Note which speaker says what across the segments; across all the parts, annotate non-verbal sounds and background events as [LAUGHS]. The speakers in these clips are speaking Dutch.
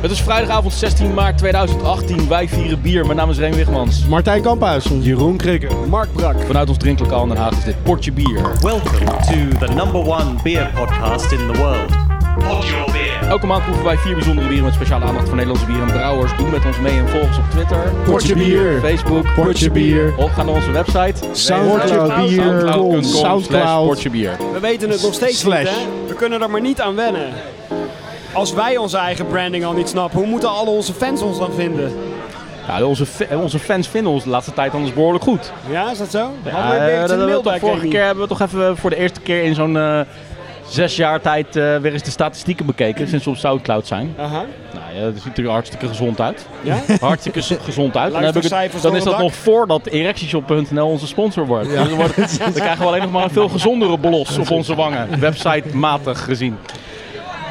Speaker 1: Het is vrijdagavond 16 maart 2018. Wij vieren bier. Mijn naam is Reen Wigmans.
Speaker 2: Martijn Kamphuis. Jeroen Krikker. Mark Brak.
Speaker 1: Vanuit ons drinklokaal in Den Haag is dit Portje Bier.
Speaker 3: Welcome to the number one beer podcast in the world. Pod your beer.
Speaker 1: Elke maand proeven wij vier bijzondere bieren met speciale aandacht voor Nederlandse bier en brouwers. Doe met ons mee en volg ons op Twitter,
Speaker 2: Portje Bier.
Speaker 1: Facebook,
Speaker 2: Portje Bier.
Speaker 1: Of ga naar onze website
Speaker 2: Soundcloud.
Speaker 1: soundcloud.com slash
Speaker 2: Soundcloud.
Speaker 1: Portje Bier.
Speaker 4: We weten het nog steeds
Speaker 2: Slash.
Speaker 4: niet, hè? We kunnen er maar niet aan wennen. Als wij onze eigen branding al niet snappen, hoe moeten al onze fans ons dan vinden?
Speaker 1: Ja, onze, fa- onze fans vinden ons de laatste tijd anders behoorlijk goed.
Speaker 4: Ja, is dat zo?
Speaker 1: Ja,
Speaker 4: Hadden we weer
Speaker 1: eh,
Speaker 4: iets in
Speaker 1: dat
Speaker 4: de
Speaker 1: hebben we
Speaker 4: mail
Speaker 1: toch
Speaker 4: bij
Speaker 1: vorige keer hebben we toch even voor de eerste keer in zo'n eh, zes jaar tijd eh, weer eens de statistieken bekeken. Sinds we op Soundcloud zijn.
Speaker 4: Aha.
Speaker 1: Nou ja, dat ziet er hartstikke gezond uit.
Speaker 4: Ja?
Speaker 1: Hartstikke s- gezond uit. En Dan, ik
Speaker 4: Luistercijfers
Speaker 1: dan is
Speaker 4: door
Speaker 1: dat
Speaker 4: het
Speaker 1: nog
Speaker 4: dak.
Speaker 1: voordat erectiesshop.nl onze sponsor wordt. Dus dan,
Speaker 4: [LAUGHS]
Speaker 1: wordt- dan krijgen we alleen nog maar een veel gezondere blos op onze wangen. Website-matig gezien.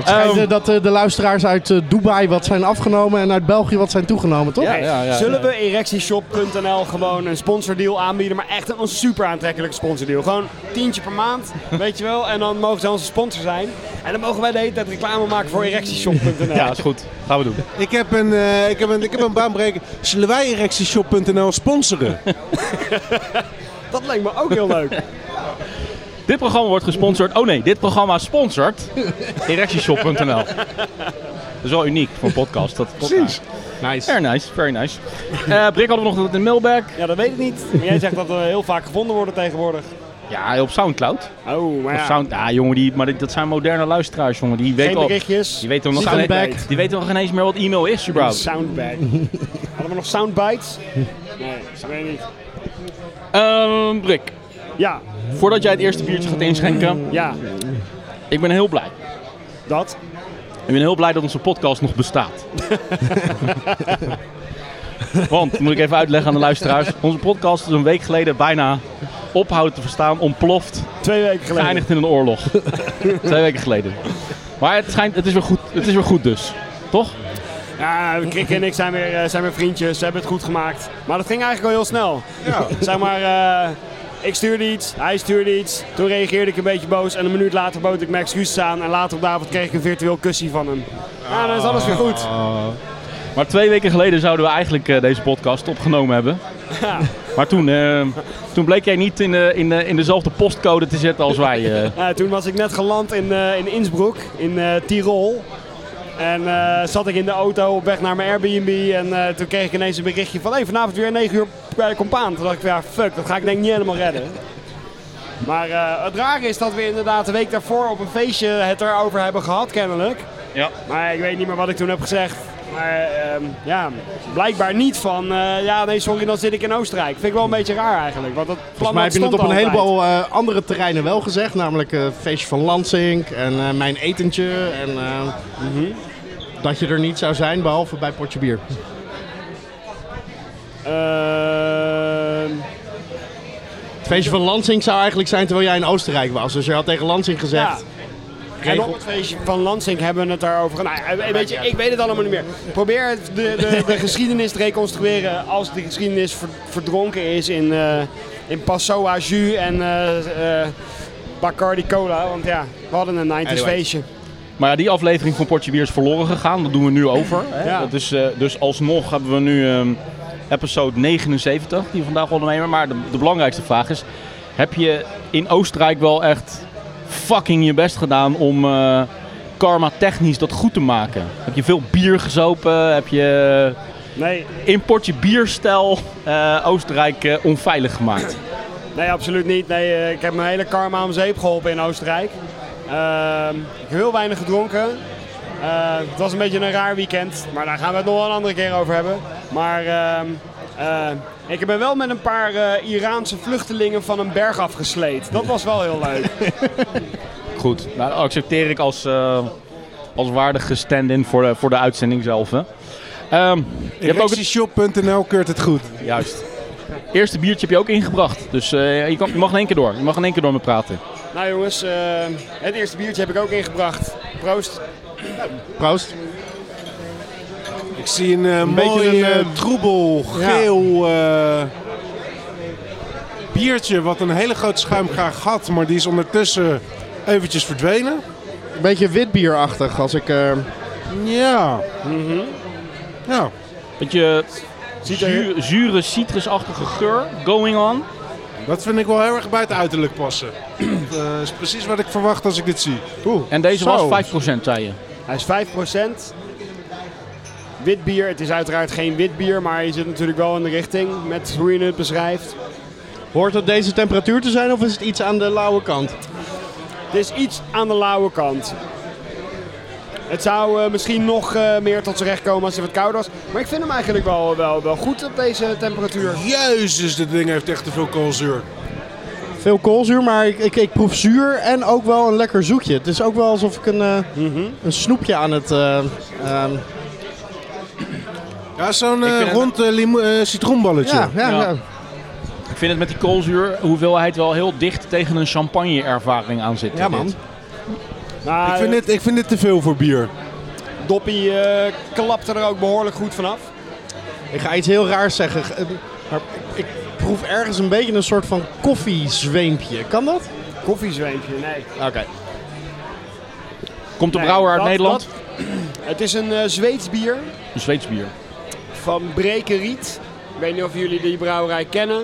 Speaker 2: Schijnt,
Speaker 1: Ehm,
Speaker 2: eh, dat eh, de luisteraars uit eh, Dubai wat zijn afgenomen en uit België wat zijn toegenomen, toch?
Speaker 1: ja, ja, ja.
Speaker 4: Zullen we erectieshop.nl gewoon een sponsordeal aanbieden, maar echt een super aantrekkelijke sponsordeal? Gewoon tientje per
Speaker 1: [LAUGHS]
Speaker 4: maand, weet je wel, en dan mogen ze onze sponsor zijn. En dan mogen wij de hele tijd reclame maken
Speaker 1: [LAUGHS]
Speaker 4: voor erectieshop.nl.
Speaker 1: Ja, is goed. Gaan we doen.
Speaker 5: Ik heb een, eh, ik heb een, ik heb een baanbreker. Zullen wij erectieshop.nl sponsoren?
Speaker 4: Dat lijkt me ook heel leuk.
Speaker 1: Dit programma wordt gesponsord. Oh nee, dit programma sponsort erectieshop.nl. Dat is wel uniek voor een podcast. Dat Precies. Nice. Very nice, very nice. Eh Brik hadden we nog wat in de mailbag.
Speaker 4: Ja, dat weet ik niet. Maar jij zegt dat we heel vaak gevonden worden tegenwoordig.
Speaker 1: Ja, op Soundcloud.
Speaker 4: Oh, maar
Speaker 1: Of
Speaker 4: ja.
Speaker 1: Sound, ja, jongen, die, maar dit- dat zijn moderne luisteraars, jongen. Die weten
Speaker 4: Geen
Speaker 1: al-
Speaker 4: berichtjes.
Speaker 1: Die weten nog,
Speaker 2: Soundbag.
Speaker 1: geen- die weten nog geen eens meer wat e-mail is, überhaupt.
Speaker 4: Soundbag. Hadden we nog soundbites? Nee, ik weet niet.
Speaker 1: Ehm Brik,
Speaker 4: Ja,
Speaker 1: voordat jij het eerste biertje gaat inschenken,
Speaker 4: ja,
Speaker 1: ik ben heel blij.
Speaker 4: dat.
Speaker 1: Ik ben heel blij dat onze podcast nog
Speaker 4: [LAUGHS]
Speaker 1: bestaat. Want, moet ik even uitleggen aan de luisteraars. Onze podcast is een week geleden bijna ophoudt te verstaan, ontploft,
Speaker 4: Twee weken geleden.
Speaker 1: geëindigd in een
Speaker 4: [LAUGHS]
Speaker 1: oorlog. Twee weken geleden. Maar het, schijnt, het, is weer goed, het is weer goed dus. Toch?
Speaker 4: Ja, Krik en ik zijn weer, eh, zijn weer vriendjes, ze hebben het goed gemaakt. Maar dat ging eigenlijk al heel snel.
Speaker 5: Ja.
Speaker 4: Zeg maar, eh, ik stuurde iets, hij stuurde iets. Toen reageerde ik een beetje boos en een minuut later bood ik mijn excuses aan. En later op de avond kreeg ik een virtueel kussie van hem. Ja, dan is alles weer goed.
Speaker 1: Maar twee weken geleden zouden we eigenlijk eh, deze podcast opgenomen hebben.
Speaker 4: Ja.
Speaker 1: Maar toen, eh, toen bleek jij niet in, de- in, de- in dezelfde postcode te zitten als wij. eh.
Speaker 4: Eh, toen was ik net geland in, eh, in Innsbruck, in eh, Tirol. En eh, zat ik in de auto op weg naar mijn Airbnb. En eh, toen kreeg ik ineens een berichtje van hey, vanavond weer 9 uur bij Compaan. Toen dacht ik, ja, fuck, dat ga ik denk ik niet helemaal redden. Maar eh, het rare is dat we inderdaad de week daarvoor op een feestje het erover hebben gehad, kennelijk.
Speaker 1: Ja.
Speaker 4: Maar ik weet niet meer wat ik toen heb gezegd. Maar ehm, ja, blijkbaar niet van, eh, ja nee sorry, dan zit ik in Oostenrijk. Vind ik wel een beetje raar eigenlijk. Want dat plan
Speaker 2: Volgens mij heb je het
Speaker 4: dat
Speaker 2: op een
Speaker 4: stond altijd.
Speaker 2: heleboel eh, andere terreinen wel gezegd, namelijk eh feestje van Lansink en eh, mijn etentje en eh, dat je er niet zou zijn, behalve bij Portje Bier.
Speaker 4: Ehm,
Speaker 2: Het feestje van Lansink zou eigenlijk zijn terwijl jij in Oostenrijk was, dus je had tegen Lansink gezegd...
Speaker 4: Ja. En op het feestje van Lansing hebben we het daarover. Nou, ja, weet je, ik weet het allemaal niet meer. Probeer het- de, de, de geschiedenis te reconstrueren als de geschiedenis ver- verdronken is in, eh in Passo à jus en eh, eh, Bacardi Cola. Want ja, we hadden een 90s
Speaker 5: Anyway.
Speaker 4: feestje.
Speaker 1: Maar ja, die aflevering van Portje Bier is verloren gegaan. Dat doen we nu over. Hè?
Speaker 4: Ja.
Speaker 1: Dat is, eh, dus alsnog hebben we nu ehm, episode 79 die we vandaag ondernemen. Maar de, de belangrijkste vraag is: heb je in Oostenrijk wel echt fucking je best gedaan om eh, karma technisch dat goed te maken? Heb je veel bier gezopen? Heb je
Speaker 4: Nee,
Speaker 1: in Portje Bierstijl eh, Oostenrijk eh, onveilig gemaakt?
Speaker 4: nee, absoluut niet. Nee, eh, ik heb mijn hele karma om zeep geholpen in Oostenrijk. Ehm, ik heb heel weinig gedronken. Eh, het was een beetje een raar weekend, maar daar gaan we het nog wel een andere keer over hebben. Maar ehm, eh, ik ben wel met een paar eh, Iraanse vluchtelingen van een berg afgesleed. Dat was wel heel leuk.
Speaker 1: Goed, nou, dat accepteer ik als, eh, als waardige stand-in voor de, voor de uitzending zelf. Hè. Ehm, je hebt ook het,
Speaker 5: Erectieshop.nl keurt het goed.
Speaker 1: juist. Eerste biertje heb je ook ingebracht. Dus eh, je, kan, je mag in één keer door. Je mag in één keer door me praten.
Speaker 4: nou jongens, eh, het eerste biertje heb ik ook ingebracht. Proost.
Speaker 2: Proost.
Speaker 5: Ik zie een, eh,
Speaker 2: beetje
Speaker 5: mooi
Speaker 2: een,
Speaker 5: eh,
Speaker 2: eh,
Speaker 5: troebel,
Speaker 2: ja.
Speaker 5: geel eh, biertje wat een hele grote schuimkraag had. Maar die is ondertussen eventjes verdwenen.
Speaker 2: Een beetje witbierachtig als ik... eh,
Speaker 5: Ja. Nou,
Speaker 1: Beetje
Speaker 4: Ziet er-
Speaker 1: zuur- zure citrusachtige geur going on.
Speaker 5: dat vind ik wel heel erg bij het uiterlijk passen. Dat eh, is precies wat ik verwacht als ik dit zie. Oeh,
Speaker 1: En deze
Speaker 5: zo.
Speaker 1: was 5% zei je.
Speaker 4: Hij is 5%. Wit bier, het is uiteraard geen wit bier, maar je zit natuurlijk wel in de richting met hoe je het beschrijft.
Speaker 2: Hoort het deze temperatuur te zijn of is het iets aan de lauwe kant?
Speaker 4: Het is iets aan de lauwe kant. Het zou eh, misschien nog eh, meer tot zijn recht komen als hij wat koud was. Maar ik vind hem eigenlijk wel, wel, wel goed op deze temperatuur.
Speaker 5: Jezus, dit ding heeft echt te veel koolzuur.
Speaker 2: Veel koolzuur, maar ik, ik, ik proef zuur en ook wel een lekker zoetje. Het is ook wel alsof ik een, eh, een snoepje aan het... eh, ehm,
Speaker 5: Ja, zo'n
Speaker 1: Ik
Speaker 5: eh,
Speaker 1: vind het-
Speaker 5: rond eh, limo- eh, citroenballetje.
Speaker 2: ja, ja,
Speaker 1: Ja.
Speaker 2: ja.
Speaker 1: Ik vind het met die koolzuur hoeveelheid wel heel dicht tegen een champagne ervaring aan zit.
Speaker 2: Ja, man.
Speaker 1: Dit.
Speaker 4: Maar
Speaker 5: Ik, vind dit, ik vind dit te veel voor bier.
Speaker 4: Doppie eh, klapte er ook behoorlijk goed vanaf.
Speaker 2: Ik ga iets heel raars zeggen. Ge- eh, Maar ik, ik proef ergens een beetje een soort van koffiezweempje. Kan dat?
Speaker 4: Koffiezweempje, nee.
Speaker 2: Oké.
Speaker 1: Komt de
Speaker 4: Nee,
Speaker 1: brouwer uit
Speaker 4: dat-
Speaker 1: Nederland?
Speaker 4: [CLEARS THROAT] Het is een eh, Zweeds bier
Speaker 1: Een Zweeds bier.
Speaker 4: van Brekeriet. Ik weet niet of jullie die brouwerij kennen.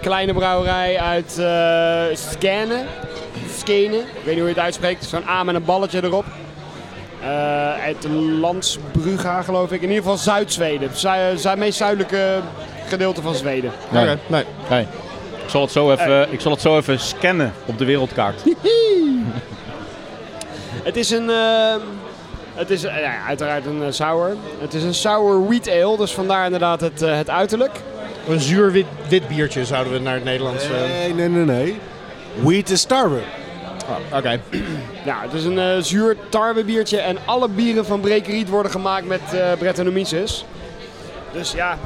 Speaker 4: Kleine brouwerij uit eh Skene. Skene. Ik weet niet hoe je het uitspreekt. Zo'n A met een balletje erop. Eh, uit Landsbrugga geloof ik. In ieder geval Zuid-Zweden. Zu- eh, Zu- meest zuidelijke gedeelte van Zweden.
Speaker 1: Nee.
Speaker 2: Oké, nee.
Speaker 1: Nee. Ik, zal het zo even, ik zal het zo even scannen op de wereldkaart.
Speaker 4: Het is een. eh, het is eh, nou ja, uiteraard een eh, sour. Het is een sour wheat ale, dus vandaar inderdaad het, eh, het uiterlijk.
Speaker 2: Een zuur wit, wit biertje zouden we naar het Nederlands... eh,
Speaker 5: Nee, nee, nee, nee. Wheat is tarwe.
Speaker 2: Oké.
Speaker 4: Ja, het is een eh, zuur tarwebiertje en alle bieren van Brekeriet worden gemaakt met eh Brettanomyces. Dus ja,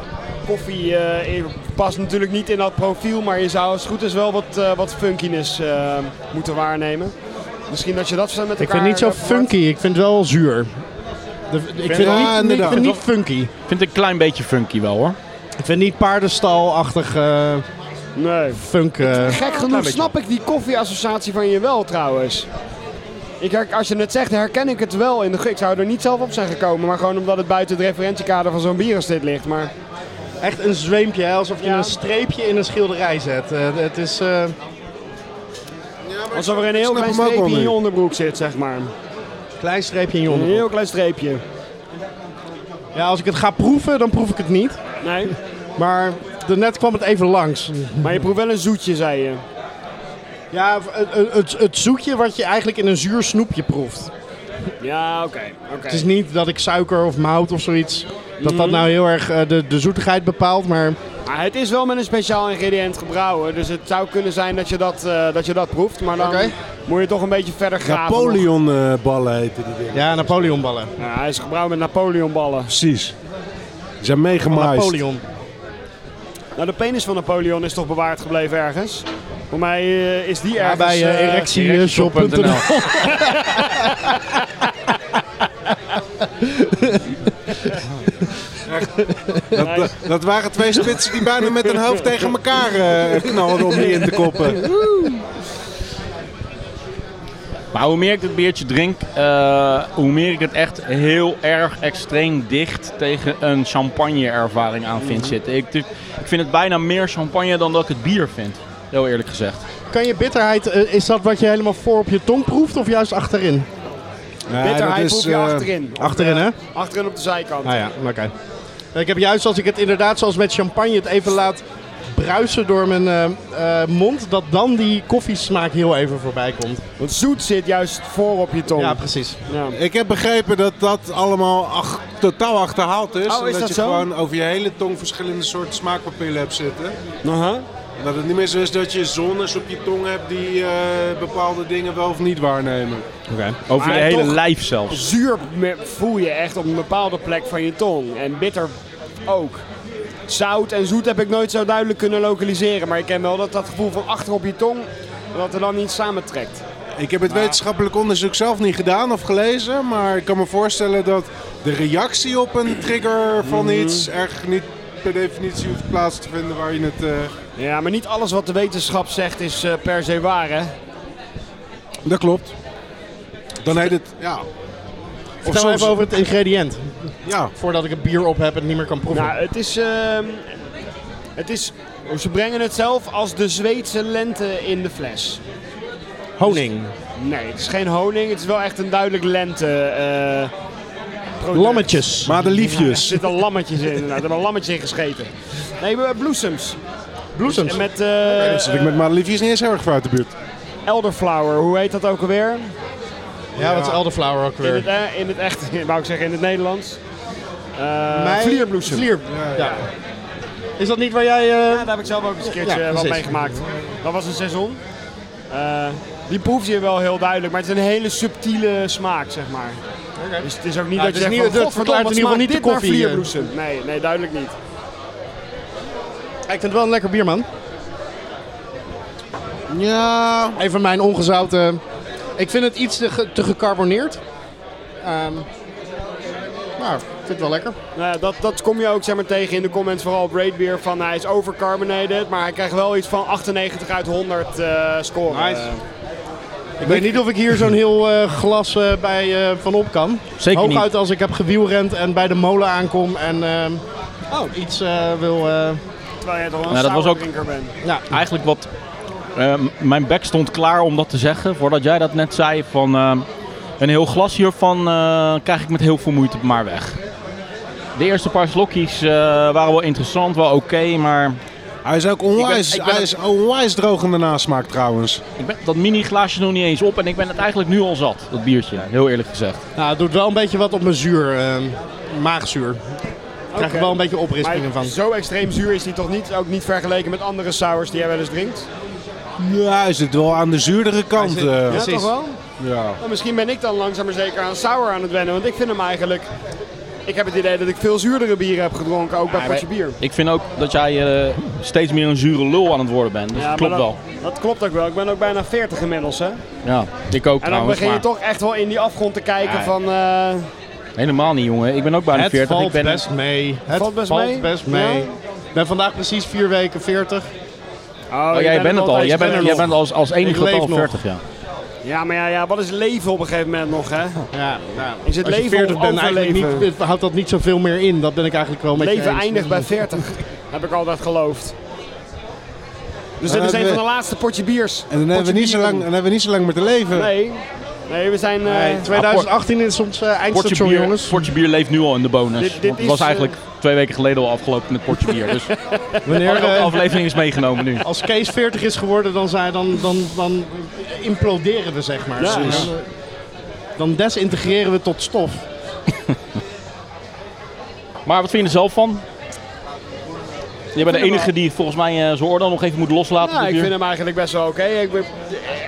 Speaker 4: koffie eh, past natuurlijk niet in dat profiel, maar je zou als het goed is wel wat, eh, wat funkiness eh, moeten waarnemen. Misschien dat je dat met elkaar...
Speaker 2: Ik vind het niet zo
Speaker 4: eh, verward.
Speaker 2: funky. Ik vind het wel zuur. De- ik vind
Speaker 5: Ja,
Speaker 2: het niet, ik
Speaker 5: inderdaad.
Speaker 2: vind het niet funky.
Speaker 1: Ik vind het een klein beetje funky wel hoor.
Speaker 2: Ik vind niet paardenstalachtig eh
Speaker 4: Nee.
Speaker 2: funk. eh.
Speaker 4: Gek genoeg snap ik die koffieassociatie van je wel trouwens. Ik, her- als je het zegt, herken ik het wel in de geur. Ik zou er niet zelf op zijn gekomen, maar gewoon omdat het buiten het referentiekader van zo'n bier als dit ligt. Maar
Speaker 2: Echt een zweempje, hè, alsof je
Speaker 4: Ja.
Speaker 2: een streepje in een schilderij zet. Eh, het is... eh,
Speaker 4: alsof er een heel
Speaker 5: snap
Speaker 4: klein
Speaker 5: hem ook wel
Speaker 4: streepje in
Speaker 5: nu.
Speaker 4: je onderbroek zit, zeg maar.
Speaker 2: Klein streepje in je
Speaker 4: Een
Speaker 2: onderbroek.
Speaker 4: heel klein streepje.
Speaker 2: Ja, als ik het ga proeven, dan proef ik het niet.
Speaker 4: Nee,
Speaker 2: Maar net kwam het even langs.
Speaker 4: maar je proeft wel een zoetje, zei je.
Speaker 2: Ja, het, het, het zoetje wat je eigenlijk in een zuur snoepje proeft.
Speaker 4: Ja, oké. oké.
Speaker 2: Het is niet dat ik suiker of mout of zoiets... Dat dat nou heel erg eh, de, de zoetigheid bepaalt, maar...
Speaker 4: Maar het is wel met een speciaal ingrediënt gebrouwen, dus het zou kunnen zijn dat je dat, eh, dat, je dat proeft. Maar dan
Speaker 2: Oké.
Speaker 4: moet je toch een beetje verder graven.
Speaker 5: Napoleon-ballen eh, heten die dingen.
Speaker 2: Ja, Napoleonballen.
Speaker 4: Ja, hij is gebrouwen met Napoleonballen.
Speaker 5: Precies. Die zijn meegemaaid.
Speaker 4: Oh,
Speaker 2: Napoleon.
Speaker 4: Nou, de penis van Napoleon is toch bewaard gebleven ergens? Voor mij eh, is die
Speaker 2: Ja,
Speaker 4: ergens...
Speaker 2: bij
Speaker 4: eh,
Speaker 2: eh erectieshop.nl.
Speaker 5: Dat, dat, dat waren twee spitsen die bijna met hun hoofd tegen elkaar eh, knalden om die in te
Speaker 4: [LAUGHS]
Speaker 5: koppen.
Speaker 1: Maar hoe meer ik dit biertje drink, eh, hoe meer ik het echt heel erg extreem dicht tegen een champagne ervaring aan
Speaker 4: Mhm.
Speaker 1: vind zitten. Ik, ik vind het bijna meer champagne dan dat ik het bier vind. Heel eerlijk gezegd.
Speaker 2: Kan je bitterheid, eh, is dat wat je helemaal voor op je tong proeft of juist achterin?
Speaker 5: Nee,
Speaker 4: Bitterheid
Speaker 5: dat is,
Speaker 4: proef je
Speaker 5: eh,
Speaker 4: achterin.
Speaker 2: Achterin, hè?
Speaker 4: Achterin op de zijkant.
Speaker 2: Ah ja, oké. Ik heb juist als ik het inderdaad zoals met champagne het even laat bruisen door mijn eh, eh, mond, dat dan die koffiesmaak heel even voorbij komt.
Speaker 4: Want zoet zit juist voor op je tong.
Speaker 2: Ja, precies.
Speaker 4: Ja.
Speaker 5: Ik heb begrepen dat dat allemaal ach- totaal achterhaald is.
Speaker 4: Oh,
Speaker 5: En
Speaker 4: is
Speaker 5: dat,
Speaker 4: dat
Speaker 5: je
Speaker 4: zo?
Speaker 5: gewoon over je hele tong verschillende soorten smaakpapillen hebt zitten.
Speaker 4: Aha.
Speaker 5: En dat het niet meer zo is dat je zones op je tong hebt die eh, bepaalde dingen wel of niet waarnemen.
Speaker 1: Over
Speaker 4: Maar
Speaker 1: je hele
Speaker 4: toch-
Speaker 1: lijf zelfs.
Speaker 4: Zuur me- voel je echt op een bepaalde plek van je tong. En bitter ook. Zout en zoet heb ik nooit zo duidelijk kunnen lokaliseren. Maar ik ken wel dat dat gevoel van achter op je tong, dat er dan iets samentrekt.
Speaker 5: Ik heb het wetenschappelijk onderzoek zelf niet gedaan of gelezen, maar ik kan me voorstellen dat de reactie op een trigger van iets erg niet per definitie hoeft plaats te vinden waar je het... eh,
Speaker 4: Ja, maar niet alles wat de wetenschap zegt is eh, per se waar, hè?
Speaker 5: Dat klopt. Dan heet het, ja.
Speaker 2: Vertel
Speaker 5: soms-
Speaker 2: even over het ingrediënt.
Speaker 5: Ja,
Speaker 2: Voordat ik het bier op heb en het niet meer kan proeven.
Speaker 4: Nou, het is, ehm, het is, ze brengen het zelf als de Zweedse lente in de fles.
Speaker 2: Honing.
Speaker 4: Nee, het is geen honing, het is wel echt een duidelijk lente. eh
Speaker 2: dus-
Speaker 4: product.
Speaker 2: Lammetjes.
Speaker 5: maar de
Speaker 4: Er
Speaker 5: liefjes.
Speaker 4: zitten lammetjes in, inderdaad. Er hebben lammetjes in gescheten. Nee, we hebben bloesems.
Speaker 2: Bloesems.
Speaker 4: En met eh,
Speaker 5: Dat zit ik met maar de liefjes niet eens heel erg ver uit de buurt.
Speaker 4: elderflower, hoe heet dat ook alweer?
Speaker 2: Ja, wat is elderflower ook
Speaker 4: In het,
Speaker 2: weer?
Speaker 4: eh, in het echt, [LAUGHS] wou ik zeggen, in het Nederlands. Eh,
Speaker 2: Mij-
Speaker 4: Vlierbloesem.
Speaker 2: Vlier, ja. Is dat niet waar jij... eh,
Speaker 4: Ja, daar heb ik zelf ook eens een keertje
Speaker 2: Ja,
Speaker 4: eh, wat
Speaker 2: precies.
Speaker 4: meegemaakt. Dat was een seizoen. Eh, die proef je wel heel duidelijk, maar het is een hele subtiele smaak, zeg maar. Dus het is ook niet
Speaker 2: Nou,
Speaker 4: dat
Speaker 2: het is
Speaker 4: je zegt,
Speaker 2: niet-
Speaker 4: van,
Speaker 2: het
Speaker 4: "Godverdomme,
Speaker 2: verklaart
Speaker 4: wat
Speaker 2: in ieder geval
Speaker 4: smaakt
Speaker 2: niet de
Speaker 4: dit naar
Speaker 2: koffie, eh."
Speaker 4: vlierbloesem?" Nee, nee, duidelijk niet.
Speaker 2: Ik vind het wel een lekker bier, man.
Speaker 5: Ja,
Speaker 2: Even mijn ongezouten... Ik vind het iets te, ge- te gecarboneerd. Ehm, maar ik vind het wel lekker.
Speaker 4: Nou ja, dat, dat kom je ook zeg maar, tegen in de comments, vooral op Raidbeer, van hij is overcarbonated, maar hij krijgt wel iets van 98 uit 100 eh score.
Speaker 2: Nice. Ik weet niet of ik hier zo'n heel eh, glas eh, bij eh, van op kan.
Speaker 1: Zeker niet.
Speaker 2: Hooguit als ik heb gewielrend en bij de molen aankom en ehm, iets eh, wil... eh,
Speaker 4: terwijl jij toch wel een
Speaker 1: Nou, dat was ook-
Speaker 4: sourdrinker bent.
Speaker 2: ja.
Speaker 1: Eigenlijk wat... eh, m- mijn bek stond klaar om dat te zeggen, voordat jij dat net zei. Van, eh, een heel glas hiervan eh, krijg ik met heel veel moeite maar weg. De eerste paar slokjes eh, waren wel interessant, wel oké, maar...
Speaker 5: hij is ook onwijs,
Speaker 1: Ik ben- ik ben
Speaker 5: hij is onwijs droog in de nasmaak trouwens.
Speaker 1: Ik ben dat mini glaasje nog niet eens op en ik ben het eigenlijk nu al zat, dat biertje, heel eerlijk gezegd.
Speaker 2: Nou, het doet wel een beetje wat op mijn zuur. ehm, maagzuur. Ik krijg
Speaker 4: Oké.
Speaker 2: er wel een beetje oprispingen
Speaker 4: Maar
Speaker 2: van.
Speaker 4: zo extreem zuur is hij toch niet, ook niet vergeleken met andere sours die jij wel eens drinkt?
Speaker 5: Ja, hij zit wel aan de zuurdere kant.
Speaker 2: Hij zit-
Speaker 5: eh,
Speaker 4: Ja,
Speaker 2: Precies.
Speaker 4: toch wel?
Speaker 5: ja.
Speaker 4: Nou, misschien ben ik dan langzaam maar zeker aan sour aan het wennen, want ik vind hem eigenlijk... Ik heb het idee dat ik veel zuurdere bieren heb gedronken, ook bij
Speaker 1: Ja,
Speaker 4: Potje Bier.
Speaker 1: Ik vind ook dat jij eh, steeds meer een zure lul aan het worden bent, dus dat
Speaker 4: maar
Speaker 1: klopt
Speaker 4: dat,
Speaker 1: wel.
Speaker 4: Dat klopt ook wel. Ik ben ook bijna 40 inmiddels, hè.
Speaker 1: Ja, ik ook trouwens,
Speaker 4: En dan
Speaker 1: Nou,
Speaker 4: begin je
Speaker 1: maar
Speaker 4: toch echt wel in die afgrond te kijken
Speaker 1: Ja.
Speaker 4: van... eh,
Speaker 1: helemaal niet jongen. Ik ben ook bijna
Speaker 2: Het
Speaker 1: 40.
Speaker 2: valt
Speaker 1: ik ben
Speaker 2: best mee. Het
Speaker 4: valt best mee?
Speaker 2: best mee.
Speaker 4: Ja?
Speaker 2: Ik ben vandaag precies vier weken 40.
Speaker 1: Oh, jij bent het al. Jij
Speaker 4: Ik ben
Speaker 1: bent,
Speaker 4: er
Speaker 1: jij
Speaker 4: nog.
Speaker 1: bent als, als enige tot
Speaker 2: leef
Speaker 1: al
Speaker 2: nog.
Speaker 1: 40, ja.
Speaker 4: Ja, maar ja, ja, wat is leven op een gegeven moment nog, hè?
Speaker 2: Ja, nou,
Speaker 4: Is het
Speaker 2: als je
Speaker 4: leven
Speaker 2: 40
Speaker 4: of
Speaker 2: bent, eigenlijk
Speaker 4: overleven?
Speaker 2: niet, houdt dat niet zoveel meer in. Dat ben ik eigenlijk wel met je
Speaker 4: Leven
Speaker 2: eens.
Speaker 4: eindigt bij 40, heb ik altijd geloofd. Dus
Speaker 5: Dan
Speaker 4: dit is
Speaker 5: hebben
Speaker 4: een van
Speaker 5: we-
Speaker 4: de laatste potje biers.
Speaker 5: En dan hebben, we niet zo lang, dan hebben we niet zo lang meer te leven.
Speaker 4: Nee, nee we zijn... eh,
Speaker 2: Nee, 2018 is ons eh,
Speaker 1: Portje
Speaker 2: eindstation,
Speaker 1: bier,
Speaker 2: jongens.
Speaker 1: Portje bier leeft nu al in de bonus.
Speaker 4: Dit- dit
Speaker 1: want het
Speaker 4: is,
Speaker 1: was
Speaker 4: eh,
Speaker 1: eigenlijk twee weken geleden al afgelopen met Portje bier.
Speaker 4: [LAUGHS]
Speaker 1: Dus de
Speaker 2: Wanneer, eh,
Speaker 1: aflevering is meegenomen nu.
Speaker 2: als Kees 40 is geworden, dan, zijn, dan, dan, dan imploderen we, zeg maar.
Speaker 4: Ja.
Speaker 2: Dan, eh, dan desintegreren we tot stof.
Speaker 1: Maar wat vind je er zelf van? Je bent de
Speaker 4: hem
Speaker 1: enige
Speaker 4: wel-
Speaker 1: die volgens mij eh, zijn oordeel nog even moet loslaten.
Speaker 4: Nou,
Speaker 1: op
Speaker 4: ik
Speaker 1: dit
Speaker 4: vind
Speaker 1: bier.
Speaker 4: hem eigenlijk best wel oké. Ik, ben-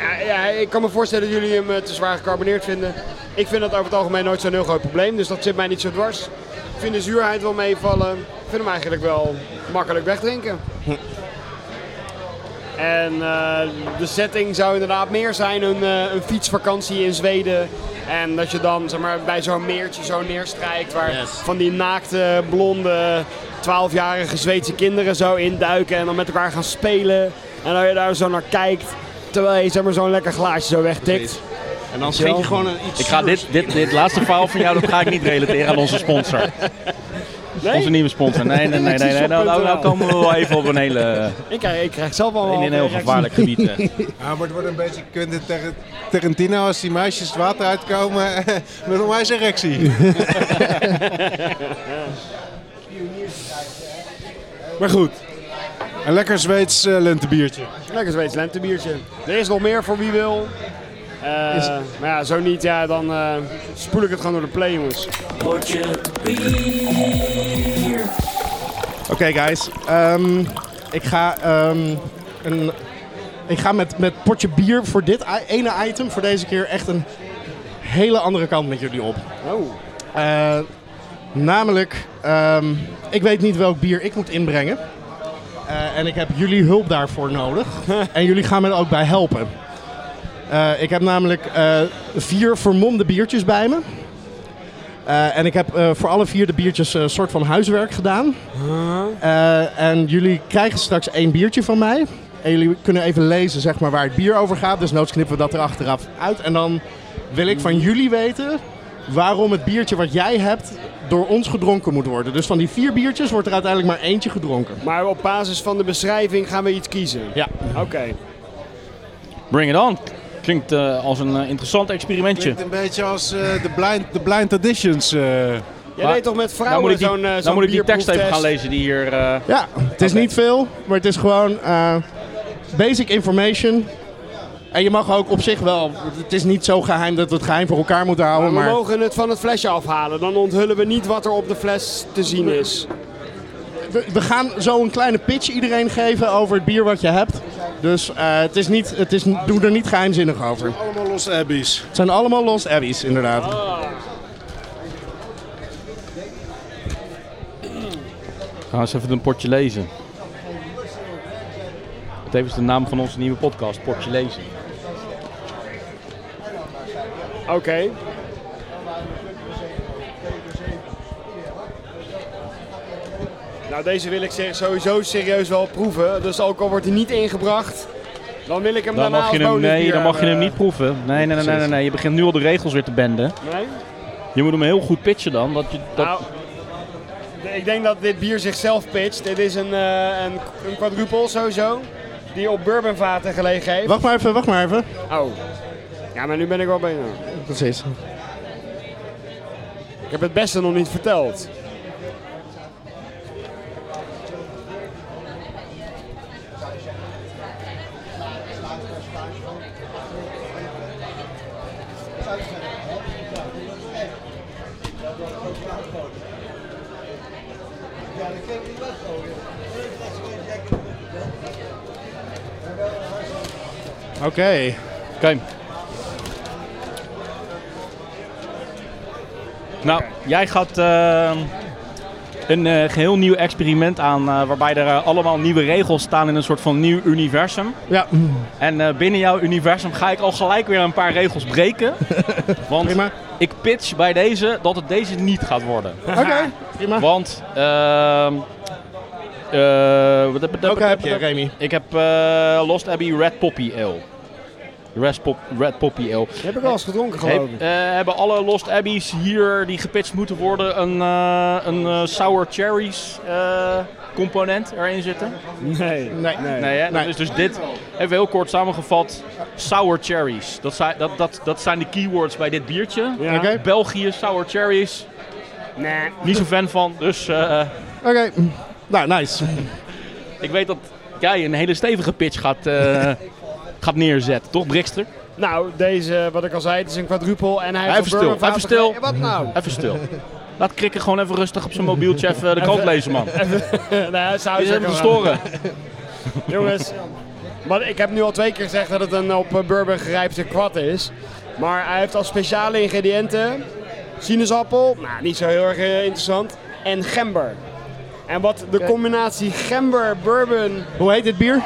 Speaker 4: ja, ja, ik kan me voorstellen dat jullie hem eh, te zwaar gecarboneerd vinden. Ik vind dat over het algemeen nooit zo'n heel groot probleem, dus dat zit mij niet zo dwars. Ik vind de zuurheid wel meevallen. Ik vind hem eigenlijk wel makkelijk wegdrinken. En eh, de setting zou inderdaad meer zijn een, eh, een fietsvakantie in Zweden. En dat je dan zeg maar, bij zo'n meertje zo neerstrijkt waar
Speaker 2: Yes.
Speaker 4: van die naakte, blonde, 12-jarige Zweedse kinderen zo induiken en dan met elkaar gaan spelen. En dat je daar zo naar kijkt, terwijl je zeg maar, zo'n lekker glaasje zo wegtikt.
Speaker 2: En dan schiet je gewoon een iets
Speaker 1: Ik ga dit, dit, dit laatste verhaal van jou, dat ga ik niet relateren aan onze sponsor. Onze nieuwe sponsor. Nee,
Speaker 4: [LAUGHS]
Speaker 1: nee, nee. nee, nee. Nou, nou, nou komen we wel even op een hele, eh,
Speaker 4: Ik, krijg- ik krijg zelf al
Speaker 1: in een heel gevaarlijk gebied. eh.
Speaker 4: [LAUGHS]
Speaker 5: Ja, maar het wordt een beetje Quentin Tar- Tarantino als die meisjes het water uitkomen [LAUGHS] met een onwijs erectie. [LAUGHS] maar goed, een lekker Zweeds eh, lentebiertje.
Speaker 4: Lekker Zweeds lentebiertje. Er is nog meer voor wie wil. Eh, Maar ja, zo niet, ja, dan eh, spoel ik het gewoon door de play, jongens.
Speaker 2: Oké, guys. Ehm, ik ga ehm, een. Ik ga met, met potje bier voor dit i- ene item voor deze keer echt een hele andere kant met jullie op.
Speaker 4: Oh,
Speaker 2: Eh, namelijk, ehm, ik weet niet welk bier ik moet inbrengen. Eh, en ik heb jullie hulp daarvoor nodig. en jullie gaan me er ook bij helpen. Eh, ik heb namelijk eh, vier vermomde biertjes bij me. Eh, en ik heb eh, voor alle vier de biertjes een soort van huiswerk gedaan. Eh, en jullie krijgen straks één biertje van mij. En jullie kunnen even lezen zeg maar, waar het bier over gaat. Dus noods knippen we dat er achteraf uit. En dan wil ik van jullie weten waarom het biertje wat jij hebt door ons gedronken moet worden. Dus van die vier biertjes wordt er uiteindelijk maar eentje gedronken.
Speaker 4: Maar op basis van de beschrijving gaan we iets kiezen.
Speaker 2: Ja.
Speaker 4: Oké.
Speaker 1: Bring it on. Klinkt eh, als een eh, interessant experimentje.
Speaker 5: Klinkt een beetje als eh, de, blind, de blind editions. eh.
Speaker 4: Jij
Speaker 1: Maar-
Speaker 4: deed toch met
Speaker 1: Nou moet
Speaker 4: vrouwen
Speaker 1: ik die,
Speaker 4: zo'n eh,
Speaker 1: nou
Speaker 4: zo'n
Speaker 1: moet ik die tekst even
Speaker 4: bierproeftest?
Speaker 1: gaan lezen die hier... eh,
Speaker 2: Ja, het is
Speaker 1: Oké.
Speaker 2: niet veel, maar het is gewoon eh, basic information. En je mag ook op zich wel, het is niet zo geheim dat we het geheim voor elkaar moeten houden,
Speaker 4: We
Speaker 2: maar...
Speaker 4: mogen het van het flesje afhalen. Dan onthullen we niet wat er op de fles te zien is.
Speaker 2: We, we gaan zo een kleine pitch iedereen geven over het bier wat je hebt. Dus eh, het is niet, het is, doe er niet geheimzinnig over.
Speaker 5: Allemaal losse abbeys.
Speaker 2: Het zijn allemaal Lost Abbeys, inderdaad.
Speaker 1: Ga Nou, eens even een potje lezen. Tevens de naam van onze nieuwe podcast, Potje Lezen.
Speaker 4: Oké. Nou, deze wil ik zeg- sowieso serieus wel proeven. Dus ook al wordt hij niet ingebracht, dan wil ik hem
Speaker 1: Dan
Speaker 4: daarna
Speaker 1: mag je
Speaker 4: nou, als
Speaker 1: hem, nee,
Speaker 4: bonusbier,
Speaker 1: dan mag je hem
Speaker 4: eh,
Speaker 1: niet proeven. Nee, nee, nee, nee, nee, nee. Je begint nu al de regels weer te benden.
Speaker 4: Nee?
Speaker 1: Je moet hem heel goed pitchen dan. Dat je, dat,
Speaker 4: Nou, d- Nou, ik denk dat dit bier zichzelf pitcht. Dit is een, eh een, een quadruple sowieso, die op bourbonvaten gelegen heeft.
Speaker 2: Wacht maar even, wacht maar even.
Speaker 4: Oh. Ja, maar nu ben ik wel bijna.
Speaker 2: Precies.
Speaker 4: Ik heb het beste nog niet verteld.
Speaker 2: Oké.
Speaker 1: Oké. Nou, jij gaat eh, een eh, geheel nieuw experiment aan eh, waarbij er eh, allemaal nieuwe regels staan in een soort van nieuw universum.
Speaker 2: Ja,
Speaker 1: En eh, binnen jouw universum ga ik al gelijk weer een paar regels
Speaker 2: [LAUGHS]
Speaker 1: breken. want
Speaker 2: prima.
Speaker 1: ik pitch bij deze dat het deze niet gaat worden.
Speaker 2: [LAUGHS] Oké, prima.
Speaker 1: Want, ehm eh, wat- wat-
Speaker 2: Welke
Speaker 1: wat-
Speaker 2: heb je,
Speaker 1: wat-
Speaker 2: Remy?
Speaker 1: Ik heb eh, Lost Abbey Red Poppy Ale. Red, Pop- Red Poppy Ale.
Speaker 4: heb ik wel eens gedronken,
Speaker 1: Heb- eh, hebben alle Lost Abbeys hier die gepitcht moeten worden een, eh, een eh, sour cherries eh, component erin zitten?
Speaker 4: Nee.
Speaker 2: Nee.
Speaker 1: Nee, hè?
Speaker 2: Nee.
Speaker 1: Dat is dus dit. Even heel kort samengevat. Sour cherries. Dat zijn, dat, dat, dat zijn de keywords bij dit biertje.
Speaker 4: Ja.
Speaker 2: Oké.
Speaker 1: België, sour cherries.
Speaker 4: Nee.
Speaker 1: Niet zo fan van. Dus eh,
Speaker 2: Oké, nou, nice.
Speaker 1: ik weet dat jij een hele stevige pitch gaat, eh, [LAUGHS] gaat neerzetten. Toch, Brixter?
Speaker 4: Nou, deze, wat ik al zei, het is een quadruple en hij
Speaker 1: Even
Speaker 4: heeft
Speaker 1: stil,
Speaker 4: een bourbonvaten
Speaker 1: even stil.
Speaker 4: gele- Wat nou?
Speaker 1: Even stil. Laat Krikken gewoon even rustig op zijn mobieltje even de krant lezen, man.
Speaker 4: nee, zou
Speaker 1: Je
Speaker 4: je
Speaker 1: zit hem te storen.
Speaker 4: Jongens, maar ik heb nu al twee keer gezegd dat het een op eh, bourbon gerijpte kwad is. Maar hij heeft als speciale ingrediënten sinaasappel, nou niet zo heel erg eh, interessant, en gember. En wat de combinatie gember-bourbon,
Speaker 2: Hoe heet dit bier?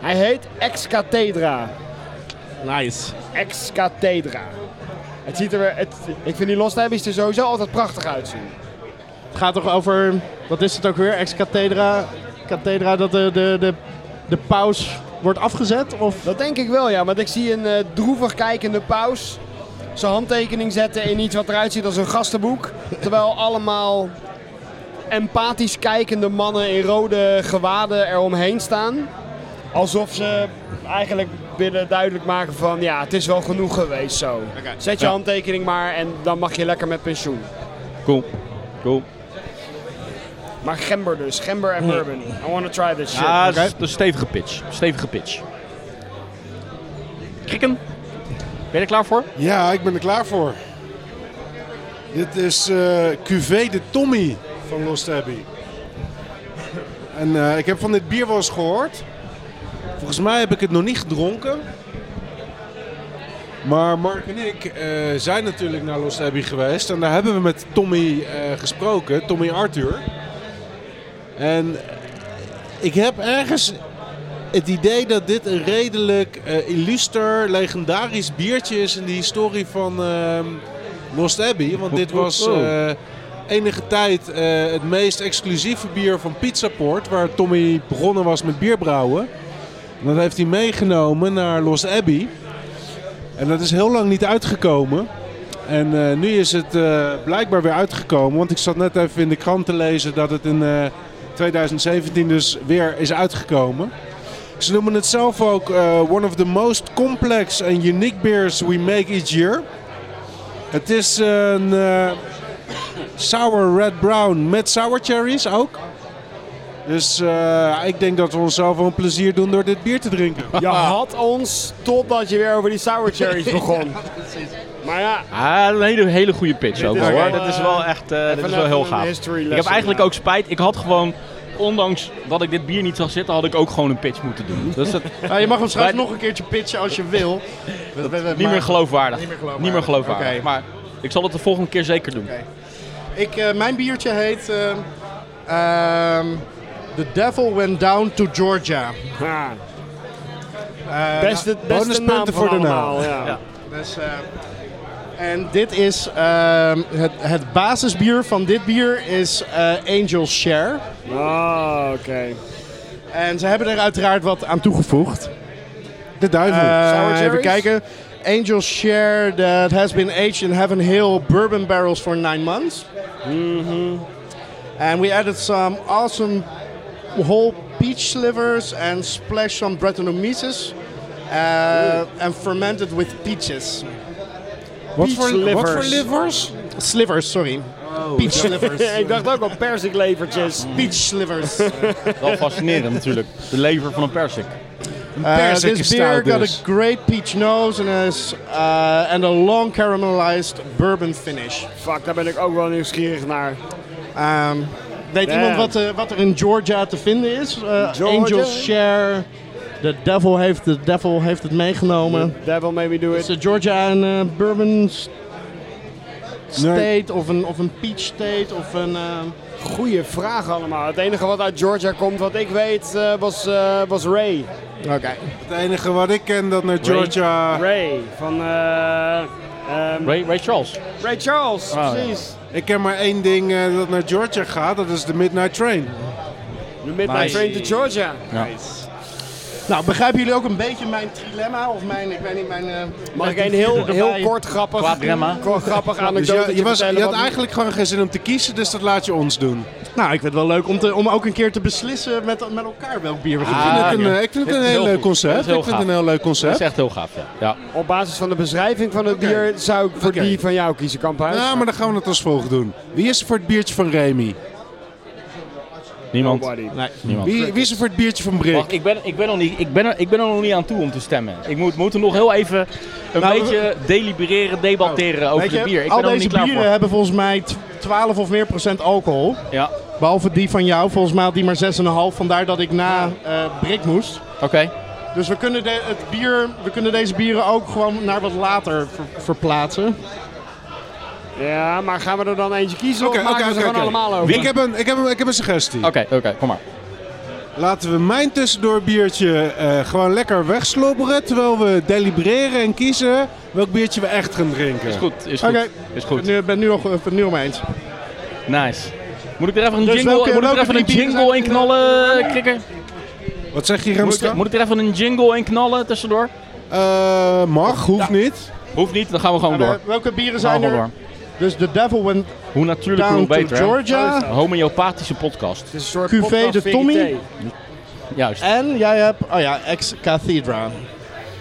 Speaker 4: hij heet Ex Cathedra.
Speaker 2: Nice.
Speaker 4: Ex Cathedra. Het ziet er, weer- het, ik vind die Lost Abbeys er sowieso altijd prachtig uitzien.
Speaker 2: Het gaat toch over, wat is het ook weer, ex-cathedra? Cathedra dat de, de, de, de paus wordt afgezet? Of?
Speaker 4: Dat denk ik wel, ja. Want ik zie een eh, droevig kijkende paus zijn handtekening zetten in iets wat eruit ziet als een
Speaker 5: [LAUGHS]
Speaker 4: gastenboek. Terwijl allemaal empathisch kijkende mannen in rode gewaden eromheen staan. Alsof ze eigenlijk willen duidelijk maken van ja, het is wel genoeg geweest zo. Zet je
Speaker 1: Ja.
Speaker 4: handtekening maar en dan mag je lekker met pensioen.
Speaker 1: Cool. Cool.
Speaker 4: Maar gember dus, gember en bourbon. I wanna try this shit.
Speaker 1: Ja, Ah, dat
Speaker 2: oké.
Speaker 1: is dat is een stevige pitch. Stevige pitch. Krikken? Ben je er klaar voor?
Speaker 5: Ja, ik ben er klaar voor. Dit is eh Cuvée de Tommy van Lost Abbey. En eh, ik heb van dit bier wel eens gehoord. Volgens mij heb ik het nog niet gedronken. Maar Mark en ik eh, zijn natuurlijk naar Lost Abbey geweest. En daar hebben we met Tommy eh, gesproken, Tommy Arthur. En ik heb ergens het idee dat dit een redelijk eh, illuster, legendarisch biertje is in de historie van ehm, Lost Abbey. Want dit was eh, enige tijd eh, het meest exclusieve bier van Pizza Port, waar Tommy begonnen was met bierbrouwen. En dat heeft hij meegenomen naar Lost Abbey. En dat is heel lang niet uitgekomen. En eh, nu is het eh, blijkbaar weer uitgekomen. Want ik zat net even in de krant te lezen dat het in eh, 2017 dus weer is uitgekomen. Ze noemen het zelf ook eh, one of the most complex and unique beers we make each year. Het is een eh, sour red brown met sour cherries ook. Dus eh, ik denk dat we onszelf wel een plezier doen door dit bier te drinken.
Speaker 4: Je had ons totdat je weer over die sour
Speaker 2: [LAUGHS]
Speaker 4: cherries begon. Maar ja, [LAUGHS]
Speaker 1: Ah, een hele, hele goede pitch
Speaker 4: Dit
Speaker 1: ook
Speaker 4: is
Speaker 1: hoor.
Speaker 4: wel,
Speaker 1: dat is wel echt eh, dit is wel
Speaker 4: even
Speaker 1: heel
Speaker 4: een
Speaker 1: gaaf.
Speaker 4: history
Speaker 1: Ik heb
Speaker 4: lesson,
Speaker 1: eigenlijk
Speaker 4: ja.
Speaker 1: ook spijt. Ik had gewoon, ondanks dat ik dit bier niet zag zitten, had ik ook gewoon een pitch moeten doen. Dus [LAUGHS] dat is
Speaker 2: Nou, je mag hem straks
Speaker 1: Wij-
Speaker 2: nog een keertje pitchen als je wil. We- we- we-
Speaker 1: niet
Speaker 2: maar-
Speaker 1: meer geloofwaardig.
Speaker 2: Niet meer geloofwaardig.
Speaker 1: Niet meer geloofwaardig.
Speaker 2: Oké.
Speaker 1: Maar ik zal het de volgende keer zeker doen.
Speaker 2: Ik, eh, mijn biertje heet ehm, ehm, The Devil Went Down to Georgia.
Speaker 4: ja,
Speaker 2: Eh,
Speaker 4: beste, beste
Speaker 5: bonuspunten
Speaker 4: naam
Speaker 5: voor
Speaker 4: voor
Speaker 5: de
Speaker 4: de
Speaker 5: naam.
Speaker 4: allemaal. Ja.
Speaker 1: Ja.
Speaker 2: Dus, eh, en dit is ehm, het, het basisbier van dit bier is eh Angel's Share.
Speaker 4: Ah, oké.
Speaker 2: En ze hebben er uiteraard wat aan toegevoegd.
Speaker 5: De duivel.
Speaker 2: Eh,
Speaker 4: Sour
Speaker 2: even
Speaker 4: cherries?
Speaker 2: kijken. Angel's Share that has been aged in Heaven Hill bourbon barrels for nine months. Mm-hmm. And we added some awesome whole peach slivers and splashed some Brettanomyces. Uh, and fermented with peaches.
Speaker 5: wat, voor, wat
Speaker 4: slivers.
Speaker 5: voor livers?
Speaker 2: Slivers, sorry.
Speaker 4: Oh.
Speaker 2: peach slivers.
Speaker 4: [LAUGHS] Ik dacht ook al perziklevertjes.
Speaker 2: peach
Speaker 4: [LAUGHS]
Speaker 2: slivers.
Speaker 1: Wel fascinerend natuurlijk. De lever van een persik.
Speaker 2: Uh,
Speaker 5: Perzik
Speaker 2: this
Speaker 5: is stout
Speaker 2: beer got
Speaker 5: dus.
Speaker 2: a great peach nose and, has, uh, and a long caramelized bourbon finish.
Speaker 4: Fuck, daar ben ik ook wel nieuwsgierig naar.
Speaker 2: Ehm, weet
Speaker 4: Damn.
Speaker 2: iemand wat, eh, wat er in Georgia te vinden is? Eh,
Speaker 4: Georgia?
Speaker 2: Angel's Share. De devil heeft, de devil heeft het meegenomen.
Speaker 4: Devil made me do
Speaker 2: Is
Speaker 4: it.
Speaker 2: eh, Georgia een eh, bourbon s- state of, een, of een peach state of een... ehm,
Speaker 4: Goeie vraag allemaal. Het enige wat uit Georgia komt, wat ik weet, eh, was, eh, was Ray.
Speaker 2: Oké.
Speaker 5: Het enige wat ik ken dat naar Georgia...
Speaker 4: Ray van eh, ehm,
Speaker 1: Ray, Ray Charles.
Speaker 4: Ray Charles,
Speaker 2: Oh,
Speaker 1: ja.
Speaker 4: precies.
Speaker 5: Ik ken maar één ding eh, dat naar Georgia gaat, dat is de Midnight Train.
Speaker 4: De Midnight
Speaker 1: Nice.
Speaker 4: Train to Georgia.
Speaker 2: Nou, begrijpen jullie ook een beetje mijn trilemma of mijn, ik weet niet, mijn... eh,
Speaker 4: Mag ik
Speaker 2: mijn
Speaker 4: een heel,
Speaker 2: erbij?
Speaker 4: heel kort grappig,
Speaker 1: Qua drama.
Speaker 4: kort grappig
Speaker 5: Dus je,
Speaker 4: anekdote
Speaker 5: je, was,
Speaker 4: vertellen?
Speaker 5: je had
Speaker 4: wat-
Speaker 5: eigenlijk gewoon geen zin om te kiezen, dus dat laat je ons doen.
Speaker 2: Nou, ik vind het wel leuk om, te, om ook een keer te beslissen met, met elkaar welk bier we gaan
Speaker 5: ik
Speaker 2: drinken.
Speaker 4: Ah,
Speaker 5: vind het een,
Speaker 1: ja.
Speaker 5: eh, ik vind
Speaker 1: Dit
Speaker 5: het een
Speaker 1: is
Speaker 5: heel
Speaker 1: heel
Speaker 5: leuk
Speaker 1: goed.
Speaker 5: concept.
Speaker 1: Dit
Speaker 5: Ik
Speaker 1: is heel
Speaker 5: vind het een
Speaker 1: gaaf.
Speaker 5: heel leuk
Speaker 1: Dat is
Speaker 5: concept.
Speaker 1: echt heel gaaf, ja. ja.
Speaker 4: Op basis van de beschrijving van het bier zou ik voor
Speaker 5: Oké.
Speaker 4: die van jou kiezen, Kamphuis.
Speaker 5: Ja, maar dan gaan we het als volgt doen. Wie is er voor het biertje van Remy?
Speaker 1: Niemand.
Speaker 4: Nobody.
Speaker 1: Niemand.
Speaker 5: Wie, wie is er voor het biertje van
Speaker 1: Wacht,
Speaker 5: Brik?
Speaker 1: ik ben, ik, ben nog niet, ik, ben er, ik ben er nog niet aan toe om te stemmen. Ik moet, moet er nog heel even een
Speaker 2: Nou, we- Oh.
Speaker 1: beetje delibereren, debatteren over
Speaker 2: Weet je,
Speaker 1: de bier. Ik ben
Speaker 2: al
Speaker 1: er nog
Speaker 2: deze
Speaker 1: niet klaar
Speaker 2: bieren
Speaker 1: voor.
Speaker 2: hebben volgens mij tw- 12 of meer procent alcohol.
Speaker 1: Ja,
Speaker 2: Behalve die van jou, volgens mij had die maar 6,5. Vandaar dat ik na eh Brik moest.
Speaker 1: oké.
Speaker 2: Dus we kunnen, de, het bier, we kunnen deze bieren ook gewoon naar wat later ver- verplaatsen.
Speaker 4: Ja, maar gaan we er dan eentje kiezen
Speaker 5: Oké,
Speaker 4: of maken
Speaker 5: oké,
Speaker 4: we ze
Speaker 5: oké,
Speaker 4: gewoon
Speaker 5: oké.
Speaker 4: allemaal over?
Speaker 5: Ik heb, een, ik, heb een, ik heb een suggestie.
Speaker 1: Oké, oké, kom maar.
Speaker 5: Laten we mijn tussendoor biertje eh, gewoon lekker wegslobberen. Terwijl we delibereren en kiezen welk biertje we echt gaan drinken.
Speaker 1: Is goed, is goed.
Speaker 2: Oké.
Speaker 1: Is
Speaker 2: Ik
Speaker 1: goed.
Speaker 2: ben het nu, al ge- ik ben het nu al mee eens.
Speaker 1: Nice. Moet ik er even een
Speaker 2: Dus
Speaker 1: jingle,
Speaker 2: welke-
Speaker 1: moet ik er
Speaker 2: welke
Speaker 1: even
Speaker 2: drie
Speaker 1: een
Speaker 2: bieren
Speaker 1: jingle
Speaker 2: zijn
Speaker 1: in
Speaker 2: er?
Speaker 1: knallen, kikker?
Speaker 5: Wat zeg je,
Speaker 1: Moet ik,
Speaker 5: Remstra?
Speaker 1: moet ik er even een jingle in knallen tussendoor?
Speaker 5: Eh, mag, hoeft niet.
Speaker 1: Hoeft niet, dan gaan we gewoon
Speaker 2: Maar
Speaker 1: door.
Speaker 2: Eh, welke bieren
Speaker 1: Dan gaan
Speaker 2: zijn
Speaker 1: we
Speaker 2: er?
Speaker 1: gewoon door.
Speaker 2: Dus The Devil Went
Speaker 1: Hoe natuurlijk,
Speaker 2: Down
Speaker 1: hoe
Speaker 2: to
Speaker 1: beter. hè?
Speaker 4: Oh,
Speaker 2: Georgia.
Speaker 1: Een homeopathische podcast.
Speaker 4: Het is een soort
Speaker 2: QV,
Speaker 4: podcast
Speaker 2: de
Speaker 4: verité.
Speaker 2: Tommy.
Speaker 1: Juist.
Speaker 2: En jij hebt, oh ja, Ex Cathedra.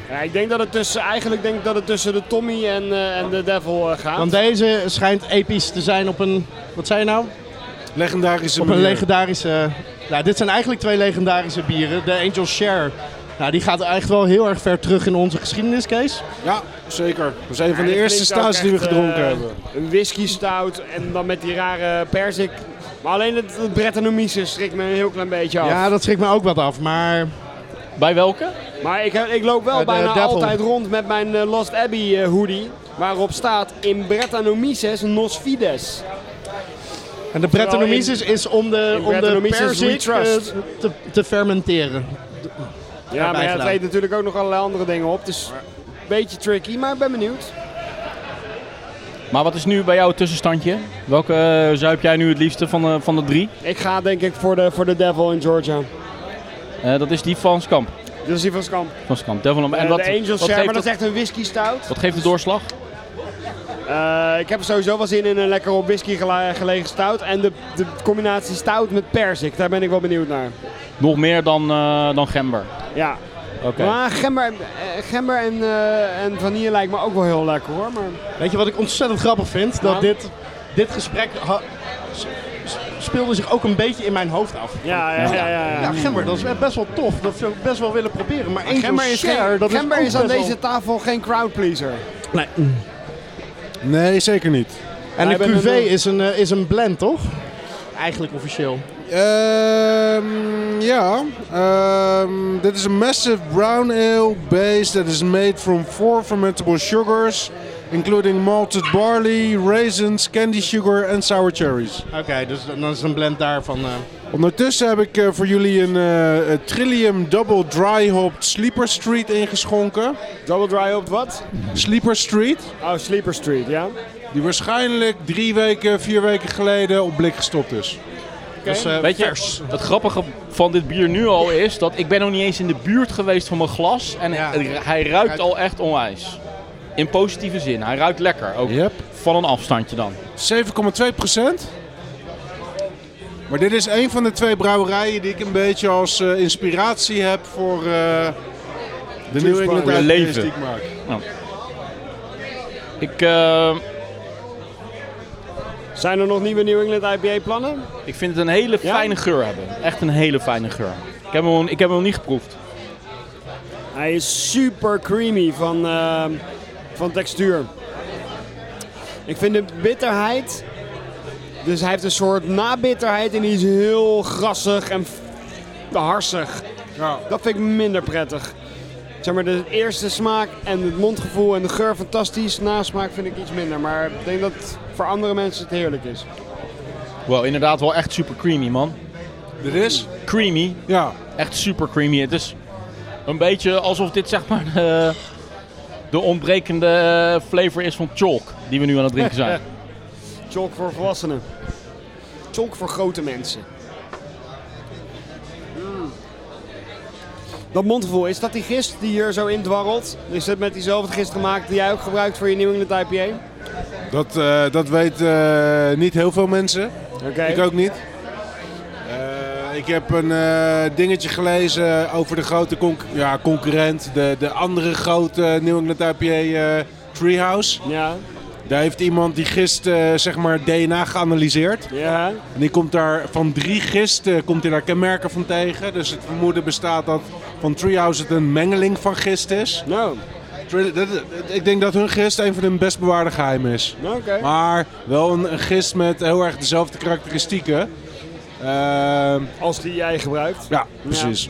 Speaker 4: Ja, ik denk dat het tussen, eigenlijk denk ik dat het tussen de Tommy en, eh, en de Devil eh, gaat.
Speaker 2: Want deze schijnt episch te zijn op een, wat zei je nou?
Speaker 5: Legendarische
Speaker 2: Op een
Speaker 5: manier.
Speaker 2: legendarische. Nou, dit zijn eigenlijk twee legendarische bieren. De Angel Share. Nou, die gaat eigenlijk wel heel erg ver terug in onze geschiedenis, Kees.
Speaker 5: Ja, zeker. Dat is een van
Speaker 4: Ja,
Speaker 5: de
Speaker 4: dit
Speaker 5: eerste
Speaker 4: klinkt ook
Speaker 5: stouts die we
Speaker 4: echt,
Speaker 5: gedronken
Speaker 4: eh,
Speaker 5: hebben.
Speaker 4: Een whisky stout en dan met die rare persik. Maar alleen het, het Brettanomyces schrikt me een heel klein beetje af.
Speaker 2: Ja, dat schrikt me ook wat af. Maar
Speaker 1: Bij welke?
Speaker 4: Maar ik, heb- ik loop wel
Speaker 2: Eh, de
Speaker 4: bijna
Speaker 2: Devil.
Speaker 4: altijd rond met mijn eh, Lost Abbey eh, hoodie. Waarop staat in Brettanomyces nos fides.
Speaker 2: en de Brettanomyces is om de,
Speaker 4: in
Speaker 2: om de
Speaker 4: Brettanomyces we
Speaker 2: perzik
Speaker 4: trust.
Speaker 2: eh, te, te fermenteren.
Speaker 4: Ja, maar ja, het
Speaker 2: bijgedaan.
Speaker 4: treedt natuurlijk ook nog allerlei andere dingen op. Dus een beetje tricky, maar ik ben benieuwd.
Speaker 1: Maar wat is nu bij jou het tussenstandje? Welke eh, zuip jij nu het liefste van de, van de drie?
Speaker 4: Ik ga denk ik voor de, voor de Devil in Georgia.
Speaker 1: Eh, dat is die van Skamp.
Speaker 4: Dus die van Skamp.
Speaker 1: Van Skamp. Devil Number-
Speaker 4: En
Speaker 1: En wat,
Speaker 4: Eh, de Angel
Speaker 1: wat
Speaker 4: Share,
Speaker 1: geeft
Speaker 4: maar dat
Speaker 1: het-
Speaker 4: is echt een whisky stout.
Speaker 1: Wat geeft de doorslag?
Speaker 4: Eh, ik heb er sowieso wel zin in een lekker op whisky gela- gelegen stout. En de, de combinatie stout met persik, daar ben ik wel benieuwd naar.
Speaker 1: Nog meer dan, eh, dan gember.
Speaker 4: Ja.
Speaker 1: Oké.
Speaker 4: Maar gember, eh, gember en, eh, en vanille lijkt me ook wel heel lekker hoor. Maar
Speaker 2: Weet je wat ik ontzettend grappig vind? Dat
Speaker 4: Nou?
Speaker 2: dit, dit gesprek ha- s- s- speelde zich ook een beetje in mijn hoofd af.
Speaker 4: ja, ja, ja. ja,
Speaker 2: Ja, gember, dat is best wel tof. Dat zou ik best wel willen proberen. Maar één
Speaker 4: Gember is,
Speaker 2: share,
Speaker 4: geen-
Speaker 2: dat
Speaker 4: gember
Speaker 2: is,
Speaker 4: is aan deze tafel geen crowd pleaser.
Speaker 5: Nee, zeker niet.
Speaker 2: En
Speaker 4: Wij
Speaker 2: een
Speaker 4: hebben
Speaker 2: QV
Speaker 4: een-
Speaker 2: is een, eh, is een blend, toch? Eigenlijk officieel.
Speaker 5: Ehm, ja, Ehm, dit is een massive brown ale base that is made from four fermentable sugars, including malted barley, raisins, candy sugar en sour cherries.
Speaker 2: Oké, dus dan is het een blend daarvan. eh.
Speaker 5: Ondertussen heb ik eh, voor jullie een eh, een Trillium Double Dry Hopped Sleeper Street ingeschonken.
Speaker 4: Double dry op wat?
Speaker 5: Sleeper Street,
Speaker 4: Oh, Sleeper Street, ja.
Speaker 5: die waarschijnlijk drie weken, vier weken geleden op blik gestopt is.
Speaker 2: Dus, eh,
Speaker 1: Weet je, het grappige van dit bier nu al is dat ik ben nog niet eens in de buurt geweest van mijn glas. En
Speaker 2: Ja.
Speaker 1: het- hij ruikt al echt onwijs. In positieve zin. Hij ruikt lekker. Ook
Speaker 5: Yep.
Speaker 1: van een afstandje dan.
Speaker 5: 7,2 Maar dit is een van de twee brouwerijen die ik een beetje als eh, inspiratie heb voor eh, de New England
Speaker 1: Voor je
Speaker 5: IPA's
Speaker 1: leven.
Speaker 5: die ik maak.
Speaker 1: Ik, eh,
Speaker 4: Zijn er nog nieuwe New England IPA plannen?
Speaker 1: ik vind het een hele
Speaker 4: Ja?
Speaker 1: fijne geur hebben. Echt een hele fijne geur. Ik heb hem, ik heb hem nog niet geproefd.
Speaker 4: Hij is super creamy van, ehm, van textuur. Ik vind de bitterheid. Dus hij heeft een soort nabitterheid en die is heel grassig en f- harsig.
Speaker 5: Ja.
Speaker 4: Dat vind ik minder prettig. Zeg maar, de eerste smaak en het mondgevoel en de geur fantastisch. Nasmaak vind ik iets minder. Maar ik denk dat het voor andere mensen het heerlijk is.
Speaker 1: Wow, inderdaad wel echt super creamy man.
Speaker 5: Dit is?
Speaker 1: Creamy.
Speaker 5: Ja.
Speaker 1: Echt super creamy. Het is een beetje alsof dit zeg maar de, de ontbrekende eh, flavor is van chalk. Die we nu aan het drinken zijn.
Speaker 4: Chalk voor volwassenen. Chalk voor grote mensen. Mm. Dat mondgevoel, is dat die gist die hier zo in dwarrelt? Is dat met diezelfde gist gemaakt die jij ook gebruikt voor je New England IPA?
Speaker 5: Dat, eh, dat weten eh, niet heel veel mensen.
Speaker 4: Oké.
Speaker 5: Ik ook niet. Eh, ik heb een eh, dingetje gelezen over de grote conc- ja, concurrent, de, de andere grote New England IPA eh, Treehouse.
Speaker 4: Ja,
Speaker 5: Daar heeft iemand die gist eh, zeg maar DNA geanalyseerd.
Speaker 4: ja.
Speaker 5: En die komt daar van drie gisten eh, komt hij daar kenmerken van tegen. Dus het vermoeden bestaat dat van Treehouse het een mengeling van gist is.
Speaker 4: Nou,
Speaker 5: Tre- dat- dat- Ik denk dat hun gist een van hun best bewaarde geheimen is.
Speaker 4: nou, oké.
Speaker 5: Maar wel een, een gist met heel erg dezelfde karakteristieken. Ehm,
Speaker 4: Als die jij gebruikt.
Speaker 5: ja, precies.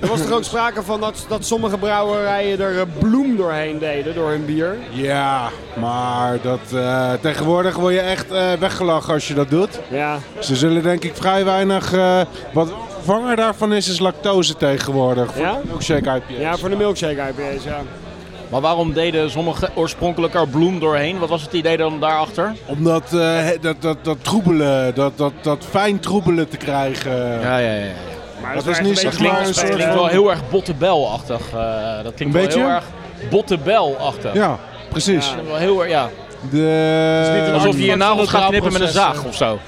Speaker 4: Er was toch ook sprake van dat, dat sommige brouwerijen er eh, bloem doorheen deden door hun bier.
Speaker 5: Ja, maar dat, eh, tegenwoordig word je echt eh, weggelachen als je dat doet.
Speaker 4: Ja,
Speaker 5: Ze zullen denk ik vrij weinig... eh, wat een vervanger daarvan is, is lactose tegenwoordig. Voor
Speaker 4: Ja?
Speaker 5: de milkshake IPA's.
Speaker 4: ja voor de milkshake IPA's, ja.
Speaker 1: Maar waarom deden sommige oorspronkelijk er bloem doorheen? Wat was het idee dan daarachter?
Speaker 5: Omdat eh, dat, dat, dat troebelen, dat, dat, dat fijn troebelen te krijgen.
Speaker 1: ja, ja.
Speaker 4: Maar
Speaker 5: Dat is niet zeg maar een
Speaker 1: Het
Speaker 5: soort
Speaker 1: klinkt
Speaker 5: van...
Speaker 1: wel heel erg bottebel-achtig. eh, dat klinkt
Speaker 5: Een
Speaker 1: wel heel
Speaker 5: beetje?
Speaker 1: erg bottebel-achtig.
Speaker 5: Ja, precies.
Speaker 1: Wel Heel erg, ja.
Speaker 5: De...
Speaker 1: Alsof je je
Speaker 2: van
Speaker 1: nagels gaat
Speaker 2: schaalproces,
Speaker 1: knippen met een zaag
Speaker 2: hè.
Speaker 1: of zo.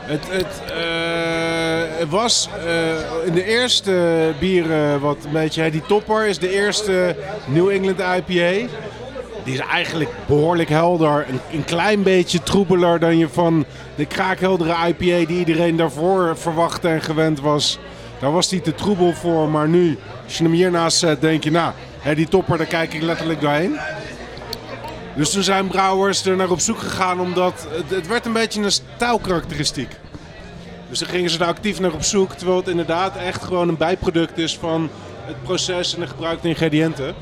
Speaker 5: Het, het, eh, het was eh, in de eerste bieren wat een beetje... hè, Die topper is de eerste New England IPA. Die is eigenlijk behoorlijk helder. Een, een klein beetje troebeler dan je van de kraakheldere IPA die iedereen daarvoor verwachtte en gewend was. Daar was die te troebel voor. Maar nu, als je hem hiernaast zet, denk je, nou, hè, die topper, daar kijk ik letterlijk doorheen. Dus toen zijn brouwers er naar op zoek gegaan, omdat het, het werd een beetje een stijlkarakteristiek. Dus dan gingen ze daar actief naar op zoek, terwijl het inderdaad echt gewoon een bijproduct is van het proces en de gebruikte ingrediënten.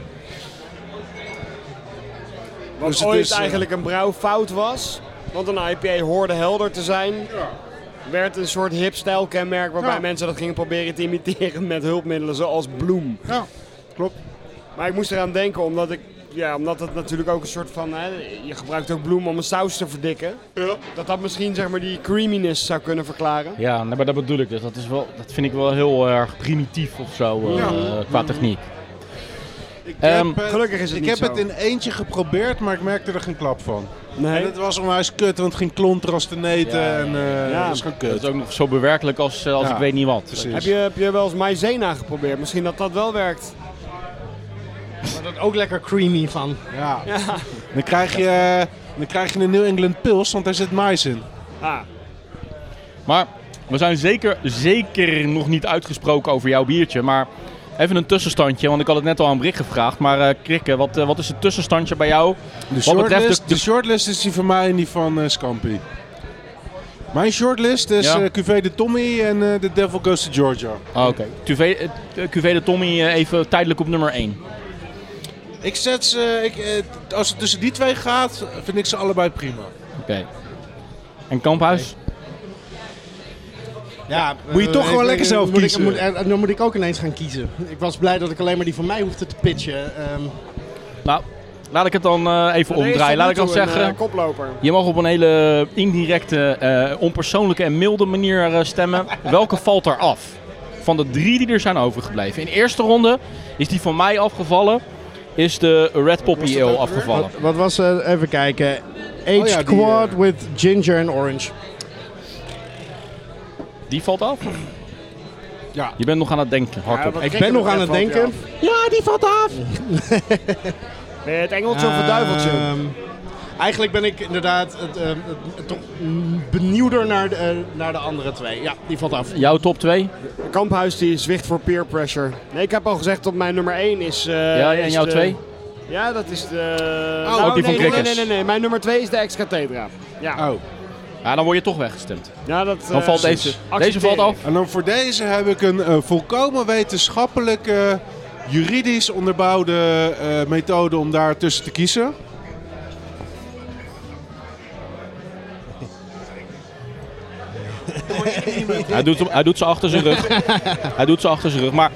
Speaker 4: Wat
Speaker 5: Dus het
Speaker 4: ooit
Speaker 5: is, eh,
Speaker 4: eigenlijk een brouwfout was. Want een IPA hoorde helder te zijn. Werd een soort hip stijlkenmerk waarbij
Speaker 5: Ja.
Speaker 4: mensen dat gingen proberen te imiteren met hulpmiddelen zoals bloem.
Speaker 5: Ja, klopt.
Speaker 4: Maar ik moest eraan denken omdat ik... Ja, omdat het natuurlijk ook een soort van... Hè, je gebruikt ook bloem om een saus te verdikken. Dat dat misschien zeg maar die creaminess zou kunnen verklaren.
Speaker 1: Ja, nou, maar dat bedoel ik dus. Dat, is wel, dat vind ik wel heel erg primitief of zo eh, qua techniek. Ehm,
Speaker 5: heb, eh,
Speaker 4: gelukkig is het
Speaker 5: ik
Speaker 4: niet
Speaker 5: heb
Speaker 4: zo.
Speaker 5: het in eentje geprobeerd, maar ik merkte er geen klap van. En
Speaker 4: Nee.
Speaker 5: het was onwijs kut, want het ging klonter als te neten.
Speaker 1: Ja, ja,
Speaker 5: En, eh,
Speaker 4: Ja.
Speaker 5: Dat is gewoon
Speaker 1: dat
Speaker 5: kut.
Speaker 1: is ook nog zo bewerkelijk als, eh, als
Speaker 5: Ja,
Speaker 1: ik weet niet wat.
Speaker 5: precies.
Speaker 4: Heb je, heb je wel eens maizena geprobeerd? Misschien dat dat wel werkt.
Speaker 2: Maar dat ook lekker creamy van.
Speaker 5: Ja. Dan, krijg je, eh, dan krijg je een New England Pils, want daar zit mais in.
Speaker 4: Ah,
Speaker 1: Maar we zijn zeker, zeker nog niet uitgesproken over jouw biertje. Maar even een tussenstandje, want ik had het net al aan Brik gevraagd. Maar eh Krikke, wat, eh, wat is het tussenstandje bij jou?
Speaker 5: De
Speaker 1: Wat betreft
Speaker 5: shortlist,
Speaker 1: de-
Speaker 5: de shortlist is die van mij en die van eh Scampi. Mijn shortlist is
Speaker 1: Ja.
Speaker 5: eh QV de Tommy en eh The Devil Goes to Georgia.
Speaker 1: Oh,
Speaker 4: Ah,
Speaker 1: Oké, Cuvée- eh, Cuvée de Tommy eh, even tijdelijk op nummer 1.
Speaker 5: Ik zet ze, ik, eh, als het tussen die twee gaat, vind ik ze allebei prima.
Speaker 1: Oké. En Kamphuis?
Speaker 2: Ja,
Speaker 5: Moet je
Speaker 2: eh,
Speaker 5: toch gewoon
Speaker 2: ik-
Speaker 5: lekker
Speaker 2: eh,
Speaker 5: zelf
Speaker 2: moet ik-
Speaker 5: kiezen.
Speaker 2: moet- en- en dan moet ik ook ineens gaan kiezen. Ik was blij dat ik alleen maar die van mij hoefde te pitchen. Ehm,
Speaker 1: Nou, laat ik het dan eh, even
Speaker 4: Nee, is tot nu
Speaker 1: omdraaien. Laat ik dan
Speaker 4: toe een,
Speaker 1: zeggen,
Speaker 4: eh, koploper.
Speaker 1: je mag op een hele indirecte, eh, onpersoonlijke en milde manier eh, stemmen. Welke valt er af? Van de drie die er zijn overgebleven. In de eerste ronde is die van mij afgevallen. Is de Red
Speaker 5: Was
Speaker 1: Poppy
Speaker 5: dat ook
Speaker 1: Ale
Speaker 5: weer?
Speaker 1: afgevallen.
Speaker 2: wat, eh, wat was het? Even kijken. Aged
Speaker 5: Oh ja, die,
Speaker 2: Quad
Speaker 5: eh,
Speaker 2: with ginger and orange.
Speaker 1: Die valt af?
Speaker 5: Ja.
Speaker 1: Je bent nog aan het denken, hardop.
Speaker 4: Ja, wat-
Speaker 2: Ik
Speaker 4: Krikke
Speaker 2: ben nog aan het
Speaker 4: betreft
Speaker 2: denken.
Speaker 4: valt Ben je het Engeltje of het duiveltje?
Speaker 2: Ehm, eigenlijk ben ik inderdaad het, eh, het- toch mm, benieuwder naar de, eh, naar de andere twee. Ja, die valt af.
Speaker 1: Jouw top 2?
Speaker 4: Kamphuis die zwicht voor peer pressure. Nee, ik heb al gezegd dat mijn nummer 1 is... eh,
Speaker 1: ja, en
Speaker 4: is
Speaker 1: jouw
Speaker 4: de-
Speaker 1: 2?
Speaker 4: Ja, dat is de... Nou,
Speaker 5: Oh, ook
Speaker 1: die van
Speaker 4: nee, nee, nee,
Speaker 1: Krikkers.
Speaker 4: nee, nee, nee. Mijn nummer 2 is de ex-cathedra. Ja.
Speaker 5: Oh.
Speaker 1: Ja, dan word je toch weggestemd.
Speaker 4: ja, dat...
Speaker 1: Dan
Speaker 4: eh,
Speaker 1: valt deze. Deze
Speaker 4: accepteer
Speaker 1: valt
Speaker 4: ik.
Speaker 1: af.
Speaker 5: En dan voor deze heb ik een eh, volkomen wetenschappelijke, juridisch onderbouwde eh, methode om daar tussen te kiezen.
Speaker 1: Hij doet, hem- hij doet ze achter zijn rug. hij doet ze achter zijn rug. Maar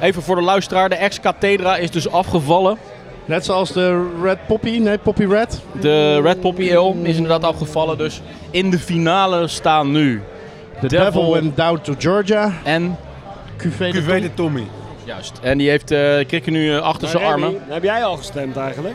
Speaker 1: even voor de luisteraar, de ex-cathedra is dus afgevallen.
Speaker 2: Net zoals de Red Poppy. Nee, Poppy Red.
Speaker 1: De Red Poppy Ale is inderdaad afgevallen. Dus in de finale staan nu
Speaker 2: The
Speaker 1: Devil
Speaker 2: Devil, Went Down to Georgia.
Speaker 1: en...
Speaker 2: Cuvée de
Speaker 5: QV de Tommy.
Speaker 1: Juist. En die heeft eh Krikke nu eh, achter
Speaker 4: Maar
Speaker 1: zijn
Speaker 4: Remy,
Speaker 1: armen.
Speaker 4: Heb jij al gestemd eigenlijk?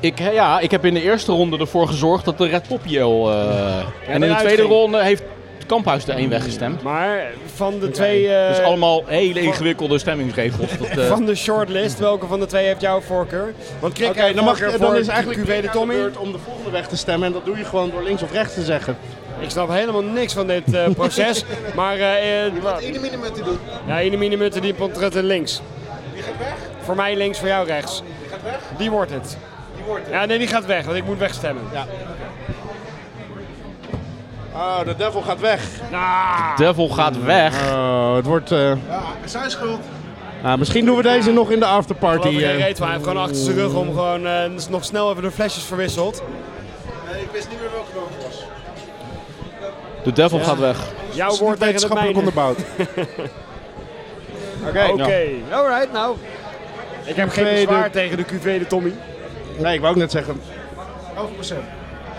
Speaker 1: Ik, he- ja, ik heb in de eerste ronde ervoor gezorgd dat de Red Poppy Ale... eh, en in de
Speaker 4: eruit
Speaker 1: tweede
Speaker 4: ging.
Speaker 1: ronde heeft Kamphuis er één weggestemd.
Speaker 4: Maar van de twee... eh,
Speaker 1: Dus allemaal hele ingewikkelde stemmingsregels. Dat, eh,
Speaker 4: Van de shortlist, welke van de twee heeft jouw voorkeur? Want Krik
Speaker 2: Oké, dan, mag,
Speaker 4: je
Speaker 2: dan is eigenlijk
Speaker 4: QV de Tommy.
Speaker 2: beurt om de volgende weg te stemmen. En dat doe je gewoon door links of rechts te zeggen.
Speaker 4: Ik snap helemaal niks van dit eh, [LAUGHS] proces. maar eh, eh wa-
Speaker 5: met die doen.
Speaker 4: ja, Ine Mine Mutten die portretten links. Die gaat weg? Voor mij links, voor jou rechts. Die gaat weg? Die wordt het.
Speaker 5: Die wordt
Speaker 4: Ja, nee, die gaat weg, want ik moet wegstemmen.
Speaker 2: Oh, de devil gaat weg.
Speaker 4: Ah,
Speaker 1: Devil gaat weg.
Speaker 2: Oh, het wordt... eh,
Speaker 5: Ja, zijn schuld.
Speaker 2: nou, misschien doen we deze nog in de afterparty.
Speaker 4: geloof ik geen
Speaker 2: eh.
Speaker 4: reet van. Hij heeft gewoon achter zijn rug om gewoon eh, dus nog snel even de flesjes verwisseld.
Speaker 5: Nee, ik wist niet meer welke het was.
Speaker 1: De Devil gaat weg.
Speaker 4: Jouw woord tegen het
Speaker 5: wetenschappelijk
Speaker 4: mijne.
Speaker 5: onderbouwd.
Speaker 4: [LAUGHS]
Speaker 2: Oké.
Speaker 4: Oké, alright, nou. Ik heb geen
Speaker 2: QV de-
Speaker 4: bezwaar tegen de QV de Tommy.
Speaker 2: Nee, ik wou ook net zeggen.
Speaker 5: 11%.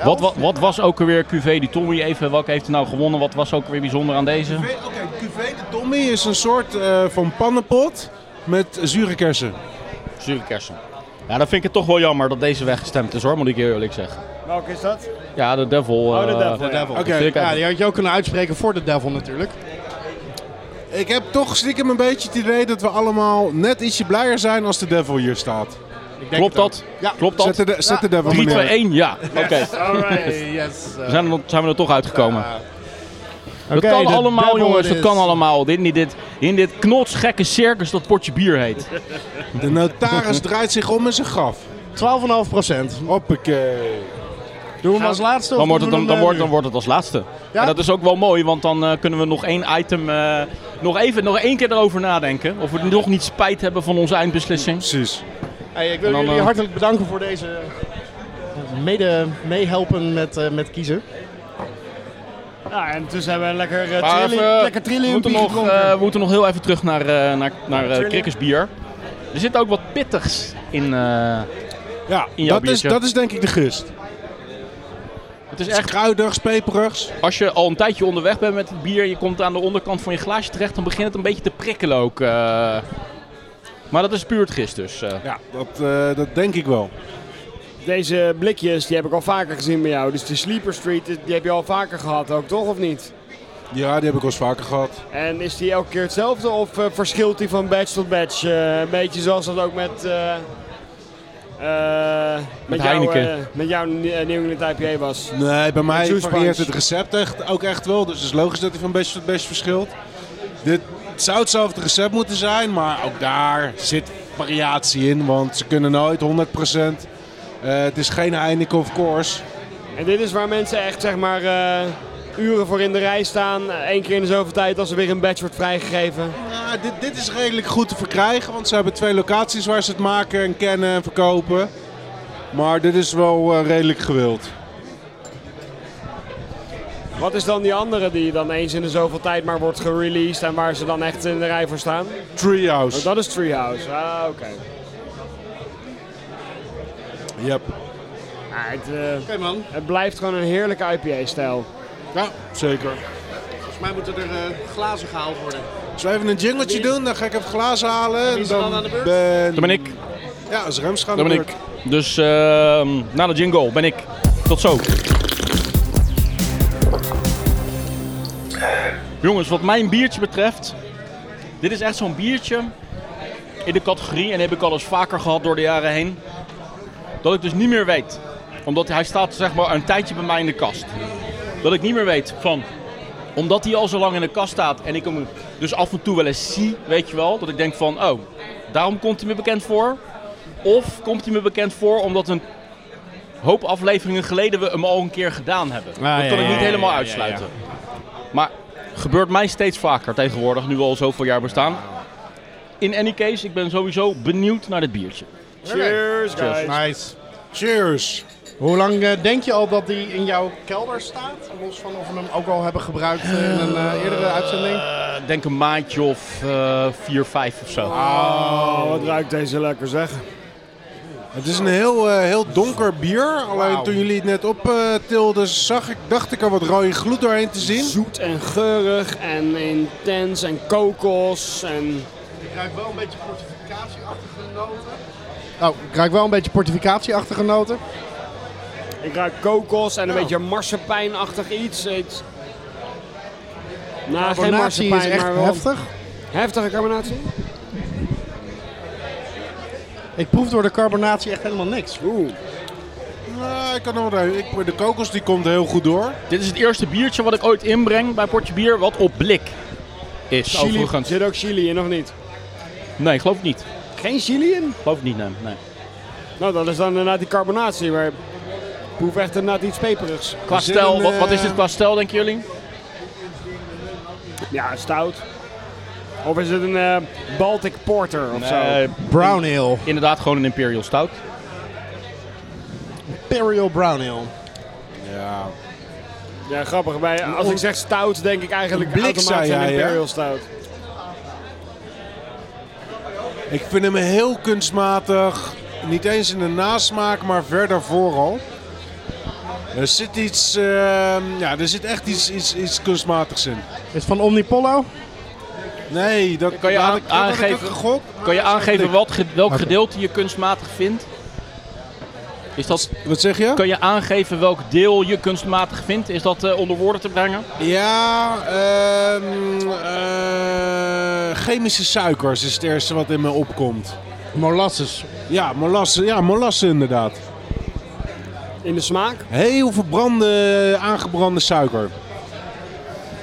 Speaker 1: Wat, wa- wat was ook alweer QV die Tommy? Even, welke heeft er nou gewonnen? Wat was ook alweer bijzonder aan deze?
Speaker 5: Oké, QV de Tommy is een soort eh, van pannenpot met zure kersen.
Speaker 1: Zure kersen. Ja, dan vind ik het toch wel jammer dat deze weggestemd is hoor, moet ik je eerlijk zeggen.
Speaker 4: Welke is dat?
Speaker 1: Ja, de Devil.
Speaker 4: Oh, de
Speaker 1: eh,
Speaker 4: Devil. ja.
Speaker 2: Devil.
Speaker 5: Oké,
Speaker 1: Zeker.
Speaker 2: Ja, die had je ook kunnen uitspreken voor de devil natuurlijk.
Speaker 5: Ik heb toch stiekem een beetje het idee dat we allemaal net ietsje blijer zijn als de devil hier staat.
Speaker 2: Ik denk
Speaker 1: Klopt
Speaker 2: het ook.
Speaker 1: dat?
Speaker 2: Ja.
Speaker 1: Klopt
Speaker 5: Zet
Speaker 1: dat?
Speaker 5: de, zet de devil
Speaker 1: 3,
Speaker 5: maar
Speaker 1: 2,
Speaker 5: neer.
Speaker 1: 1, ja. Oké, [LAUGHS]
Speaker 4: Alright.
Speaker 2: Yes. eh,
Speaker 1: zijn, we er- zijn we er toch uitgekomen.
Speaker 2: eh,
Speaker 1: dat
Speaker 2: oké,
Speaker 1: kan
Speaker 2: de
Speaker 1: allemaal
Speaker 2: devil
Speaker 1: jongens,
Speaker 2: it
Speaker 1: dat
Speaker 2: is.
Speaker 1: kan allemaal. Dit, in dit, in dit knotsgekke circus dat potje bier heet.
Speaker 5: De notaris draait zich om in zijn graf.
Speaker 2: 12,5 procent.
Speaker 5: Hoppakee.
Speaker 2: Doen we hem als laatste? of
Speaker 1: Dan wordt,
Speaker 2: doen
Speaker 1: het,
Speaker 2: we
Speaker 1: dan, dan, wordt,
Speaker 2: hem, eh,
Speaker 1: dan
Speaker 2: nu?
Speaker 1: wordt het als laatste.
Speaker 2: Ja?
Speaker 1: En dat is ook wel mooi, want dan eh, kunnen we nog één item... eh, nog even, nog één keer erover nadenken. Of we nog niet spijt hebben van onze eindbeslissing.
Speaker 5: Precies.
Speaker 2: Hey, ik wil
Speaker 1: En dan,
Speaker 2: jullie
Speaker 1: eh,
Speaker 2: hartelijk bedanken voor deze eh, mede meehelpen met, eh, met kiezen.
Speaker 4: Ja, en tussen hebben we lekker
Speaker 2: eh,
Speaker 4: uh,
Speaker 1: Maar
Speaker 4: trilling,
Speaker 1: even,
Speaker 4: lekker
Speaker 1: eh, we,
Speaker 4: trilling
Speaker 1: moeten nog,
Speaker 4: gedronken.
Speaker 1: eh, we moeten nog heel even terug naar, eh naar, naar eh,
Speaker 4: Trilling.
Speaker 1: krikkersbier. Er zit ook wat pittigs in. eh,
Speaker 5: Ja,
Speaker 1: In jouw
Speaker 5: dat is,
Speaker 1: biertje.
Speaker 5: dat is denk ik de gist.
Speaker 1: het is
Speaker 5: Het is
Speaker 1: echt,
Speaker 5: kruidigs, peperigs.
Speaker 1: als je al een tijdje onderweg bent met het bier en je komt aan de onderkant van je glaasje terecht, dan begint het een beetje te prikkelen ook. eh. Maar dat is puur het gist dus. eh.
Speaker 5: Ja, dat, eh, dat denk ik wel.
Speaker 4: Deze blikjes die heb ik al vaker gezien bij jou. Dus de Sleeper Street, die heb je al vaker gehad ook, toch? Of niet?
Speaker 5: Ja, die heb ik al eens vaker gehad.
Speaker 4: En is die elke keer hetzelfde of eh, verschilt die van badge tot badge? Eh, een beetje zoals dat ook met... eh, eh, jouw,
Speaker 1: Heineken.
Speaker 4: eh, met jouw eh, New England IPA was.
Speaker 5: Nee, bij mij
Speaker 4: Juice
Speaker 5: varieert
Speaker 4: Punch.
Speaker 5: het recept echt, ook echt wel. Dus het is logisch dat hij van best tot best verschilt. Dit het zou hetzelfde recept moeten zijn, maar ook daar zit variatie in. Want ze kunnen nooit 100%. eh, het is geen Heineken of course.
Speaker 4: En dit is waar mensen echt zeg maar eh, uren voor in de rij staan. Eén keer in de zoveel tijd als er weer een badge wordt vrijgegeven.
Speaker 5: Nou, dit, dit is redelijk goed te verkrijgen, want ze hebben twee locaties waar ze het maken en kennen en verkopen. Maar dit is wel eh, redelijk gewild.
Speaker 4: Wat is dan die andere die dan eens in de zoveel tijd maar wordt gereleased en waar ze dan echt in de rij voor staan? Oh,
Speaker 5: Treehouse.
Speaker 4: dat is Treehouse. Ah, oké.
Speaker 5: Yep.
Speaker 4: Ah, het, eh,
Speaker 2: Oké man,
Speaker 4: het blijft gewoon een heerlijke IPA-stijl.
Speaker 5: Ja, zeker.
Speaker 2: volgens mij moeten er eh, glazen gehaald worden.
Speaker 5: Zullen we even een jingletje doen? Dan ga ik even glazen halen.
Speaker 2: Wie
Speaker 5: En
Speaker 2: is er dan aan de beurt?
Speaker 5: ben...
Speaker 1: Dan ben ik.
Speaker 5: Ja, als Rems gaan
Speaker 1: Dan ben ik. Dus ehm, na de jingle ben ik. Tot zo. Jongens, wat mijn biertje betreft. Dit is echt zo'n biertje in de categorie. En heb ik al eens vaker gehad door de jaren heen. Dat ik dus niet meer weet. Omdat hij staat zeg maar een tijdje bij mij in de kast. Dat ik niet meer weet van omdat hij al zo lang in de kast staat en ik hem dus af en toe wel eens zie, weet je wel. Dat ik denk van, oh, daarom komt hij me bekend voor. Of komt hij me bekend voor omdat een hoop afleveringen geleden we hem al een keer gedaan hebben.
Speaker 2: Ah, ja,
Speaker 1: dat kan
Speaker 2: ja,
Speaker 1: ik niet
Speaker 2: ja,
Speaker 1: helemaal
Speaker 2: ja, ja,
Speaker 1: uitsluiten. Maar gebeurt mij steeds vaker tegenwoordig, nu we al zoveel jaar bestaan. In any case, ik ben sowieso benieuwd naar dit biertje.
Speaker 4: Cheers, guys.
Speaker 2: Nice.
Speaker 5: Cheers.
Speaker 2: Hoe lang eh, denk je al dat die in jouw kelder staat? Los van of we hem ook al hebben gebruikt eh, in een eh, eerdere uitzending.
Speaker 1: Ik denk een maandje of eh, vier, vijf of zo.
Speaker 2: Ah.
Speaker 4: Oh, wat ruikt deze lekker zeg.
Speaker 5: Het is een heel, eh, heel donker bier. Alleen
Speaker 2: Wauw.
Speaker 5: toen jullie het net optilden, zag ik, dacht ik er wat rode gloed doorheen te zien.
Speaker 4: Zoet en geurig en intens en kokos en...
Speaker 2: Ik ruik wel een beetje portificatieachtige noten. Oh, ik ruik wel een beetje portificatieachtige noten.
Speaker 4: Ik ruik kokos en een beetje marsepijnachtig iets. iets. Nou, geen
Speaker 2: Carbonatie is
Speaker 4: marsepein,
Speaker 2: echt
Speaker 4: maar wel
Speaker 2: heftig.
Speaker 4: heftige carbonatie.
Speaker 2: Ik proef door de carbonatie echt helemaal niks.
Speaker 4: Oeh.
Speaker 5: Nou, ik kan nog wel- ik, de kokos die komt heel goed door.
Speaker 1: Dit is het eerste biertje wat ik ooit inbreng bij Portje Bier, wat op blik is.
Speaker 4: Chili,
Speaker 1: Overigens.
Speaker 4: zit ook chili in of niet?
Speaker 1: Nee, geloof ik niet.
Speaker 4: Geen chili in?
Speaker 1: Geloof ik niet, nee. nee.
Speaker 4: Nou, dat is dan inderdaad die carbonatie, maar ik proef echt inderdaad iets peperigs.
Speaker 1: Qua
Speaker 5: zit
Speaker 1: stijl,
Speaker 5: een,
Speaker 1: wat, wat is
Speaker 5: eh,
Speaker 1: dit qua stijl, denken jullie?
Speaker 4: Ja, stout. Of is het een eh, Baltic Porter of zo?
Speaker 2: Brown ale.
Speaker 1: Inderdaad, gewoon een Imperial Stout.
Speaker 2: Imperial brown ale.
Speaker 5: Ja.
Speaker 4: Ja, grappig. Bij, als ik zeg stout, denk ik eigenlijk
Speaker 5: Een blik,
Speaker 4: automatisch
Speaker 5: zei
Speaker 4: aan
Speaker 5: jij, hè?
Speaker 4: Imperial Stout.
Speaker 5: Ik vind hem heel kunstmatig. Niet eens in de nasmaak, maar verder vooral. Er zit iets, ehm, ja, er zit echt iets, iets, iets kunstmatigs in.
Speaker 2: Is het van Omnipollo?
Speaker 5: Nee, dat
Speaker 1: Kan je
Speaker 5: nou,
Speaker 1: aan-
Speaker 5: dat had ik
Speaker 1: aangeven-
Speaker 5: ook gegokt, maar
Speaker 1: Kan je
Speaker 5: dat is
Speaker 1: aangeven
Speaker 5: echt
Speaker 1: wat, ge- welk
Speaker 2: Oké.
Speaker 1: gedeelte je kunstmatig vindt? Is dat,
Speaker 5: niks. Wat zeg je?
Speaker 1: kan je aangeven welk deel je kunstmatig vindt? Is dat eh, onder woorden te brengen?
Speaker 5: Ja, ehm, eh, chemische suikers is het eerste wat in me opkomt.
Speaker 2: Molasses.
Speaker 5: Ja, molassen, ja, molassen inderdaad.
Speaker 4: In de smaak?
Speaker 5: Heel verbrande, aangebrande suiker.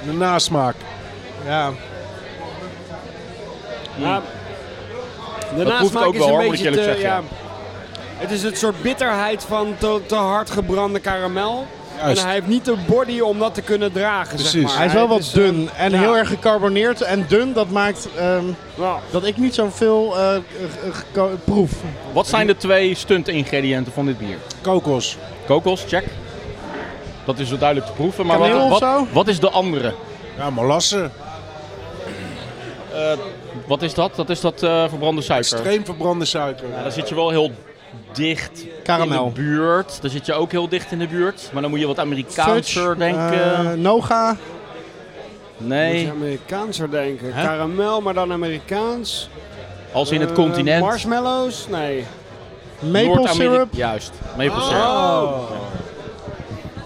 Speaker 5: De nasmaak.
Speaker 2: Ja.
Speaker 4: Ja. De
Speaker 1: Hmm. Dat proef ik
Speaker 4: nasmaak
Speaker 1: ook
Speaker 4: is
Speaker 1: wel,
Speaker 4: een
Speaker 1: hoor, moet
Speaker 4: beetje
Speaker 1: ik eerlijk
Speaker 4: te,
Speaker 1: zeggen,
Speaker 4: Het is het soort bitterheid van te, te hard gebrande karamel.
Speaker 5: Juist.
Speaker 4: En hij heeft niet de body om dat te kunnen dragen, zeg
Speaker 5: Precies.
Speaker 4: maar.
Speaker 2: Hij is wel
Speaker 4: Het
Speaker 2: wat
Speaker 4: eh,
Speaker 2: dun en
Speaker 4: ja.
Speaker 2: heel erg gecarboneerd. En dun, dat maakt ehm,
Speaker 4: nou,
Speaker 2: dat ik niet zoveel eh, eh, eh, geco- proef.
Speaker 1: Wat zijn de twee stunt-ingrediënten van dit bier?
Speaker 5: Kokos.
Speaker 1: Kokos, check. Dat is zo duidelijk te proeven. Maar
Speaker 2: Kaneel
Speaker 1: wat,
Speaker 2: of
Speaker 1: wat,
Speaker 2: zo?
Speaker 1: wat is de andere?
Speaker 5: Ja, molassen.
Speaker 1: Wat is dat? Dat is dat eh, verbrande suiker.
Speaker 5: Extreem verbrande suiker.
Speaker 1: Ja, daar zit je wel heel dicht
Speaker 2: Karamel.
Speaker 1: in de buurt. Daar zit je ook heel dicht in de buurt. Maar dan moet je wat Amerikaanser denken.
Speaker 2: eh, Noga.
Speaker 4: moet je
Speaker 1: nee.
Speaker 4: Amerikaanser denken.
Speaker 1: Hè?
Speaker 4: Karamel, maar dan Amerikaans.
Speaker 1: Als in het
Speaker 4: Eh,
Speaker 1: continent.
Speaker 4: marshmallows? Nee.
Speaker 2: Maple
Speaker 1: Noord-Ameri-
Speaker 2: syrup.
Speaker 1: Juist, maple syrup.
Speaker 5: Oh.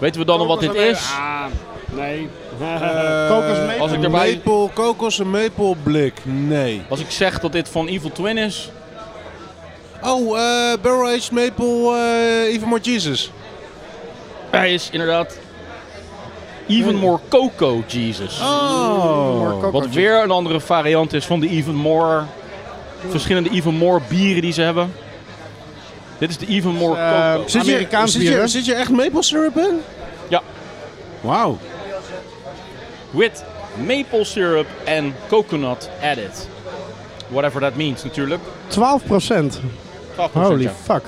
Speaker 1: Weten we dan nog wat dit is? Eh,
Speaker 4: Ah, nee. [LAUGHS]
Speaker 2: Kokos maple.
Speaker 1: als ik erbij-
Speaker 5: Maple, kokos en maple blik. Nee.
Speaker 1: Als ik zeg dat dit van Evil Twin is,
Speaker 5: Oh, eh Barrel Aged Maple eh Even More Jesus.
Speaker 1: hij is inderdaad Even More Coco Jesus.
Speaker 5: Oh.
Speaker 2: Kokos-
Speaker 1: Wat weer een andere variant is van de Even More. Verschillende Even More bieren die ze hebben. Dit is de Even More
Speaker 2: Eh,
Speaker 1: Coco.
Speaker 5: Zit je,
Speaker 2: Amerikaans
Speaker 5: zit,
Speaker 2: bier, hè?
Speaker 5: je, zit je echt maple syrup in?
Speaker 1: Ja.
Speaker 5: Wauw.
Speaker 1: With maple syrup en coconut added. Whatever that means natuurlijk.
Speaker 2: 12 procent.
Speaker 1: 12%,
Speaker 2: Holy
Speaker 1: ja.
Speaker 2: fuck.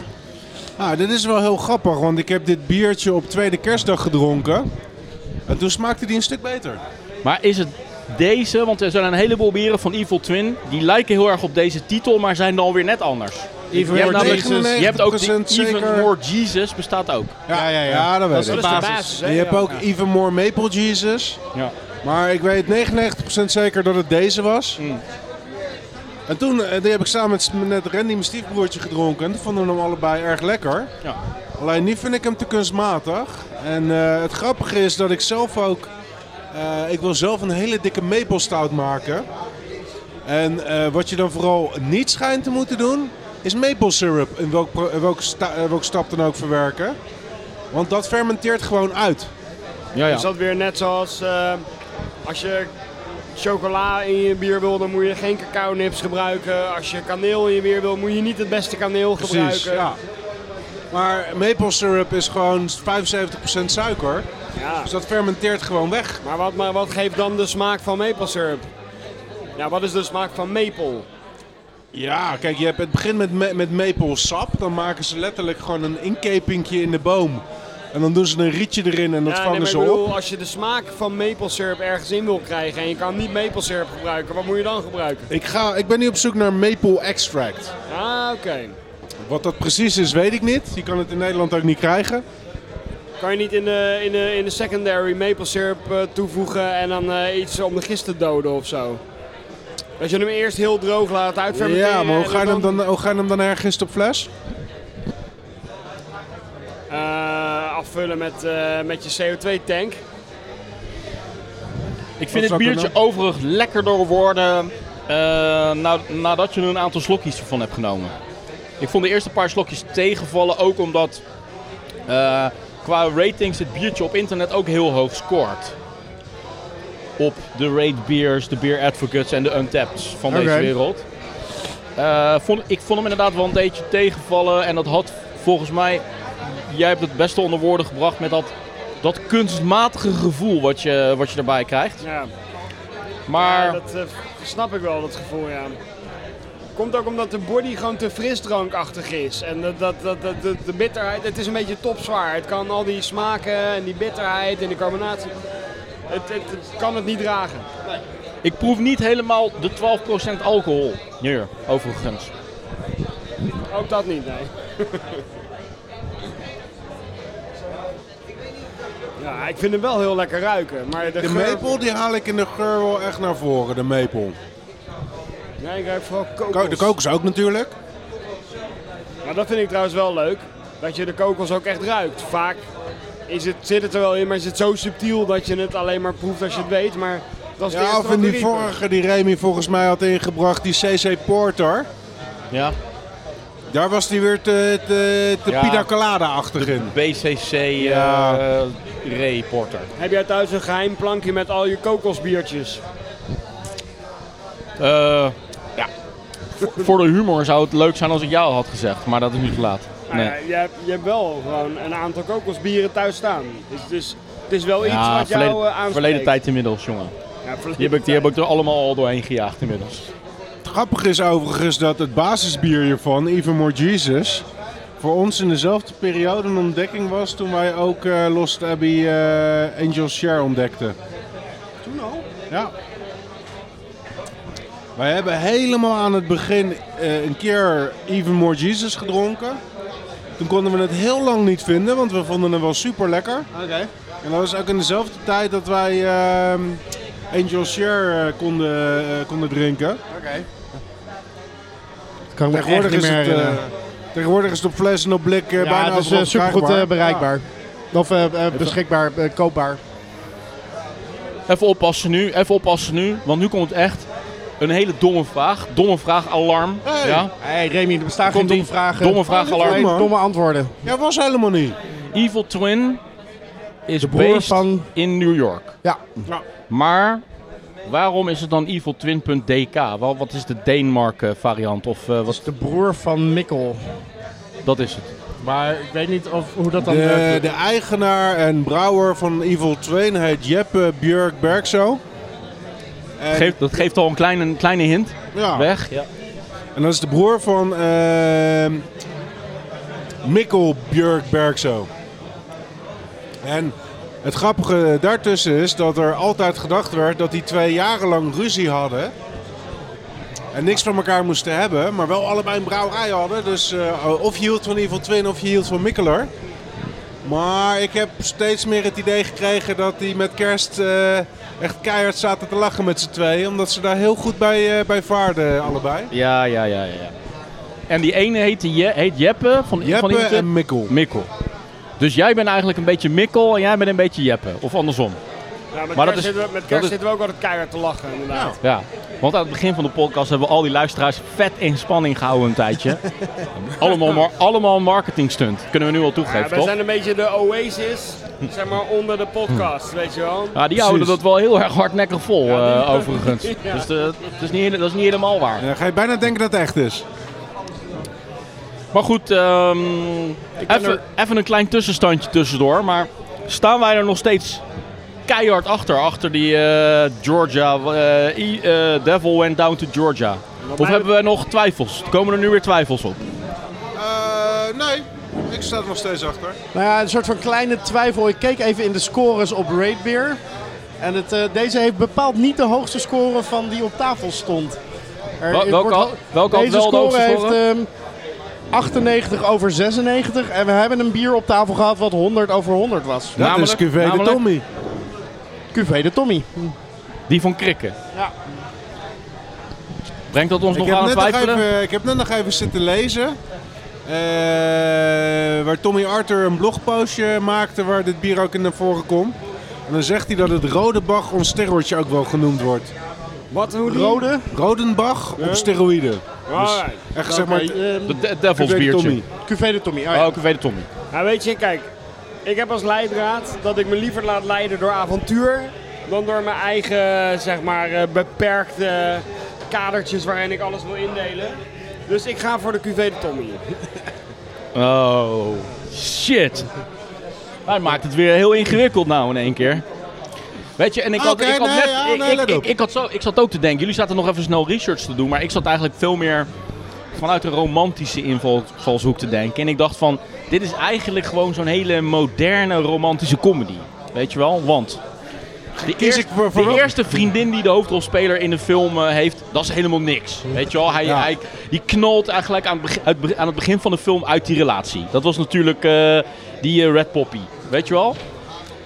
Speaker 5: Nou, dit is wel heel grappig, want ik heb dit biertje op tweede kerstdag gedronken. En toen smaakte die een stuk beter.
Speaker 1: Maar is het deze? Want er zijn een heleboel bieren van Evil Twin. Die lijken heel erg op deze titel, maar zijn dan weer net anders.
Speaker 2: Even
Speaker 1: Je hebt,
Speaker 5: More
Speaker 1: namelijk-
Speaker 5: Jesus.
Speaker 1: je hebt ook die
Speaker 5: 99%
Speaker 1: Even
Speaker 5: zeker.
Speaker 1: More Jesus bestaat ook.
Speaker 5: Ja, ja, ja. dat weet ik.
Speaker 2: de basis.
Speaker 5: En je hebt ook Even More Maple Jesus.
Speaker 1: Ja.
Speaker 5: Maar ik weet 99% zeker dat het deze was.
Speaker 2: Mm.
Speaker 5: En toen eh, die heb ik samen met, s- met Randy, mijn stiefbroertje, gedronken. En toen vonden we hem allebei erg lekker.
Speaker 1: Ja.
Speaker 5: Alleen nu vind ik hem te kunstmatig. En eh, het grappige is dat ik zelf ook... eh, ik wil zelf een hele dikke maple stout maken. En eh, wat je dan vooral niet schijnt te moeten doen... is maple syrup in welk, pro- in welk, sta- eh, welk stap dan ook verwerken. Want dat fermenteert gewoon uit.
Speaker 1: Ja, ja.
Speaker 4: Is dat weer net zoals eh, als je chocola in je bier wil, dan moet je geen cacao nips gebruiken. Als je kaneel in je bier wil, moet je niet het beste kaneel
Speaker 5: Precies,
Speaker 4: gebruiken.
Speaker 5: ja. Maar maple syrup is gewoon 75% suiker.
Speaker 4: Ja.
Speaker 5: Dus dat fermenteert gewoon weg.
Speaker 4: Maar, wat, maar wat geeft dan de smaak van maple syrup? Ja, wat is de smaak van maple?
Speaker 5: Ja, kijk, je hebt het begint met, ma- met maple sap. Dan maken ze letterlijk gewoon een inkepingje in de boom. En dan doen ze een rietje erin en dat
Speaker 4: ja,
Speaker 5: vangen
Speaker 4: nee, maar
Speaker 5: ze
Speaker 4: ik bedoel,
Speaker 5: op.
Speaker 4: als je de smaak van maple syrup ergens in wil krijgen en je kan niet maple syrup gebruiken, wat moet je dan gebruiken?
Speaker 5: Ik, ga, ik ben nu op zoek naar maple extract.
Speaker 4: Ah, oké.
Speaker 5: Wat dat precies is, weet ik niet. Je kan het in Nederland ook niet krijgen.
Speaker 4: Kan je niet in de, in de, in de secondary maple syrup eh, toevoegen en dan eh, iets om de gist te doden of zo? Dat je hem eerst heel droog laat uitfermenteren.
Speaker 5: Ja, maar hoe
Speaker 4: en
Speaker 5: ga, je hem dan, hoe ga je hem dan ergens op fles?
Speaker 4: eh, afvullen met, eh, met je CO2-tank.
Speaker 1: Ik
Speaker 5: Wat
Speaker 1: vind het
Speaker 5: zou ik
Speaker 1: biertje overigens lekkerder worden eh, na- nadat je er een aantal slokjes ervan hebt genomen. Ik vond de eerste paar slokjes tegenvallen, ook omdat eh, qua ratings het biertje op internet ook heel hoog scoort. Op de rate beers, de beer advocates en de untappeds van deze
Speaker 2: Oké.
Speaker 1: wereld. Eh, vond, ik vond hem inderdaad wel een beetje tegenvallen en dat had volgens mij, jij hebt het beste onder woorden gebracht met dat, dat kunstmatige gevoel wat je, wat je erbij krijgt.
Speaker 4: Ja,
Speaker 1: Maar
Speaker 4: ja, dat eh, snap ik wel, dat gevoel, ja. Komt ook omdat de body gewoon te frisdrankachtig is. En dat, dat, dat, dat- dat- de bitterheid, het is een beetje topzwaar. Het kan al die smaken en die bitterheid en de carbonatie, het, het, het kan het niet dragen.
Speaker 1: ik proef niet helemaal de 12% alcohol hier, overigens.
Speaker 4: Ook dat niet, nee. [LAUGHS] Ja, ik vind hem wel heel lekker ruiken, maar de,
Speaker 5: De
Speaker 4: geur-
Speaker 5: maple die haal ik in de geur wel echt naar voren, de maple.
Speaker 4: Nee, ik ruik vooral kokos.
Speaker 5: Ko- De kokos ook natuurlijk.
Speaker 4: Maar dat vind ik trouwens wel leuk, dat je de kokos ook echt ruikt. Vaak is het, zit het er wel in, maar is het zo subtiel dat je het alleen maar proeft als je het weet. Maar dat is de
Speaker 5: Ja,
Speaker 4: eerste
Speaker 5: of in
Speaker 4: wat
Speaker 5: die
Speaker 4: ik riep.
Speaker 5: vorige die Remy volgens mij had ingebracht, die CC Porter.
Speaker 1: Ja.
Speaker 5: Daar was die weer te, te, te
Speaker 1: Ja.
Speaker 5: pina colada-achtig in.
Speaker 1: BCC
Speaker 5: Ja.
Speaker 1: eh, reporter.
Speaker 4: Heb jij thuis een geheim plankje met al je kokosbiertjes?
Speaker 1: Eh, ja. Voor- Voor de humor zou het leuk zijn als ik jou had gezegd, maar dat is nu te laat.
Speaker 4: Nou
Speaker 1: Nee.
Speaker 4: ja, je, hebt, je hebt wel gewoon een aantal kokosbieren thuis staan. Dus, dus het is wel iets
Speaker 1: Ja,
Speaker 4: wat jou eh,
Speaker 1: verleden,
Speaker 4: aanspreekt.
Speaker 1: verleden tijd inmiddels, jongen.
Speaker 4: Ja, verleden
Speaker 1: Die heb, ik, die
Speaker 4: tijd.
Speaker 1: heb ik er allemaal al doorheen gejaagd inmiddels.
Speaker 5: Het grappige is overigens dat het basisbier hiervan, Even More Jesus, voor ons in dezelfde periode een ontdekking was toen wij ook eh, Lost Abbey eh, Angel's Share ontdekten.
Speaker 4: Toen al?
Speaker 5: Ja. Wij hebben helemaal aan het begin eh, een keer Even More Jesus gedronken. Toen konden we het heel lang niet vinden, want we vonden hem wel super lekker.
Speaker 2: Oké.
Speaker 5: En dat was ook in dezelfde tijd dat wij ehm, Angel's Share eh, konden, eh, konden drinken.
Speaker 2: Oké. Kan ik me echt
Speaker 5: Tegenwoordig
Speaker 2: niet
Speaker 5: is,
Speaker 2: meer
Speaker 5: het,
Speaker 2: herinneren.
Speaker 5: eh, tegenwoordig is het op fles en op blik eh,
Speaker 2: ja,
Speaker 5: bijna
Speaker 2: het is
Speaker 5: overal
Speaker 2: eh, supergoed
Speaker 5: verkrijgbaar.
Speaker 2: eh, bereikbaar. Of eh, eh, beschikbaar, eh, koopbaar.
Speaker 1: Even oppassen nu, even oppassen nu, want nu komt echt een hele domme vraag. Domme vraag, alarm.
Speaker 5: Hey.
Speaker 1: Ja?
Speaker 2: hey, Remy, er bestaan
Speaker 1: Komt
Speaker 2: geen domme
Speaker 1: die
Speaker 2: vragen.
Speaker 1: domme vraag,
Speaker 2: Nee,
Speaker 1: alarm.
Speaker 2: domme antwoorden.
Speaker 5: Ja. ja, was helemaal niet.
Speaker 1: Evil Twin is
Speaker 2: broer
Speaker 1: based
Speaker 2: van-
Speaker 1: in New York.
Speaker 2: Ja.
Speaker 1: Maar waarom is het dan Evil Twin.dk? Wel, Wat is de Denemarken variant? Of eh, wat,
Speaker 2: De broer van Mikkel.
Speaker 1: dat is het.
Speaker 2: Maar ik weet niet of, hoe dat dan... eh,
Speaker 5: De, de eigenaar en brouwer van Evil Twin heet Jeppe Björk Bergso. En, Ah.
Speaker 1: Geeft, dat geeft al een kleine, een kleine hint
Speaker 5: ja,
Speaker 1: weg.
Speaker 5: en dat is de broer van ehm Mikkel Björk Bergso. En het grappige daartussen is dat er altijd gedacht werd dat die twee jarenlang ruzie hadden. En niks van elkaar moesten hebben, maar wel allebei een brouwerij hadden. Dus eh, of je hield van Evil Twin of je hield van Mikkeler. Maar ik heb steeds meer het idee gekregen dat die met kerst eh, echt keihard zaten te lachen met z'n tweeën. Omdat ze daar heel goed bij, eh, bij vaarden allebei.
Speaker 1: Ja, ja, ja, ja. ja. En die ene heet, Je- heet Jeppe van, van
Speaker 5: Jeppe
Speaker 1: Evil Twin?
Speaker 5: en Mikkel.
Speaker 1: Mikkel. Dus jij bent eigenlijk een beetje Mikkel en jij bent een beetje Jeppe. Of andersom.
Speaker 4: met
Speaker 1: Maar dat
Speaker 4: kerst,
Speaker 1: is-
Speaker 4: zitten, we, met
Speaker 1: dat
Speaker 4: kerst
Speaker 1: is- Nou,
Speaker 4: zitten we ook altijd keihard te lachen, inderdaad.
Speaker 1: Ja, want aan het begin van de podcast hebben we al die luisteraars vet in spanning gehouden een
Speaker 4: [LAUGHS]
Speaker 1: tijdje. allemaal, mar- allemaal marketing stunt, kunnen we nu al
Speaker 4: Ja,
Speaker 1: toegeven,
Speaker 4: wij
Speaker 1: toch?
Speaker 4: zijn een beetje de oasis, zeg maar, onder de podcast, weet je wel.
Speaker 1: Ja, die houden dat wel heel erg hardnekkig vol,
Speaker 4: die-
Speaker 1: eh, overigens.
Speaker 4: [LAUGHS] Ja.
Speaker 1: Dus eh, het is niet, hele- dat is niet helemaal waar.
Speaker 5: Ja, Eh, ga je bijna denken dat het echt is.
Speaker 1: Maar goed, ehm, even, even een klein tussenstandje tussendoor. Maar staan wij er nog steeds keihard achter, achter die eh, Georgia, eh, I- eh, Devil Went Down to Georgia? Of
Speaker 4: mij-
Speaker 1: hebben we nog twijfels? Komen er nu weer twijfels op?
Speaker 5: Eh, nee, ik sta er nog steeds achter.
Speaker 2: Nou ja, een soort van kleine twijfel. Ik keek even in de scores op Raidbeer. En het, eh, deze heeft bepaald niet de hoogste score van die op tafel stond. Er,
Speaker 1: Wel-
Speaker 2: het
Speaker 1: welke
Speaker 2: wordt-
Speaker 1: had- welke had
Speaker 2: deze
Speaker 1: wel de
Speaker 2: score
Speaker 1: hoogste
Speaker 2: heeft
Speaker 1: score?
Speaker 2: ehm, 98 over 96. En we hebben een bier op tafel gehad wat 100 over 100 was.
Speaker 5: Dat
Speaker 1: Namelijk-
Speaker 5: is QV de
Speaker 1: namelijk-
Speaker 5: Tommy.
Speaker 2: QV de Tommy.
Speaker 1: Die van Krikken.
Speaker 2: Ja.
Speaker 1: Brengt dat ons
Speaker 5: Ik
Speaker 1: nog
Speaker 5: heb,
Speaker 1: aan het
Speaker 5: net nog
Speaker 1: twijfelen?
Speaker 5: even, ik heb net nog even zitten lezen. eh, waar Tommy Arthur een blogpostje maakte waar dit bier ook in naar voren komt. En dan zegt hij dat het Rodenbach ons steroidje ook wel genoemd wordt.
Speaker 4: Wat, hoe die?
Speaker 2: Rode.
Speaker 5: Rodenbach op steroïden. Dus
Speaker 4: Alright.
Speaker 5: Echt zeg maar...
Speaker 2: Oké, ehm,
Speaker 1: De de- Devils
Speaker 5: QV de
Speaker 1: biertje.
Speaker 5: Tommy.
Speaker 2: QV de Tommy. Oh, ja.
Speaker 1: Oh, ik weet het, Tommy.
Speaker 4: Nou, weet je, kijk, ik heb als leidraad dat ik me liever laat leiden door avontuur dan door mijn eigen, zeg maar, eh, beperkte kadertjes waarin ik alles wil indelen. Dus ik ga voor de QV de Tommy.
Speaker 1: Oh, shit. Hij maakt het weer heel ingewikkeld nou in één keer. Weet je, en ik had,
Speaker 5: Oké,
Speaker 1: ik had
Speaker 5: nee,
Speaker 1: net...
Speaker 5: ja,
Speaker 1: ik,
Speaker 5: nee,
Speaker 1: ik,
Speaker 5: let
Speaker 1: ik,
Speaker 5: op.
Speaker 1: ik had zo, ik zat ook te denken, jullie zaten nog even snel research te doen, maar ik zat eigenlijk veel meer vanuit een romantische invalshoek te denken. En ik dacht van, dit is eigenlijk gewoon zo'n hele moderne romantische comedy. Weet je wel? Want de, eerst-
Speaker 5: ik voor-
Speaker 1: de
Speaker 5: voor-
Speaker 1: eerste vriendin die de hoofdrolspeler in de film eh, heeft, dat is helemaal niks. Weet je wel? Hij,
Speaker 5: Ja.
Speaker 1: hij, die knalt eigenlijk aan het, begin, uit- aan het begin van de film uit die relatie. Dat was natuurlijk eh, die eh, Red Poppy. Weet je wel?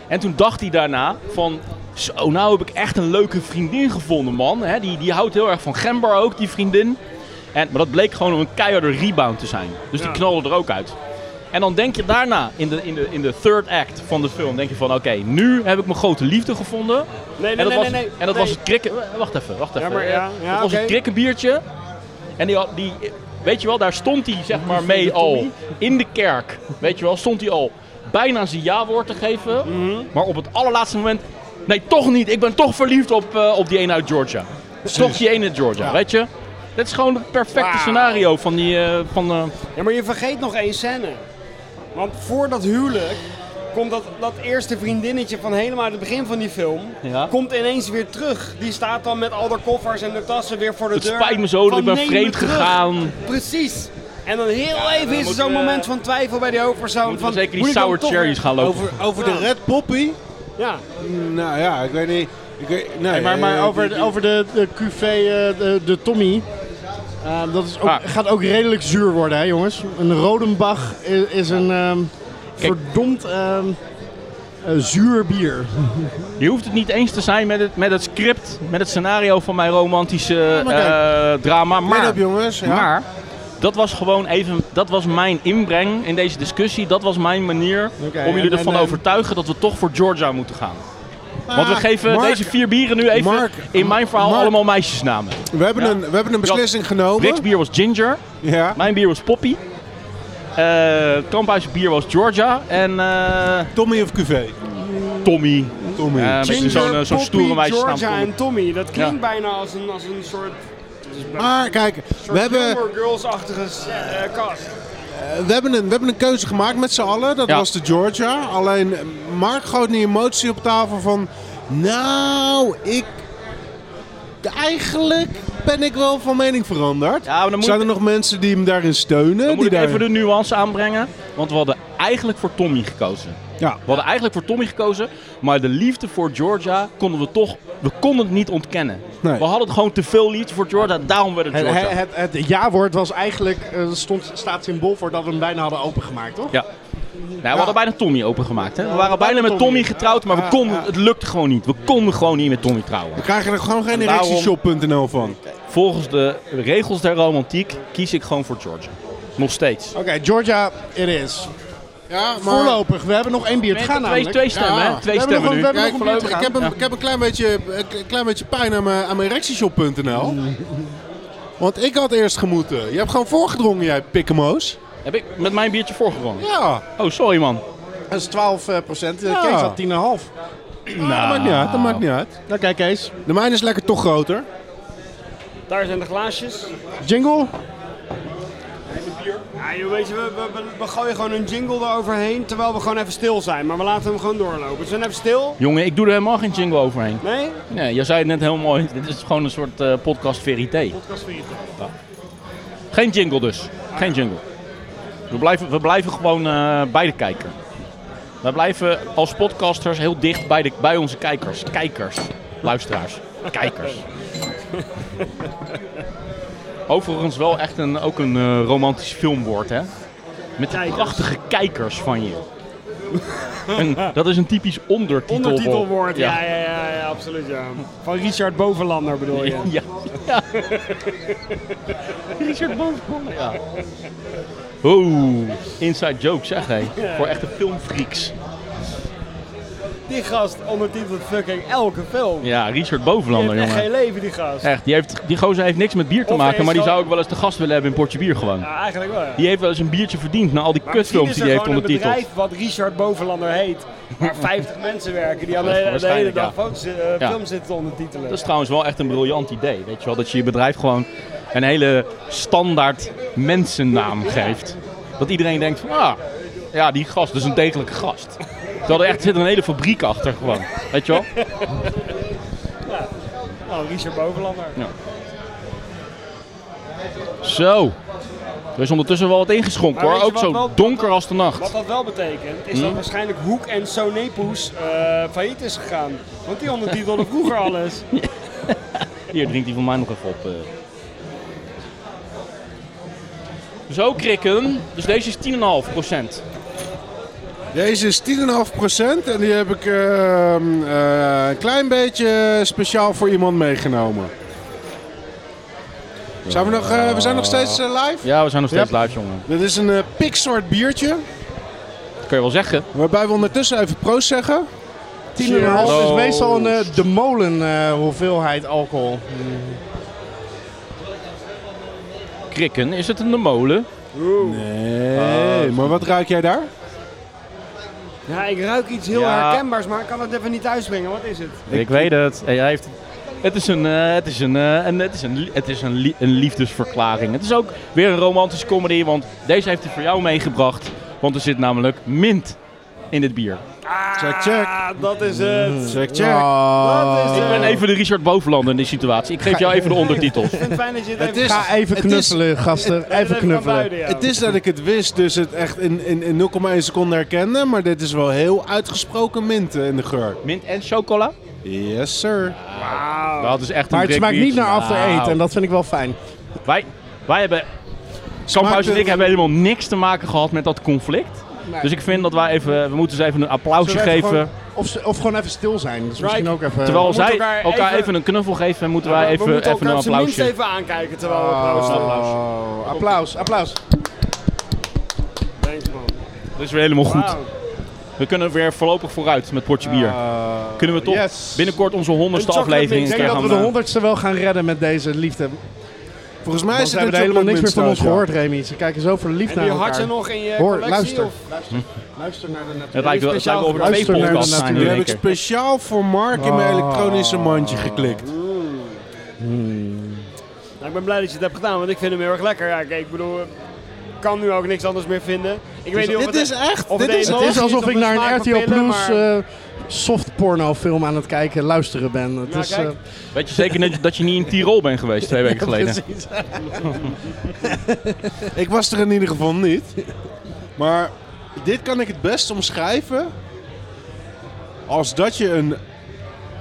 Speaker 1: En toen dacht hij daarna van... Zo, nou heb ik echt een leuke vriendin gevonden, man. Hè, die, die houdt heel erg van Gember ook, die vriendin. En, maar dat bleek gewoon een keiharde rebound te zijn. Dus die knalde er ook uit. En dan denk je daarna, in de, in de, in de third act van de film, denk je van... Oké, nu heb ik mijn grote liefde gevonden.
Speaker 4: Nee, nee,
Speaker 1: en dat
Speaker 4: nee,
Speaker 1: was,
Speaker 4: nee, nee.
Speaker 1: En dat
Speaker 4: Nee.
Speaker 1: was het krikken... eh, Wacht even, wacht even.
Speaker 4: maar ja,
Speaker 1: Eh,
Speaker 4: ja,
Speaker 1: dat was
Speaker 4: oké.
Speaker 1: het krikkenbiertje. En die, had- die... Weet je wel, daar stond hij zeg maar mee al. In de kerk, weet je wel, stond hij al bijna zijn ja-woord te geven.
Speaker 4: Mhm.
Speaker 1: Maar op het allerlaatste moment... Nee, toch niet. Ik ben toch verliefd op, eh, op die ene uit Georgia. Toch die ene uit Georgia, weet je? Dat is gewoon het perfecte
Speaker 4: Wauw.
Speaker 1: scenario van die... eh, van, eh,
Speaker 4: Ja, maar je vergeet nog één scène. Want voor dat huwelijk komt dat, dat eerste vriendinnetje van helemaal uit het begin van die film,
Speaker 1: Ja.
Speaker 4: komt ineens weer terug. Die staat dan met al haar koffers en de tassen weer voor de
Speaker 1: Het
Speaker 4: deur.
Speaker 1: spijt me zo,
Speaker 4: van,
Speaker 1: ik ben
Speaker 4: "Neem me
Speaker 1: vreemd
Speaker 4: terug."
Speaker 1: gegaan.
Speaker 4: Precies. En dan heel even is er
Speaker 1: moet
Speaker 4: zo'n
Speaker 1: je-
Speaker 4: moment van twijfel bij die hoofdpersoon.
Speaker 1: eh, Moeten
Speaker 4: Van,
Speaker 1: we zeker die
Speaker 4: moet ik dan
Speaker 1: sour
Speaker 4: toch
Speaker 1: cherries
Speaker 4: weer-
Speaker 1: gaan lopen.
Speaker 5: Over, over de Red Poppy?
Speaker 4: Ja,
Speaker 5: Nou ja, ik weet niet... Ik weet, nee,
Speaker 2: maar, maar
Speaker 5: eh,
Speaker 2: over,
Speaker 5: die-
Speaker 2: de- over de, de QV eh, de, de Tommy. eh, dat is ook,
Speaker 1: Ah.
Speaker 2: gaat ook redelijk zuur worden, hè, jongens. Een Rodenbach is, is een ehm,
Speaker 1: Kijk.
Speaker 2: verdomd ehm, eh, zuur bier.
Speaker 1: Je hoeft het niet eens te zijn met het, met het script, met het scenario van mijn romantische
Speaker 5: maar kijk.
Speaker 1: eh, drama.
Speaker 5: Let
Speaker 1: Maar,
Speaker 5: op jongens. ja.
Speaker 1: maar Dat was gewoon even, dat was mijn inbreng in deze discussie. Dat was mijn manier
Speaker 2: Oké,
Speaker 1: om jullie
Speaker 2: en-
Speaker 1: ervan
Speaker 2: en-
Speaker 1: overtuigen dat we toch voor Georgia moeten gaan. Want we
Speaker 5: Ah,
Speaker 1: geven
Speaker 5: Mark,
Speaker 1: deze vier bieren nu even
Speaker 5: Mark,
Speaker 1: in mijn verhaal
Speaker 5: Mark.
Speaker 1: allemaal meisjesnamen.
Speaker 5: We hebben, een, we hebben een beslissing
Speaker 1: Rick's
Speaker 5: genomen.
Speaker 1: bier was Ginger,
Speaker 5: Ja.
Speaker 1: mijn bier was Poppy. Eh Kamphuis bier was Georgia en eh,
Speaker 5: Tommy of QV?
Speaker 1: Tommy.
Speaker 5: Tommy.
Speaker 1: Eh, een beetje
Speaker 4: Ginger,
Speaker 1: zo'n eh, zo'n
Speaker 4: Poppy,
Speaker 1: stoere meisjesnaam.
Speaker 4: Georgia
Speaker 1: Tommy.
Speaker 4: en Tommy. Dat klinkt
Speaker 1: Ja.
Speaker 4: bijna als een, als een soort...
Speaker 5: maar kijk, we
Speaker 4: soort
Speaker 5: hebben,
Speaker 4: Gilmore Girls-achtige eh, cast.
Speaker 5: we, hebben een, we hebben een keuze gemaakt met z'n allen. Dat
Speaker 1: Ja.
Speaker 5: was de Georgia. Alleen Mark gooit die emotie op tafel van... Nou, ik... Eigenlijk ben ik wel van mening veranderd.
Speaker 1: Ja, maar dan moet
Speaker 5: Zijn
Speaker 1: ik-
Speaker 5: er nog mensen die hem daarin steunen?
Speaker 1: Dan
Speaker 5: die
Speaker 1: moet ik
Speaker 5: daar...
Speaker 1: even de nuance aanbrengen, want we hadden eigenlijk voor Tommy gekozen.
Speaker 5: Ja.
Speaker 1: We hadden eigenlijk voor Tommy gekozen, maar de liefde voor Georgia konden we toch, we konden het niet ontkennen.
Speaker 5: Nee.
Speaker 1: We hadden gewoon te veel liefde voor Georgia, daarom werd het
Speaker 2: Het,
Speaker 1: Georgia.
Speaker 2: het, het, het ja-woord was eigenlijk, eh, stond, staat symbool voor dat we hem bijna hadden opengemaakt, toch?
Speaker 1: Ja. Nou, we hadden bijna Tommy opengemaakt. Hè? We waren bijna met
Speaker 2: Tommy.
Speaker 1: Tommy getrouwd, maar we
Speaker 5: Ja,
Speaker 1: konden,
Speaker 5: ja.
Speaker 1: het lukte gewoon niet. We konden gewoon niet met Tommy trouwen.
Speaker 5: We krijgen er gewoon geen
Speaker 1: Daarom-
Speaker 5: erectieshop.nl van.
Speaker 1: Volgens de regels der romantiek kies ik gewoon voor Georgia. Nog steeds.
Speaker 2: Oké, Georgia, it is.
Speaker 5: Ja,
Speaker 2: Voorlopig, we hebben nog één bier te gaan
Speaker 1: twee,
Speaker 2: namelijk.
Speaker 1: twee stemmen,
Speaker 5: Ja.
Speaker 1: hè? Twee
Speaker 2: We hebben
Speaker 1: stemmen
Speaker 2: nog
Speaker 1: nu.
Speaker 2: een- we
Speaker 5: Kijk,
Speaker 2: nog bier te
Speaker 5: voorlopig,
Speaker 2: gaan.
Speaker 5: ik heb, een, ik heb een, klein beetje, een klein beetje pijn aan mijn, aan mijn erectieshop.nl. Want ik had eerst gemoeten. Je hebt gewoon voorgedrongen, jij pikkemoos.
Speaker 1: Heb ik met mijn biertje voorgerongen?
Speaker 5: Ja,
Speaker 1: Oh, sorry man.
Speaker 2: Dat is 12 procent. Eh,
Speaker 5: Ja.
Speaker 2: Kees had 10,5.
Speaker 5: dat maakt niet uit, dat maakt niet uit.
Speaker 2: Nou, kijk Kees.
Speaker 5: De mijne is lekker toch groter.
Speaker 4: Daar zijn de glaasjes.
Speaker 2: Jingle.
Speaker 4: Ja, joh, weet je, we, we, we, we gooien gewoon een jingle eroverheen, terwijl we gewoon even stil zijn. Maar we laten hem gewoon doorlopen. We zijn even stil.
Speaker 1: Jongen, ik doe er helemaal geen jingle overheen.
Speaker 4: Nee?
Speaker 1: Nee, jij zei het net heel mooi. Dit is gewoon een soort eh, podcast verité.
Speaker 4: Podcast voor iedereen.
Speaker 1: Geen jingle dus. Geen jingle. We blijven, we blijven gewoon eh, bij de kijker. We blijven als podcasters heel dicht bij, de, bij onze kijkers. Kijkers. Luisteraars.
Speaker 4: [LAUGHS]
Speaker 1: Kijkers. Overigens wel echt een, ook een eh, romantisch filmwoord, hè? Met de
Speaker 4: Kijkers.
Speaker 1: prachtige kijkers van je. Een- dat is een typisch ondertitelwoord.
Speaker 4: Ondertitelwoord, ja, ja, ja, ja, absoluut, ja. Van Richard Bovenlander bedoel je?
Speaker 1: Ja. ja. [LAUGHS] Richard Bovenkomen, ja. Oeh, inside joke zeg hé. Voor echte filmfreaks.
Speaker 4: Die gast ondertitelt fucking elke film.
Speaker 1: Ja, Richard
Speaker 4: Die
Speaker 1: Bovenlander,
Speaker 4: heeft echt geen
Speaker 1: jongen.
Speaker 4: leven, die gast.
Speaker 1: Echt, die, heeft, die gozer heeft niks met bier te
Speaker 4: Of hij
Speaker 1: maken,
Speaker 4: is
Speaker 1: maar die
Speaker 4: gewoon-
Speaker 1: zou ook wel eens te gast willen hebben in Portje Bier gewoon.
Speaker 4: Ja, eigenlijk wel, ja.
Speaker 1: Die heeft wel eens een biertje verdiend na al die
Speaker 4: Maar
Speaker 1: kutfilms die
Speaker 4: misschien
Speaker 1: hij
Speaker 4: is er
Speaker 1: heeft
Speaker 4: gewoon
Speaker 1: ondertiteld.
Speaker 4: een bedrijf wat Richard Bovenlander heet, waar 50 [LAUGHS] mensen werken die aan de,
Speaker 1: Dat is
Speaker 4: hele- de hele
Speaker 1: waarschijnlijk,
Speaker 4: dag
Speaker 1: ja.
Speaker 4: foto's, eh,
Speaker 1: Ja.
Speaker 4: films zitten te ondertitelen.
Speaker 1: Dat is trouwens wel echt een briljant idee, weet je wel. Dat je je bedrijf gewoon een hele standaard mensennaam geeft. Dat iedereen denkt van, ah, ja, die gast, dat is een degelijke gast. Terwijl er echt zit een hele fabriek achter gewoon, weet je wel.
Speaker 4: Nou, Richard Bovenlander.
Speaker 1: Zo. Er is ondertussen wel wat ingeschonken
Speaker 4: Maar
Speaker 1: hoor.
Speaker 4: weet je
Speaker 1: Ook
Speaker 4: wat
Speaker 1: zo
Speaker 4: wel-
Speaker 1: donker als de
Speaker 4: Wat
Speaker 1: nacht.
Speaker 4: dat wel betekent, is dat waarschijnlijk Hoek en Sonepoes eh failliet is gegaan. Want die ondertitelden vroeger alles.
Speaker 1: Hier, drinkt hij van mij nog even op. eh. Zo, krikken. Dus deze is 10,5 procent.
Speaker 5: Deze is 10,5% en die heb ik ehm, eh, een klein beetje speciaal voor iemand meegenomen. Zijn we, nog, eh, we zijn nog steeds eh, live.
Speaker 1: Ja, we zijn nog steeds live, jongen.
Speaker 5: Dit is een eh, pikzwart biertje,
Speaker 1: Dat kun je wel zeggen.
Speaker 5: waarbij we ondertussen even proost zeggen.
Speaker 2: 10,5 is
Speaker 1: Hallo.
Speaker 2: meestal een eh, de molen eh, hoeveelheid alcohol.
Speaker 1: Krikken, is het een de molen?
Speaker 5: Nee,
Speaker 2: Oh.
Speaker 5: maar wat ruik jij daar?
Speaker 4: Ja, ik ruik iets heel
Speaker 1: Ja.
Speaker 4: herkenbaars, maar ik kan het even niet uitspringen. Wat is het?
Speaker 1: Ik, weet het. Hey, hij heeft... Het is, een, eh, het, is een, eh, een, het is, een, li- het is een, li- een liefdesverklaring. Het is ook weer een romantische comedy, want deze heeft hij voor jou meegebracht. Want er zit namelijk mint in dit bier.
Speaker 5: Check, check.
Speaker 4: Ah, dat is het.
Speaker 5: Check, check.
Speaker 2: Oh,
Speaker 4: Dat is het.
Speaker 1: Ik ben even de Richard Bovenlander in die situatie. Ik geef jou even de ondertitels.
Speaker 4: Ik vind het fijn dat je het
Speaker 5: Het
Speaker 4: even,
Speaker 5: is-
Speaker 4: dat
Speaker 2: Ga even
Speaker 5: Het is-
Speaker 2: knuffelen, gasten.
Speaker 4: je het
Speaker 2: Even
Speaker 4: even kan
Speaker 2: knuffelen.
Speaker 4: duiden, ja.
Speaker 5: Het is dat ik het wist, dus het echt in, in, in 0,1 seconde herkende. Maar dit is wel heel uitgesproken mint eh, in de geur.
Speaker 1: Mint en chocola?
Speaker 5: Yes, sir.
Speaker 1: Dat is echt een
Speaker 2: Maar het
Speaker 1: dik
Speaker 2: smaakt niet
Speaker 1: biertje.
Speaker 2: naar after
Speaker 1: Nou,
Speaker 2: eight en dat vind ik wel fijn.
Speaker 1: Wij, wij hebben... Kamphuis en ik hebben helemaal niks te maken gehad met dat conflict. Dus ik vind dat wij even... We moeten ze even een applausje
Speaker 5: Zullen we even
Speaker 1: geven.
Speaker 2: Of, ze- of gewoon even stil zijn. Dat is misschien
Speaker 4: Right.
Speaker 2: ook even...
Speaker 1: Terwijl
Speaker 4: we
Speaker 1: zij
Speaker 4: moeten
Speaker 1: elkaar,
Speaker 4: elkaar
Speaker 1: even...
Speaker 4: even
Speaker 1: een knuffel geven, moeten
Speaker 4: we
Speaker 1: wij even,
Speaker 4: moeten
Speaker 1: even
Speaker 4: elkaar
Speaker 1: een
Speaker 4: op zijn minst
Speaker 1: applausje.
Speaker 4: even aankijken terwijl we
Speaker 2: Oh,
Speaker 4: proosten.
Speaker 2: applaus, applaus.
Speaker 4: Thanks, man.
Speaker 1: Dat is weer helemaal goed.
Speaker 4: Wauw.
Speaker 1: We kunnen weer voorlopig vooruit met potje bier.
Speaker 2: Eh,
Speaker 1: kunnen we toch
Speaker 2: yes.
Speaker 1: binnenkort onze honderdste
Speaker 4: Een chocolate
Speaker 1: aflevering
Speaker 4: mix.
Speaker 2: Ik
Speaker 1: een
Speaker 2: denk
Speaker 1: keer
Speaker 2: dat we de
Speaker 1: gaan, eh,
Speaker 2: honderdste wel gaan redden met deze liefde.
Speaker 5: Volgens mij
Speaker 2: Want
Speaker 5: is
Speaker 2: ze
Speaker 5: het
Speaker 2: hebben er helemaal niks meer van ons gehoord, Remy. Ze kijken zo verliefd
Speaker 4: En
Speaker 2: naar
Speaker 4: die harten
Speaker 2: elkaar.
Speaker 4: nog in je
Speaker 2: Hoor,
Speaker 4: collectie?
Speaker 2: luister.
Speaker 4: Of?
Speaker 2: Luister naar de natuur.
Speaker 1: eh, Het lijkt wel het lijkt wel of er twee
Speaker 2: Luister naar de
Speaker 1: podcasts zijn
Speaker 2: natuur. Oh.
Speaker 1: nu in
Speaker 5: Die heb
Speaker 1: één
Speaker 5: ik
Speaker 1: keer.
Speaker 5: speciaal voor Mark in mijn elektronische mandje geklikt.
Speaker 4: Nou, ik ben blij dat je het hebt gedaan, want ik vind hem heel erg lekker. Ja, kijk, ik bedoel, ik kan nu ook niks anders meer vinden. Ik weet niet of
Speaker 5: Dit
Speaker 4: het
Speaker 5: is echt.
Speaker 4: of
Speaker 5: Dit
Speaker 4: het
Speaker 5: is
Speaker 4: een-
Speaker 2: Het is alsof ik naar een RTL
Speaker 4: Smaakpapillen,
Speaker 2: Plus
Speaker 4: maar-
Speaker 2: eh soft porno film aan het kijken, luisteren ben. Het
Speaker 4: Nou,
Speaker 2: is,
Speaker 4: kijk.
Speaker 2: eh,
Speaker 1: Weet je zeker net dat je niet in Tirol bent geweest
Speaker 2: [LAUGHS]
Speaker 1: twee weken geleden?
Speaker 2: precies.
Speaker 5: Ik was er in ieder geval
Speaker 1: [LAUGHS]
Speaker 5: niet. Maar dit kan ik het best omschrijven als dat je een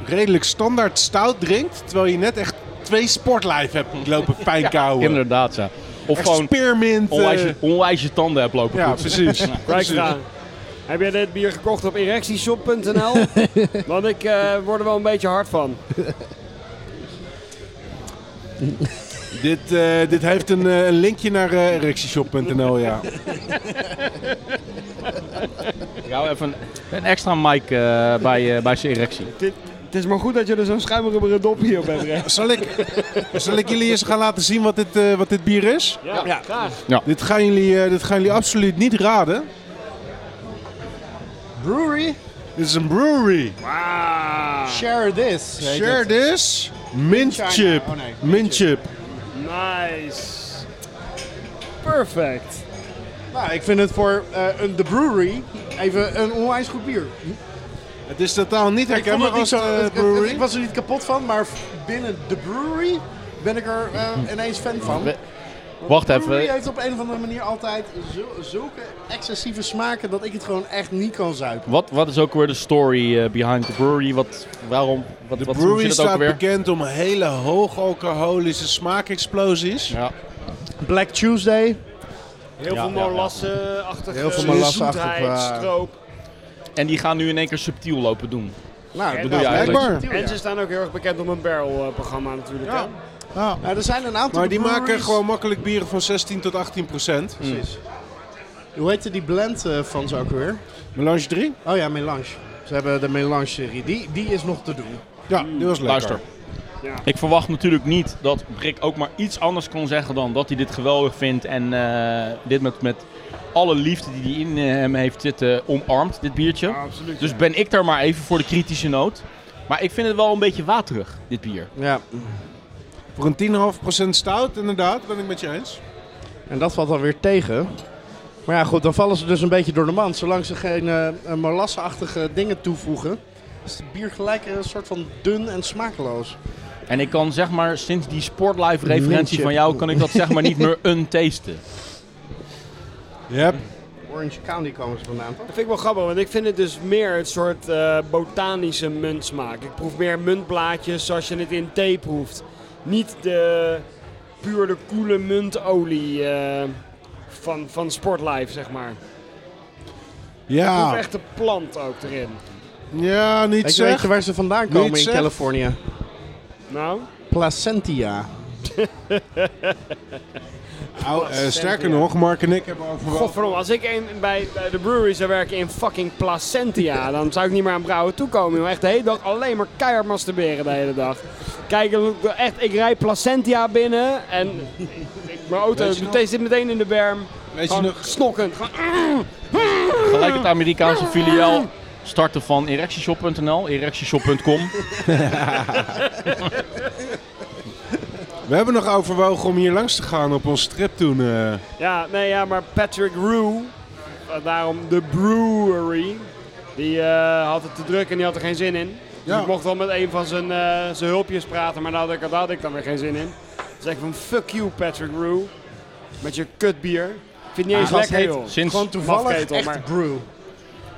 Speaker 5: redelijk standaard stout drinkt, terwijl je net echt twee sportlife hebt
Speaker 1: [LAUGHS]
Speaker 5: lopen fijnkouwen.
Speaker 1: Inderdaad, ja. Of
Speaker 5: echt
Speaker 1: gewoon
Speaker 5: spearmint. eh,
Speaker 1: onwijs, je- onwijs je tanden hebt lopen
Speaker 5: ja,
Speaker 1: poetsen. [LAUGHS]
Speaker 5: precies.
Speaker 4: Kijk eraan. Heb jij dit bier gekocht op [LAUGHS] erectieshop.nl? Want ik eh, word er wel een beetje hard van.
Speaker 5: dit, eh, dit heeft een eh, linkje naar eh, erectieshop.nl,
Speaker 1: [LAUGHS]
Speaker 5: ja.
Speaker 1: Ja, even een, een extra mic eh, bij, eh, bij zijn erectie.
Speaker 4: Dit, het is maar goed dat je er zo'n schuimrubberen dop hier op hebt. Ray.
Speaker 5: Zal ik, zal ik jullie eens gaan laten zien wat dit, eh, wat dit bier is?
Speaker 4: Ja, graag.
Speaker 5: Dit gaan jullie, eh, dit gaan jullie absoluut niet raden.
Speaker 2: Brewery,
Speaker 5: Dit is een brewery.
Speaker 2: share this. heet
Speaker 5: Share
Speaker 2: het.
Speaker 5: this. Mint
Speaker 2: China.
Speaker 5: chip.
Speaker 2: Oh, nee.
Speaker 5: Mint chip.
Speaker 4: Nice. Perfect.
Speaker 2: Nou, ik vind het voor eh, een The Brewery even een onwijs goed bier.
Speaker 5: Het is totaal niet
Speaker 2: Ik, vond
Speaker 5: herkenbaar
Speaker 2: het niet
Speaker 5: als
Speaker 2: zo,
Speaker 5: eh,
Speaker 2: het- het-
Speaker 5: brewery.
Speaker 2: ik was er niet kapot van, maar binnen The Brewery ben ik er eh, ineens fan van.
Speaker 1: We- Wacht
Speaker 2: Brewery
Speaker 1: even.
Speaker 2: heeft op een of andere manier altijd zo- zulke excessieve smaken dat ik het gewoon echt niet kan zuipen.
Speaker 1: Wat, wat is ook weer de story eh, behind the brewery? Wat, waarom? Wat,
Speaker 5: De
Speaker 1: wat, hoe
Speaker 5: brewery
Speaker 1: zit het ook
Speaker 5: staat
Speaker 1: weer?
Speaker 5: bekend om hele hoog alcoholische smaakexplosies.
Speaker 1: Ja.
Speaker 2: Black Tuesday.
Speaker 4: Heel
Speaker 1: Ja,
Speaker 4: veel
Speaker 1: ja, ja.
Speaker 4: molassenachtige
Speaker 2: Heel veel molassenachtig,
Speaker 4: molassenachtig. zoetheid,
Speaker 2: eh,
Speaker 4: stroop.
Speaker 1: En die gaan nu in één keer subtiel lopen doen.
Speaker 2: Nou, dat
Speaker 4: En
Speaker 2: doe je
Speaker 1: nou,
Speaker 5: blijkbaar.
Speaker 2: eigenlijk.
Speaker 4: En ze staan ook heel erg bekend om een barrel-programma natuurlijk.
Speaker 5: Ja.
Speaker 4: hè?
Speaker 2: Nou, er zijn een aantal
Speaker 5: Maar die
Speaker 2: breweries-
Speaker 5: maken gewoon makkelijk bieren van 16 tot 18 procent.
Speaker 2: Precies. Hoe heette die blend eh, van ze ook weer?
Speaker 5: Melange 3?
Speaker 2: Oh ja, Melange. Ze hebben de Melange-serie. Die, die is nog te doen.
Speaker 5: Ja, die was lekker.
Speaker 1: Luister.
Speaker 4: Ja.
Speaker 1: Ik verwacht natuurlijk niet dat Brik ook maar iets anders kon zeggen dan dat hij dit geweldig vindt. En eh, dit met, met alle liefde die hij in eh, hem heeft zitten omarmt, dit biertje.
Speaker 4: Absoluut.
Speaker 1: Dus ben ik daar maar even voor de kritische noot. Maar ik vind het wel een beetje waterig, dit bier.
Speaker 2: Ja.
Speaker 5: Voor een 10,5 procent stout, inderdaad, ben ik met je eens.
Speaker 2: En dat valt dan weer tegen. Maar ja, goed, dan vallen ze dus een beetje door de mand. Zolang ze geen eh molassenachtige dingen toevoegen, is het bier gelijk een soort van dun en smakeloos.
Speaker 1: En ik kan zeg maar sinds die sportlife referentie
Speaker 2: Lintje.
Speaker 1: van jou, kan ik dat zeg maar niet meer untasten.
Speaker 5: Yep.
Speaker 2: Orange County komen ze vandaan, toch?
Speaker 4: Dat vind ik wel grappig, want ik vind het dus meer het soort eh, botanische muntsmaak. Ik proef meer muntblaadjes zoals je het in thee proeft. Niet de puur de koele muntolie eh, van, van Sportlife, zeg maar. Ik proef
Speaker 5: Ja.
Speaker 4: echt de plant ook erin.
Speaker 5: Ja, niet
Speaker 2: Weet je, weet
Speaker 5: zeg.
Speaker 2: je waar ze vandaan komen in
Speaker 5: zeg.
Speaker 2: Californië?
Speaker 4: Nou,
Speaker 2: Placentia.
Speaker 5: Au, eh, sterker nog, Mark en ik hebben overwogen.
Speaker 4: godverdomme, als ik een, bij, bij de brewery zou werken in fucking Placentia, dan zou ik niet meer aan brouwen toekomen. joh. Echt de hele dag alleen maar keihard masturberen de hele dag. Kijk, echt, ik rijd Placentia binnen en ik- mijn auto
Speaker 5: Weet je nog?
Speaker 4: meteen, zit meteen in de berm.
Speaker 5: Weet je
Speaker 4: Gewoon
Speaker 5: nog,
Speaker 4: snokkend. Gewoon, ah,
Speaker 1: Gelijk het Amerikaanse filiaal starten van erectieshop.nl, erectieshop.com.
Speaker 5: we hebben nog overwogen om hier langs te gaan op ons trip toen. eh.
Speaker 4: Ja, nee, ja, maar Patrick Rue, eh, daarom de brewery, die eh, had het te druk en die had er geen zin in. Dus
Speaker 5: Ja.
Speaker 4: ik mocht wel met een van zijn, eh, zijn hulpjes praten, maar daar had, ik, daar had ik dan weer geen zin in. Dus ik van, fuck you Patrick Rue, met je kutbier. Ik vind het niet eens
Speaker 2: gast
Speaker 4: lekker,
Speaker 2: heet
Speaker 4: joh.
Speaker 1: Sinds,
Speaker 2: Gewoon toevallig
Speaker 4: mafketel,
Speaker 2: echt
Speaker 4: maar-
Speaker 2: brew.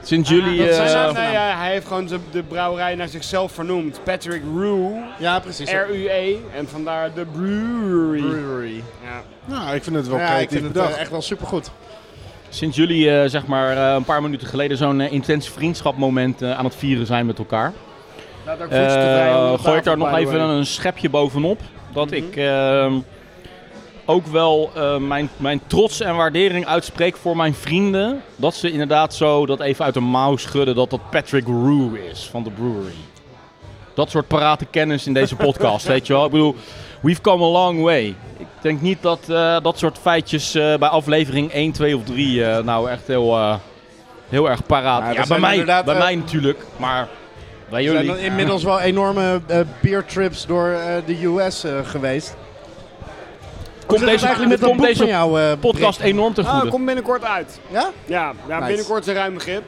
Speaker 1: sinds jullie...
Speaker 4: Dat
Speaker 1: eh,
Speaker 4: zijn nou-
Speaker 2: eh,
Speaker 4: nee, ja, hij heeft gewoon zijn- de brouwerij naar zichzelf vernoemd. Patrick Rue,
Speaker 2: Ja, precies.
Speaker 4: R-U-E, E, en vandaar de brewery.
Speaker 2: Brewery.
Speaker 4: Ja.
Speaker 5: Nou, ik vind het wel
Speaker 2: Ja, ik
Speaker 5: creatief
Speaker 2: vind het
Speaker 5: bedacht.
Speaker 2: eh, echt wel supergoed.
Speaker 1: Sinds jullie eh, zeg maar, eh, een paar minuten geleden zo'n eh, intens vriendschapmoment eh, aan het vieren zijn met elkaar. Eh, gooi ik daar nog even een schepje bovenop. Dat ik ehm, ook wel eh, mijn, mijn trots en waardering uitspreek voor mijn vrienden. Dat ze inderdaad zo dat even uit de mouw schudden dat dat Patrick Rue is van de brewery. Dat soort parate kennis in deze podcast, weet je wel. Ik bedoel, we've come a long way. Ik denk niet dat eh, dat soort feitjes eh, bij aflevering 1, 2 of 3 eh, nou echt heel, eh, heel erg paraat.
Speaker 2: Nou, we
Speaker 1: ja, bij,
Speaker 2: zijn
Speaker 1: mij, bij
Speaker 2: inderdaad, eh,
Speaker 1: mij natuurlijk, maar bij
Speaker 2: Er
Speaker 1: jullie.
Speaker 2: zijn dan inmiddels wel enorme eh biertrips door eh, de US eh, geweest. Hoe zit
Speaker 1: Komt
Speaker 2: het
Speaker 1: deze,
Speaker 2: eigenlijk met dat
Speaker 1: komt
Speaker 2: boek
Speaker 1: deze
Speaker 2: van jou, eh,
Speaker 1: podcast enorm te
Speaker 4: Ah,
Speaker 1: goede.
Speaker 4: komt binnenkort uit.
Speaker 2: Brik? Ja?
Speaker 4: Ja, ja
Speaker 2: Nice.
Speaker 4: binnenkort is een ruim begrip.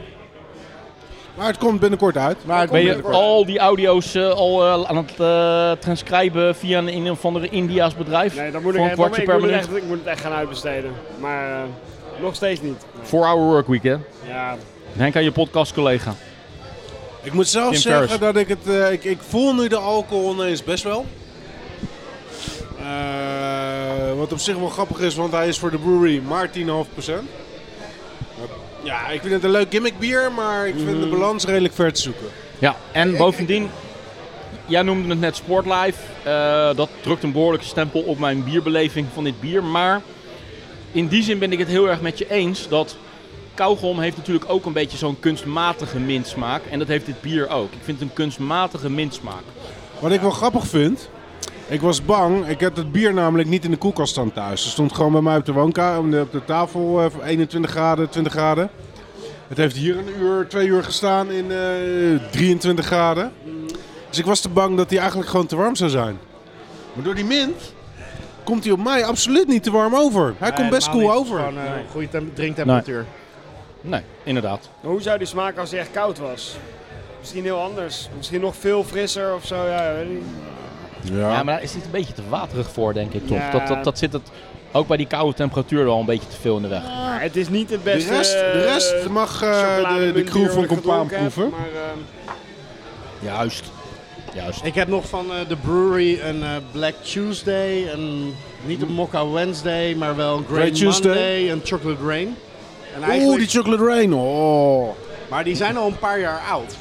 Speaker 5: Maar het komt binnenkort uit.
Speaker 2: Maar het
Speaker 1: ben je
Speaker 2: binnenkort.
Speaker 1: al die audio's eh, al eh, aan het eh transcriben via een, een of andere India's bedrijf?
Speaker 4: Nee, dat moet ik,
Speaker 1: Voor een
Speaker 4: echt- dat-
Speaker 1: kwartje
Speaker 4: ik,
Speaker 1: per
Speaker 4: moet het
Speaker 1: minuut.
Speaker 4: echt, ik moet het echt gaan uitbesteden. Maar eh, nog steeds niet.
Speaker 1: Four hour workweek, hè?
Speaker 4: Ja,
Speaker 1: Henk aan je podcastcollega.
Speaker 5: Ik moet zelf
Speaker 1: Tim
Speaker 5: zeggen
Speaker 1: Ferriss.
Speaker 5: dat ik het... eh, ik, ik voel nu de alcohol ineens best wel. Eh, wat op zich wel grappig is, want hij is voor de brewery maar 10,5%. Maar, Ja, ik vind het een leuk gimmick bier, maar ik vind de balans redelijk ver te zoeken.
Speaker 1: Ja, en bovendien, jij noemde het net Sportlife. Eh, dat drukt een behoorlijke stempel op mijn bierbeleving van dit bier. Maar in die zin ben ik het heel erg met je eens dat kauwgom heeft natuurlijk ook een beetje zo'n kunstmatige mintsmaak. En dat heeft dit bier ook. Ik vind het een kunstmatige mintsmaak.
Speaker 5: Wat ik wel grappig vind, ik was bang. Ik heb het bier namelijk niet in de koelkast staan thuis. Er stond gewoon bij mij op de woonkamer, op de tafel, eh, voor 21 graden, 20 graden. Het heeft hier een uur, twee uur gestaan in eh, 23 graden. Dus ik was te bang dat hij eigenlijk gewoon te warm zou zijn. Maar door die mint komt hij op mij absoluut niet te warm over. Hij komt best cool over.
Speaker 2: Gewoon eh, goede tem- drinktemperatuur.
Speaker 1: Nee, inderdaad.
Speaker 4: maar hoe zou die smaken als hij echt koud was? Misschien heel anders. Misschien nog veel frisser of zo. Ja, weet ik niet.
Speaker 1: Ja, maar daar is het een beetje te waterig voor, denk ik toch.
Speaker 4: Ja.
Speaker 1: Dat, dat, dat zit het ook bij die koude temperatuur wel een beetje te veel in de weg.
Speaker 4: Maar het is niet het
Speaker 5: de,
Speaker 4: beste.
Speaker 5: rest, de
Speaker 4: eh,
Speaker 5: rest mag eh, de,
Speaker 4: chocolademunt
Speaker 5: de
Speaker 4: die
Speaker 5: crew van
Speaker 4: ik
Speaker 5: Compaan
Speaker 4: gedronken heb,
Speaker 5: proeven.
Speaker 4: Maar, eh,
Speaker 1: Juist. Juist.
Speaker 2: Ik heb nog van eh, de brewery een eh, Black Tuesday, een, niet een Mokka Wednesday, maar wel een Grey
Speaker 5: Grey Tuesday.
Speaker 2: Monday, een Chocolate Rain. En
Speaker 5: Oeh,
Speaker 2: eigenlijk,
Speaker 5: die chocolate rain. Oh.
Speaker 2: Maar die zijn al een paar jaar oud.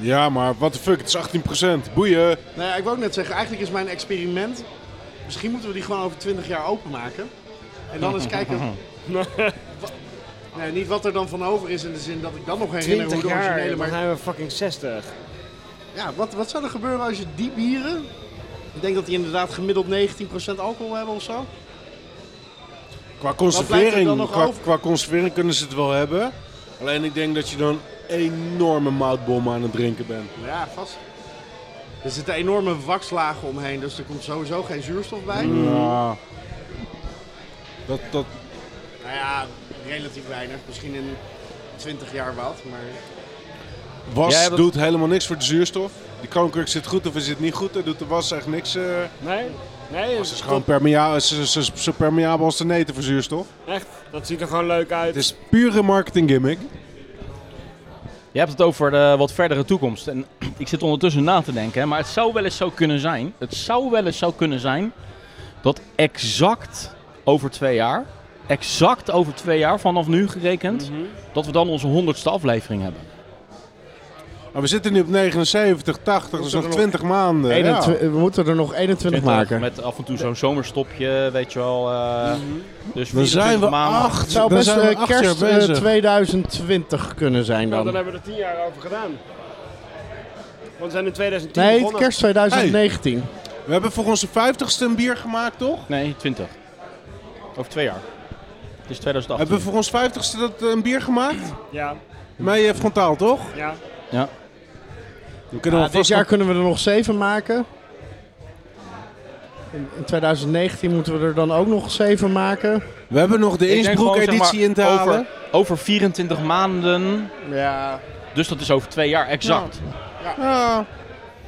Speaker 5: Ja, maar what the fuck, het is 18%. Boeien.
Speaker 2: Nou ja, ik wou ook net zeggen, eigenlijk is mijn experiment, misschien moeten we die gewoon over 20 jaar openmaken. En dan eens kijken... wa- Nee, niet wat er dan van over is in de zin dat ik dan nog herinner hoe
Speaker 4: 20
Speaker 2: de
Speaker 4: jaar,
Speaker 2: originele...
Speaker 4: dan
Speaker 2: Maar
Speaker 4: zijn we fucking 60.
Speaker 2: Ja, wat, wat zou er gebeuren als je die bieren... Ik denk dat die inderdaad gemiddeld 19% alcohol hebben of zo.
Speaker 5: Qua
Speaker 2: blijft er dan
Speaker 5: conservering,
Speaker 2: nog
Speaker 5: qua,
Speaker 2: over?
Speaker 5: qua conservering kunnen ze het wel hebben. Alleen ik denk dat je dan enorme moutbom aan het drinken bent.
Speaker 2: Ja, vast. Er zitten enorme wakslagen omheen, dus er komt sowieso geen zuurstof bij.
Speaker 5: Ja. Dat, dat,
Speaker 2: Nou ja, relatief weinig. Misschien in 20 jaar wat, maar...
Speaker 5: was
Speaker 1: Jij hebt het-
Speaker 5: doet helemaal niks voor de zuurstof. Die kroonkurk zit goed of is het niet goed. Dan doet de was echt niks. eh.
Speaker 4: Nee? Nee,
Speaker 5: Het is gewoon permea- ze- ze- ze- zo permeabel als de neten voor zuurstof.
Speaker 4: echt. Dat ziet er gewoon leuk uit.
Speaker 5: Het is pure marketing gimmick.
Speaker 1: Je hebt het over de wat verdere toekomst. En [CLEARS THROAT] ik zit ondertussen na te denken, hè, maar het zou wel eens zo kunnen zijn. Het zou wel eens zo kunnen zijn dat exact over twee jaar, exact over twee jaar vanaf nu gerekend, dat we dan onze honderdste aflevering hebben.
Speaker 5: Maar we zitten nu op 79, 80, dus nog 20 maanden. ja.
Speaker 2: We moeten er nog 21
Speaker 1: Met af en toe zo'n zomerstopje, weet je wel. eh, Dus
Speaker 5: Dan zijn we
Speaker 1: 24 maanden.
Speaker 5: acht. dan zijn
Speaker 2: eh,
Speaker 5: we acht jaar bezig.
Speaker 2: 2020 kunnen zijn
Speaker 4: Nou, dan hebben we er 10 jaar over gedaan. Want we zijn in 2010 begonnen.
Speaker 2: 2019.
Speaker 5: We hebben voor onze 50ste een bier gemaakt, toch?
Speaker 1: Nee, 20. Over twee jaar. Het is
Speaker 5: Hebben
Speaker 1: 2018.
Speaker 5: we voor ons 50ste dat eh, een bier gemaakt?
Speaker 4: Ja,
Speaker 5: Mij eh, frontaal, toch?
Speaker 4: ja.
Speaker 1: Ja.
Speaker 5: We kunnen
Speaker 2: Ja, dit jaar kunnen we er nog 7 maken. In in 2019 moeten we er dan ook nog 7 maken.
Speaker 5: We hebben nog de
Speaker 1: Ik denk gewoon, zeg
Speaker 5: Innsbruck-editie
Speaker 1: maar,
Speaker 5: in te halen.
Speaker 1: Over, over 24 maanden,
Speaker 2: Ja,
Speaker 1: dus dat is over twee jaar exact.
Speaker 5: Ja,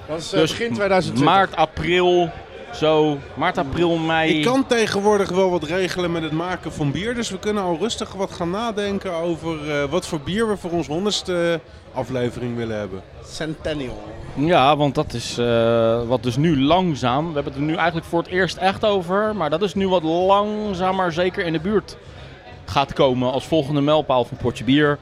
Speaker 2: dat is eh,
Speaker 1: Dus
Speaker 2: begin 2020.
Speaker 1: Maart, april, zo. Maart, april, mei.
Speaker 5: ik kan tegenwoordig wel wat regelen met het maken van bier. Dus we kunnen al rustig wat gaan nadenken over eh, wat voor bier we voor ons honderdste aflevering willen hebben.
Speaker 2: Centennial.
Speaker 1: Ja, want dat is eh, wat dus nu langzaam. We hebben het er nu eigenlijk voor het eerst echt over. Maar dat is nu wat langzaam, maar zeker in de buurt gaat komen als volgende mijlpaal van Portje Bier.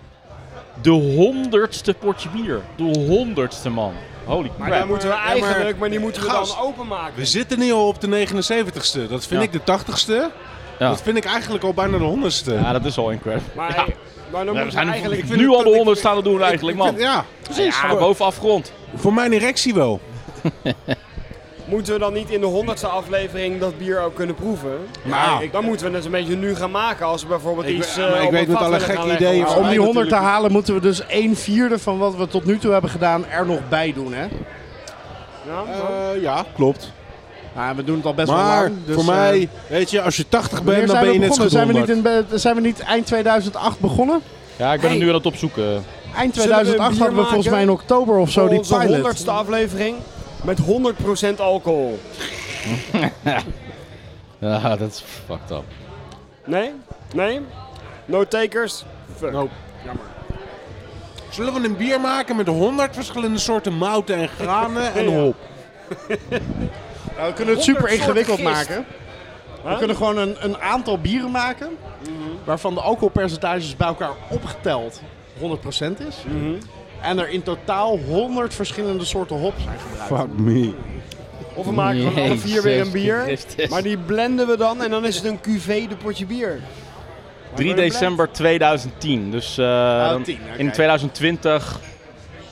Speaker 1: De honderdste Portje Bier. De honderdste man. Holy
Speaker 4: Maar
Speaker 1: crap.
Speaker 4: daar moeten we
Speaker 5: Ja, maar-
Speaker 4: eigenlijk, maar, die moeten we
Speaker 5: Gast.
Speaker 4: dan openmaken.
Speaker 5: We zitten nu al op de 79ste. Dat
Speaker 1: Ja.
Speaker 5: vind ik de 80ste.
Speaker 1: Ja.
Speaker 5: Dat vind ik eigenlijk al bijna de 100ste.
Speaker 1: Ja, dat is al incredible.
Speaker 4: Maar,
Speaker 1: Ja.
Speaker 4: maar dan
Speaker 1: Ja, we
Speaker 4: moeten
Speaker 1: zijn eigenlijk
Speaker 4: we eigenlijk...
Speaker 5: ik vind
Speaker 1: nu
Speaker 5: het-
Speaker 1: al de
Speaker 5: ik-
Speaker 1: 100 staan te doen eigenlijk, man.
Speaker 5: Ja, precies.
Speaker 1: Ja,
Speaker 5: voor,
Speaker 1: boven afgrond.
Speaker 5: voor mijn erectie wel.
Speaker 4: Moeten we dan niet in de honderdste aflevering dat bier ook kunnen proeven?
Speaker 5: Nou.
Speaker 4: dan moeten we het een beetje nu gaan maken als we bijvoorbeeld
Speaker 5: Ik-
Speaker 4: iets.
Speaker 5: maar
Speaker 4: eh,
Speaker 5: ik
Speaker 4: op
Speaker 5: weet
Speaker 4: een
Speaker 5: met
Speaker 4: vat
Speaker 5: alle
Speaker 4: willen
Speaker 5: gekke
Speaker 4: gaan leggen.
Speaker 5: ideeën
Speaker 4: Maar
Speaker 5: om
Speaker 2: Om die
Speaker 5: Wij
Speaker 2: 100 te
Speaker 5: natuurlijk-
Speaker 2: halen moeten we dus 1 vierde van wat we tot nu toe hebben gedaan er nog bij doen. Hè?
Speaker 4: Ja, maar-
Speaker 5: Eh, ja, klopt.
Speaker 2: Nou, we doen het al best wel
Speaker 5: Maar
Speaker 2: lang. Dus,
Speaker 5: voor
Speaker 2: eh,
Speaker 5: mij, weet je, als je 80 bent,
Speaker 2: wanneer
Speaker 5: dan
Speaker 2: zijn
Speaker 5: ben
Speaker 2: we
Speaker 5: je net zo
Speaker 2: begonnen? Zijn we, niet in, be- zijn we niet eind 2008 begonnen?
Speaker 1: Ja, ik ben er nu aan het opzoeken.
Speaker 2: Eind
Speaker 4: Zullen we een
Speaker 2: 2008
Speaker 4: bier
Speaker 2: hadden we volgens
Speaker 4: maken?
Speaker 2: mij in oktober of zo
Speaker 4: Voor
Speaker 2: die
Speaker 4: onze
Speaker 2: pilot.
Speaker 4: honderdste aflevering met 100% alcohol.
Speaker 1: [LAUGHS] Ja, dat is fucked up.
Speaker 4: Nee? Nee? No takers? Fuck.
Speaker 5: Nope.
Speaker 4: Jammer.
Speaker 5: Zullen we een bier maken met 100 verschillende soorten mouten en [LAUGHS] granen en
Speaker 4: Ja.
Speaker 5: hop?
Speaker 2: Nou, we kunnen het
Speaker 4: 100
Speaker 2: super ingewikkeld
Speaker 4: soorten gist.
Speaker 2: maken. We kunnen gewoon een, een aantal bieren maken.
Speaker 4: Mhm.
Speaker 2: Waarvan de alcoholpercentages bij elkaar opgeteld 100% is.
Speaker 4: Mhm.
Speaker 2: En er in totaal 100 verschillende soorten hop zijn gebruikt.
Speaker 5: Fuck me.
Speaker 4: Of we maken
Speaker 5: Mm.
Speaker 4: van alle vier weer een bier.
Speaker 1: Jezus.
Speaker 4: Maar die blenden we dan en dan is het een QV de potje bier.
Speaker 1: 3 december 2010. Dus eh, dan
Speaker 2: 10, oké.
Speaker 1: in 2020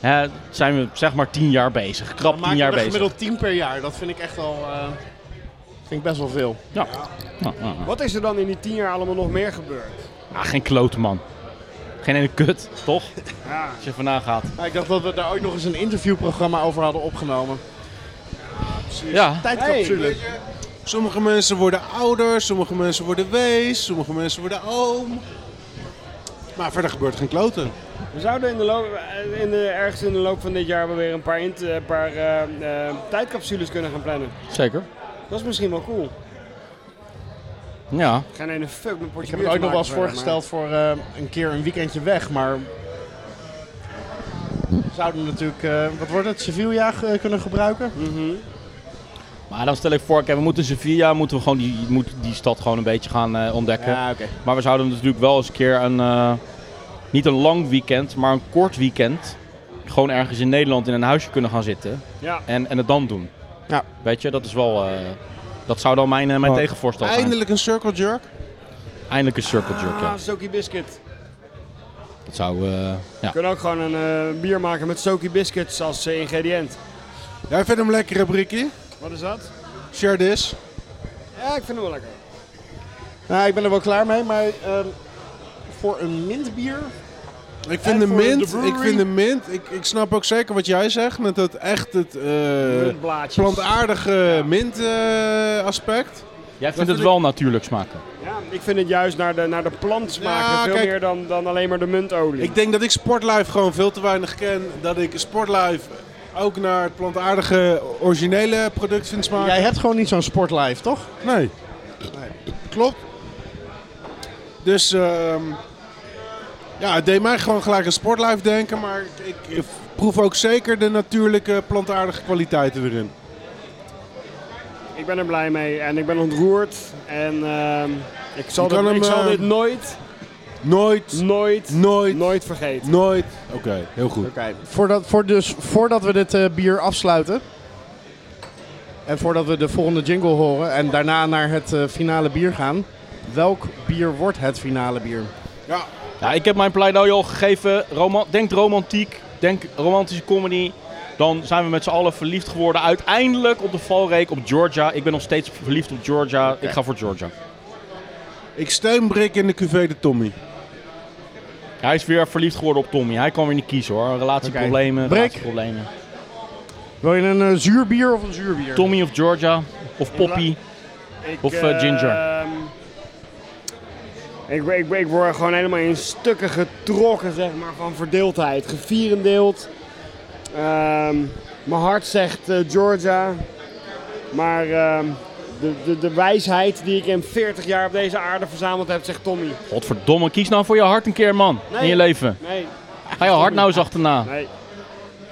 Speaker 1: hè, zijn we zeg maar 10 jaar bezig.
Speaker 2: We
Speaker 1: Krap 10
Speaker 2: maken
Speaker 1: jaar
Speaker 2: er
Speaker 1: bezig.
Speaker 2: gemiddeld 10 per jaar. Dat vind ik echt wel... eh, vind ik best wel veel.
Speaker 1: Ja. Ja, ja, ja.
Speaker 4: Wat is er dan in die tien jaar allemaal nog meer gebeurd?
Speaker 1: Ah, geen klote man. Geen ene kut, toch?
Speaker 4: Ja.
Speaker 1: Als je vandaan gaat.
Speaker 2: Maar ik dacht dat we daar ooit nog eens een interviewprogramma over hadden opgenomen.
Speaker 1: Ja.
Speaker 2: Tijdcapsule.
Speaker 5: Sommige mensen worden ouder, sommige mensen worden wees, sommige mensen worden oom. Maar verder gebeurt geen kloten.
Speaker 4: We zouden in de loop, eh, in de, ergens in de loop van dit jaar wel weer een paar, int- een paar eh, eh, tijdcapsules kunnen gaan plannen.
Speaker 1: Zeker.
Speaker 4: Dat is misschien wel cool.
Speaker 1: Ja.
Speaker 4: Geen ene fuck met potje
Speaker 2: Ik heb
Speaker 4: bier
Speaker 2: het
Speaker 4: te
Speaker 2: ooit nog wel eens
Speaker 4: maken verder, maar-
Speaker 2: voorgesteld voor eh, een keer een weekendje weg, maar... we Zouden natuurlijk, eh, wat wordt het, Sevilla eh, kunnen gebruiken?
Speaker 1: Maar dan stel ik voor, kijk, we moeten in Sevilla moeten we gewoon die, moet die stad gewoon een beetje gaan eh, ontdekken.
Speaker 2: oké.
Speaker 1: Maar we zouden natuurlijk wel eens een keer een, eh, niet een lang weekend, maar een kort weekend. Gewoon ergens in Nederland in een huisje kunnen gaan zitten.
Speaker 4: Ja.
Speaker 1: En, en het dan doen.
Speaker 2: Ja.
Speaker 1: Weet je, dat is wel. eh, dat zou dan mijn, eh, mijn
Speaker 5: Oh,
Speaker 1: tegenvoorstel zijn.
Speaker 5: Eindelijk een circle jerk.
Speaker 1: Eindelijk een circle jerk. Ja.
Speaker 4: Ah, Soaky Biscuit.
Speaker 1: Dat zou. eh, ja.
Speaker 4: We kunnen ook gewoon een eh, bier maken met Soaky Biscuits als eh, ingrediënt.
Speaker 5: Jij vindt hem lekker, Brikkie?
Speaker 4: Wat is dat?
Speaker 5: Share this.
Speaker 4: Ja, ik vind hem wel lekker.
Speaker 2: Nou, ik ben er wel klaar mee, maar ehm, voor een mintbier...
Speaker 5: Ik vind
Speaker 2: En
Speaker 5: de
Speaker 2: voor de
Speaker 5: mint, ik
Speaker 2: brewery?
Speaker 5: vind de mint. Ik, ik snap ook zeker wat jij zegt met dat echt het eh,
Speaker 4: Met blaadjes.
Speaker 5: plantaardige mint eh, aspect.
Speaker 1: Jij
Speaker 5: vind
Speaker 1: vindt het
Speaker 5: ik-
Speaker 1: wel natuurlijk smaken.
Speaker 4: Ja, ik vind het juist naar de, naar de plant smaken
Speaker 5: Ja,
Speaker 4: veel
Speaker 5: kijk.
Speaker 4: meer dan, dan alleen maar de muntolie.
Speaker 5: Ik denk dat ik Sportlife gewoon veel te weinig ken. Dat ik Sportlife ook naar het plantaardige originele product vind smaken.
Speaker 2: Jij hebt gewoon niet zo'n sportlife, toch?
Speaker 5: Nee. Klopt. Dus ehm, ja, het deed mij gewoon gelijk aan Sportlife denken, maar ik, ik proef ook zeker de natuurlijke plantaardige kwaliteiten erin.
Speaker 4: Ik ben er blij mee en ik ben ontroerd. En ehm, ik, zal
Speaker 5: Je
Speaker 4: dit,
Speaker 5: kan hem,
Speaker 4: ik zal
Speaker 5: eh,
Speaker 4: dit nooit,
Speaker 5: Nooit,
Speaker 4: nooit,
Speaker 5: nooit, nooit.
Speaker 4: nooit vergeten.
Speaker 5: Oké, heel goed.
Speaker 2: Voordat, voor dus, voordat we dit eh, bier afsluiten... En voordat we de volgende jingle horen en daarna naar het eh, finale bier gaan... Welk bier wordt het finale bier?
Speaker 5: Ja,
Speaker 1: Ja, ik heb mijn pleidooi al gegeven. Roma denk romantiek, denk romantische comedy. Dan zijn we met z'n allen verliefd geworden. Uiteindelijk op de valreek op Georgia. Ik ben nog steeds verliefd op Georgia. Ik ga voor Georgia.
Speaker 5: ik steun Brik in de QV de Tommy.
Speaker 1: Hij is weer verliefd geworden op Tommy. Hij kan weer niet kiezen hoor. Relatieproblemen,
Speaker 2: Brik.
Speaker 1: relatieproblemen.
Speaker 2: Wil je een eh, zuur bier of een zuurbier?
Speaker 1: Tommy of Georgia of Poppy.
Speaker 4: Ik,
Speaker 1: Of, eh, ginger.
Speaker 4: ehm, ik, ik, ik word gewoon helemaal in stukken getrokken, zeg maar, van verdeeldheid. Gevierendeeld. Ehm, mijn hart zegt eh, Georgia. Maar ehm, de, de, de wijsheid die ik in 40 jaar op deze aarde verzameld heb, zegt Tommy.
Speaker 1: Godverdomme, kies nou voor je hart een keer man.
Speaker 4: Nee.
Speaker 1: In je leven.
Speaker 4: Nee,
Speaker 1: Ga je hart nou eens achterna.
Speaker 4: nee.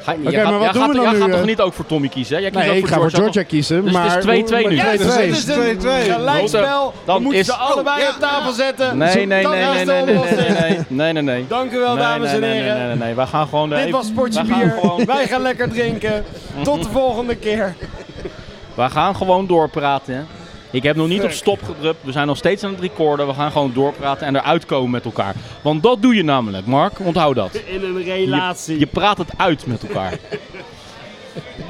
Speaker 1: Ga
Speaker 6: ga je niet.
Speaker 2: Oké,
Speaker 6: je gaat,
Speaker 2: maar wat
Speaker 1: jij
Speaker 2: doen
Speaker 1: gaat,
Speaker 2: we dan
Speaker 1: jij
Speaker 2: nu,
Speaker 1: gaat
Speaker 2: eh?
Speaker 1: toch niet ook voor Tommy kiezen? hè? Jij kiest
Speaker 2: Nee,
Speaker 1: ook
Speaker 2: ik
Speaker 1: voor
Speaker 2: ga voor
Speaker 1: George,
Speaker 2: Georgia kiezen.
Speaker 1: Dus het is
Speaker 2: maar
Speaker 1: 2-2 nu.
Speaker 4: Ja,
Speaker 1: Yes,
Speaker 4: dus
Speaker 5: het
Speaker 4: het
Speaker 5: is
Speaker 4: is
Speaker 5: een
Speaker 4: een
Speaker 5: 2-2.
Speaker 4: gelijkspel.
Speaker 1: Dan
Speaker 4: je moet
Speaker 1: is-
Speaker 4: ze allebei op tafel zetten.
Speaker 1: Nee, nee,
Speaker 4: Dan
Speaker 1: nee,
Speaker 4: gaan
Speaker 1: nee,
Speaker 4: ze
Speaker 1: nee, nee, nee,
Speaker 4: oplossen.
Speaker 1: nee, nee, nee, nee, nee.
Speaker 4: Dank u wel,
Speaker 1: Nee,
Speaker 4: dames
Speaker 1: nee,
Speaker 4: en
Speaker 1: nee,
Speaker 4: heren.
Speaker 1: Nee, nee, nee, nee. Wij gaan gewoon... eh,
Speaker 4: Dit
Speaker 1: even-
Speaker 4: was Sportje
Speaker 1: wij gaan
Speaker 4: Bier.
Speaker 1: gewoon-
Speaker 4: Wij gaan lekker drinken. Tot de volgende keer.
Speaker 1: Wij gaan gewoon doorpraten. hè. Ik heb nog niet op stop gedrukt. We zijn nog steeds aan het recorden. We gaan gewoon doorpraten en eruit komen met elkaar. Want dat doe je namelijk, Mark. Onthoud dat.
Speaker 4: In een
Speaker 1: Je,
Speaker 4: relatie.
Speaker 1: je praat het uit met elkaar.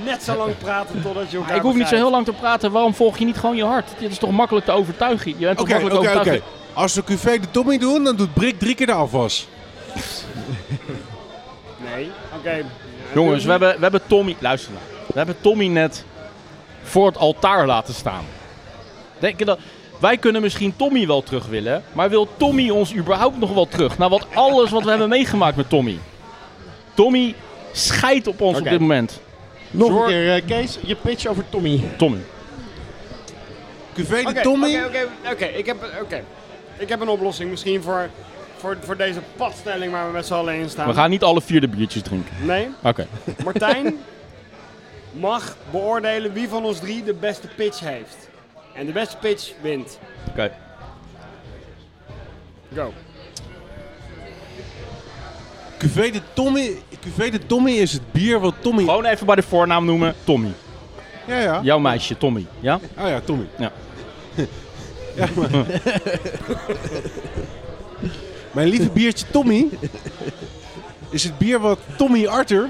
Speaker 4: Net zo lang praten totdat je
Speaker 1: [LAUGHS]
Speaker 4: elkaar
Speaker 1: ik hoef niet zo
Speaker 4: begrijpt.
Speaker 1: heel lang te praten. Waarom volg je niet gewoon je hart? Dit is toch makkelijk te overtuigen? Je bent toch
Speaker 5: Oké,
Speaker 1: makkelijk
Speaker 5: oké, oké.
Speaker 1: overtuigd?
Speaker 5: Als we QV de Tommy doen, dan doet Brik drie keer de afwas.
Speaker 4: Nee. Oké.
Speaker 1: Jongens, we hebben, we hebben Tommy... Luister nou. We hebben Tommy net voor het altaar laten staan. Denk je dat... Wij kunnen misschien Tommy wel terug willen. Maar wil Tommy ons überhaupt nog wel terug? Nou, wat alles wat we hebben meegemaakt met Tommy. Tommy scheidt op ons
Speaker 2: Oké.
Speaker 1: op dit moment.
Speaker 2: nog
Speaker 1: George-
Speaker 2: een keer, eh, Kees, je pitch over Tommy.
Speaker 1: Tommy.
Speaker 5: QV de
Speaker 4: Oké,
Speaker 5: Tommy.
Speaker 4: Oké, oké, oké. Ik heb, oké. ik heb een oplossing misschien voor, voor, voor deze padstelling waar we met z'n allen in staan.
Speaker 1: We gaan niet alle vier de biertjes drinken.
Speaker 4: Nee,
Speaker 1: Oké.
Speaker 4: Martijn
Speaker 1: [LAUGHS]
Speaker 4: mag beoordelen wie van ons drie de beste pitch heeft. En de beste pitch wint.
Speaker 1: Oké.
Speaker 4: Go.
Speaker 5: QV de Tommy. QV de Tommy is het bier wat Tommy.
Speaker 1: Gewoon even bij de voornaam noemen. Tommy.
Speaker 5: Ja, ja.
Speaker 1: Jouw meisje, Tommy. Ja?
Speaker 5: Ah ja, Tommy.
Speaker 1: Ja.
Speaker 5: [LAUGHS] Ja, maar- Mijn lieve biertje Tommy is het bier wat Tommy Arthur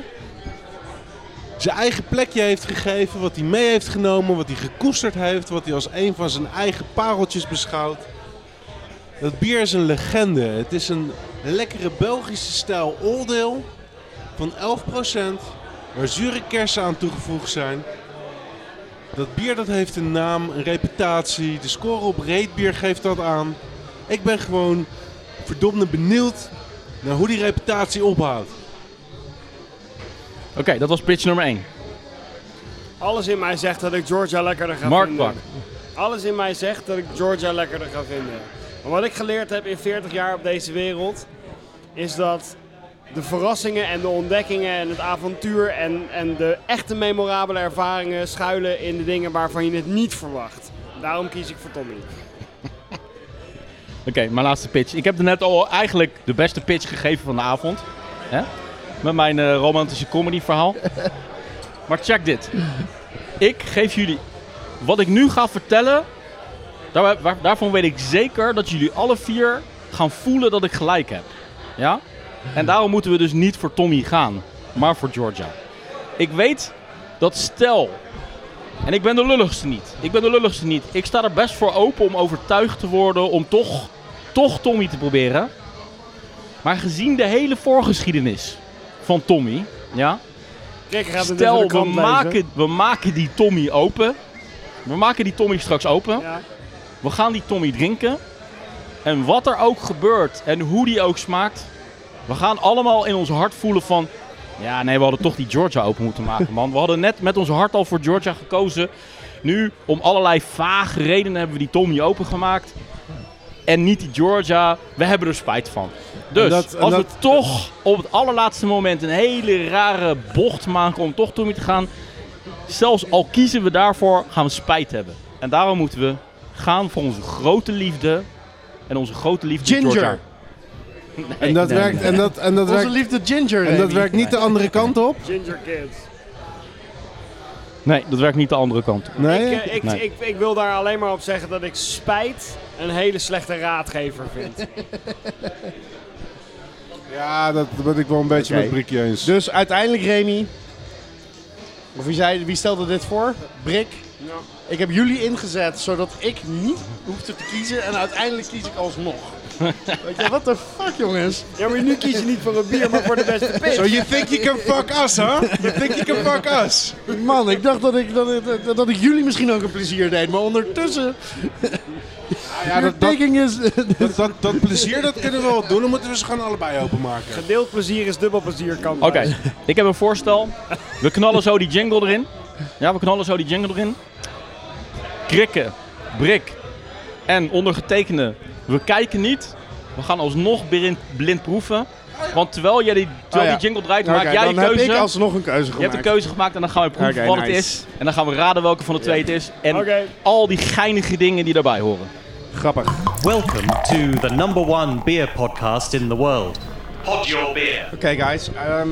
Speaker 5: zijn eigen plekje heeft gegeven, wat hij mee heeft genomen, wat hij gekoesterd heeft, wat hij als een van zijn eigen pareltjes beschouwt. Dat bier is een legende. Het is een lekkere Belgische stijl oldale van 11%, waar zure kersen aan toegevoegd zijn. Dat bier dat heeft een naam, een reputatie. De score op Reetbier geeft dat aan. Ik ben gewoon verdomde benieuwd naar hoe die reputatie ophoudt.
Speaker 1: Oké, dat was pitch nummer 1.
Speaker 4: Alles in mij zegt dat ik Georgia lekkerder ga
Speaker 1: Mark
Speaker 4: vinden.
Speaker 1: Bak.
Speaker 4: Alles in mij zegt dat ik Georgia lekkerder ga vinden. Maar wat ik geleerd heb in 40 jaar op deze wereld, is dat de verrassingen en de ontdekkingen en het avontuur en, en de echte memorabele ervaringen schuilen in de dingen waarvan je het niet verwacht. Daarom kies ik voor Tommy.
Speaker 1: Oké, mijn laatste pitch. Ik heb er net al eigenlijk de beste pitch gegeven van de avond. Hè? Met mijn eh, romantische comedy verhaal. maar check dit. Ik geef jullie... Wat ik nu ga vertellen... daar- waar- daarvan weet ik zeker dat jullie alle vier gaan voelen dat ik gelijk heb. Ja? En daarom moeten we dus niet voor Tommy gaan. Maar voor Georgia. Ik weet dat stel... En ik ben de lulligste niet. Ik ben de lulligste niet. Ik sta er best voor open om overtuigd te worden om toch, toch Tommy te proberen. Maar gezien de hele voorgeschiedenis van Tommy, ja,
Speaker 4: Rick gaat het dus in
Speaker 1: stel
Speaker 4: de
Speaker 1: we
Speaker 4: krant lezen.
Speaker 1: maken, we maken die Tommy open. We maken die Tommy straks open.
Speaker 4: Ja.
Speaker 1: We gaan die Tommy drinken. En wat er ook gebeurt en hoe die ook smaakt, we gaan allemaal in ons hart voelen van. Ja, nee, we hadden toch die Georgia open moeten maken, man. We hadden net met ons hart al voor Georgia gekozen. Nu, om allerlei vage redenen, hebben we die Tommy opengemaakt. En niet die Georgia. We hebben er spijt van. Dus,
Speaker 5: En dat- en
Speaker 1: als we
Speaker 5: dat-
Speaker 1: toch op het allerlaatste moment een hele rare bocht maken om toch Tommy te gaan. Zelfs al kiezen we daarvoor, gaan we spijt hebben. En daarom moeten we gaan voor onze grote liefde. En onze grote liefde
Speaker 2: Ginger.
Speaker 1: Georgia.
Speaker 5: En dat
Speaker 1: nee,
Speaker 5: werkt, En dat, en dat
Speaker 2: Onze
Speaker 5: werkt,
Speaker 2: liefde Ginger.
Speaker 5: en dat
Speaker 2: Remy.
Speaker 5: werkt niet de andere kant op?
Speaker 4: Ginger Kids.
Speaker 1: Nee, dat werkt niet de andere kant. op.
Speaker 5: Nee?
Speaker 4: Ik, eh, ik,
Speaker 1: Nee.
Speaker 4: ik, ik wil daar alleen maar op zeggen dat ik spijt een hele slechte raadgever vind.
Speaker 5: Ja, dat ben ik wel een beetje
Speaker 2: Oké.
Speaker 5: met Brikje eens.
Speaker 2: Dus uiteindelijk, Remy. Of wie, zei, wie stelde dit voor? Brik.
Speaker 4: Ja.
Speaker 2: Ik heb jullie ingezet zodat ik niet hoefde te kiezen en uiteindelijk kies ik alsnog. Weet je, wat de fuck jongens?
Speaker 4: Ja, maar nu kies je niet voor een bier, maar voor de beste pitch.
Speaker 5: So you think you can fuck us, huh? You think you can fuck us?
Speaker 2: Man, ik dacht dat ik, dat, ik- dat, dat ik jullie misschien ook een plezier deed, maar ondertussen.
Speaker 5: Ja,
Speaker 2: Your
Speaker 5: dat, dat,
Speaker 2: taking is.
Speaker 5: dat, dat, dat plezier dat kunnen we wel doen, dan moeten we ze gewoon allebei openmaken.
Speaker 4: Gedeeld plezier is dubbel plezier, kan
Speaker 1: Oké, ik heb een voorstel. We knallen zo die jingle erin. Ja, we knallen zo die jingle erin. Krikken, Brik en ondergetekende. We kijken niet. We gaan alsnog blind, blind proeven. Want terwijl jij die, terwijl
Speaker 2: Oh ja.
Speaker 1: die jingle draait,
Speaker 2: Oké,
Speaker 1: maak jij
Speaker 2: dan
Speaker 1: die keuze.
Speaker 2: heb ik alsnog een keuze
Speaker 1: Je hebt
Speaker 2: gemaakt.
Speaker 1: een keuze gemaakt en dan gaan we proeven
Speaker 2: Oké,
Speaker 1: wat het
Speaker 2: nice.
Speaker 1: is. En dan gaan we raden welke van de twee het is. En
Speaker 4: Oké.
Speaker 1: al die geinige dingen die daarbij horen.
Speaker 2: Grappig.
Speaker 3: Welcome to the number one beer podcast in the world. Pod Your Beer.
Speaker 2: Oké guys, ehm,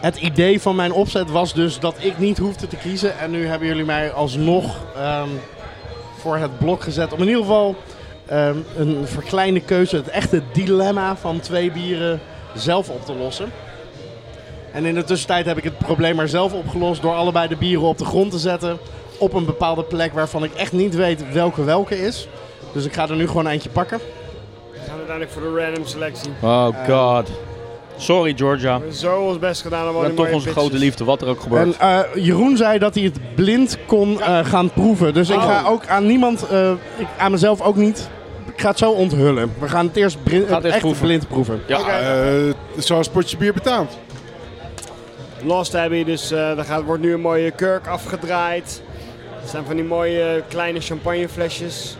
Speaker 2: het idee van mijn opzet was dus dat ik niet hoefde te kiezen. En nu hebben jullie mij alsnog ehm, voor het blok gezet. Om in ieder geval ehm, een verkleinde keuze, het echte dilemma van twee bieren zelf op te lossen. En in de tussentijd heb ik het probleem maar zelf opgelost door allebei de bieren op de grond te zetten. Op een bepaalde plek waarvan ik echt niet weet welke welke is. Dus ik ga er nu gewoon eentje pakken.
Speaker 4: We gaan uiteindelijk voor de random selectie.
Speaker 1: Oh god. Sorry Georgia.
Speaker 4: We hebben zo ons best gedaan om al
Speaker 1: We
Speaker 4: die
Speaker 1: hebben toch
Speaker 4: mooie
Speaker 1: onze
Speaker 4: pitches.
Speaker 1: grote liefde, wat er ook gebeurt.
Speaker 2: En eh, Jeroen zei dat hij het blind kon eh, gaan proeven. Dus ik
Speaker 5: Oh.
Speaker 2: ga ook aan niemand, eh, ik, aan mezelf ook niet. Ik ga het zo onthullen. We gaan het eerst, brin-
Speaker 1: het eerst
Speaker 2: echt
Speaker 1: proeven.
Speaker 2: blind proeven.
Speaker 1: ja,
Speaker 5: Eh, zoals potje bier betaamt.
Speaker 4: Lost Abbey, dus eh er gaat, wordt nu een mooie kurk afgedraaid. Er staan van die mooie eh, kleine champagneflesjes.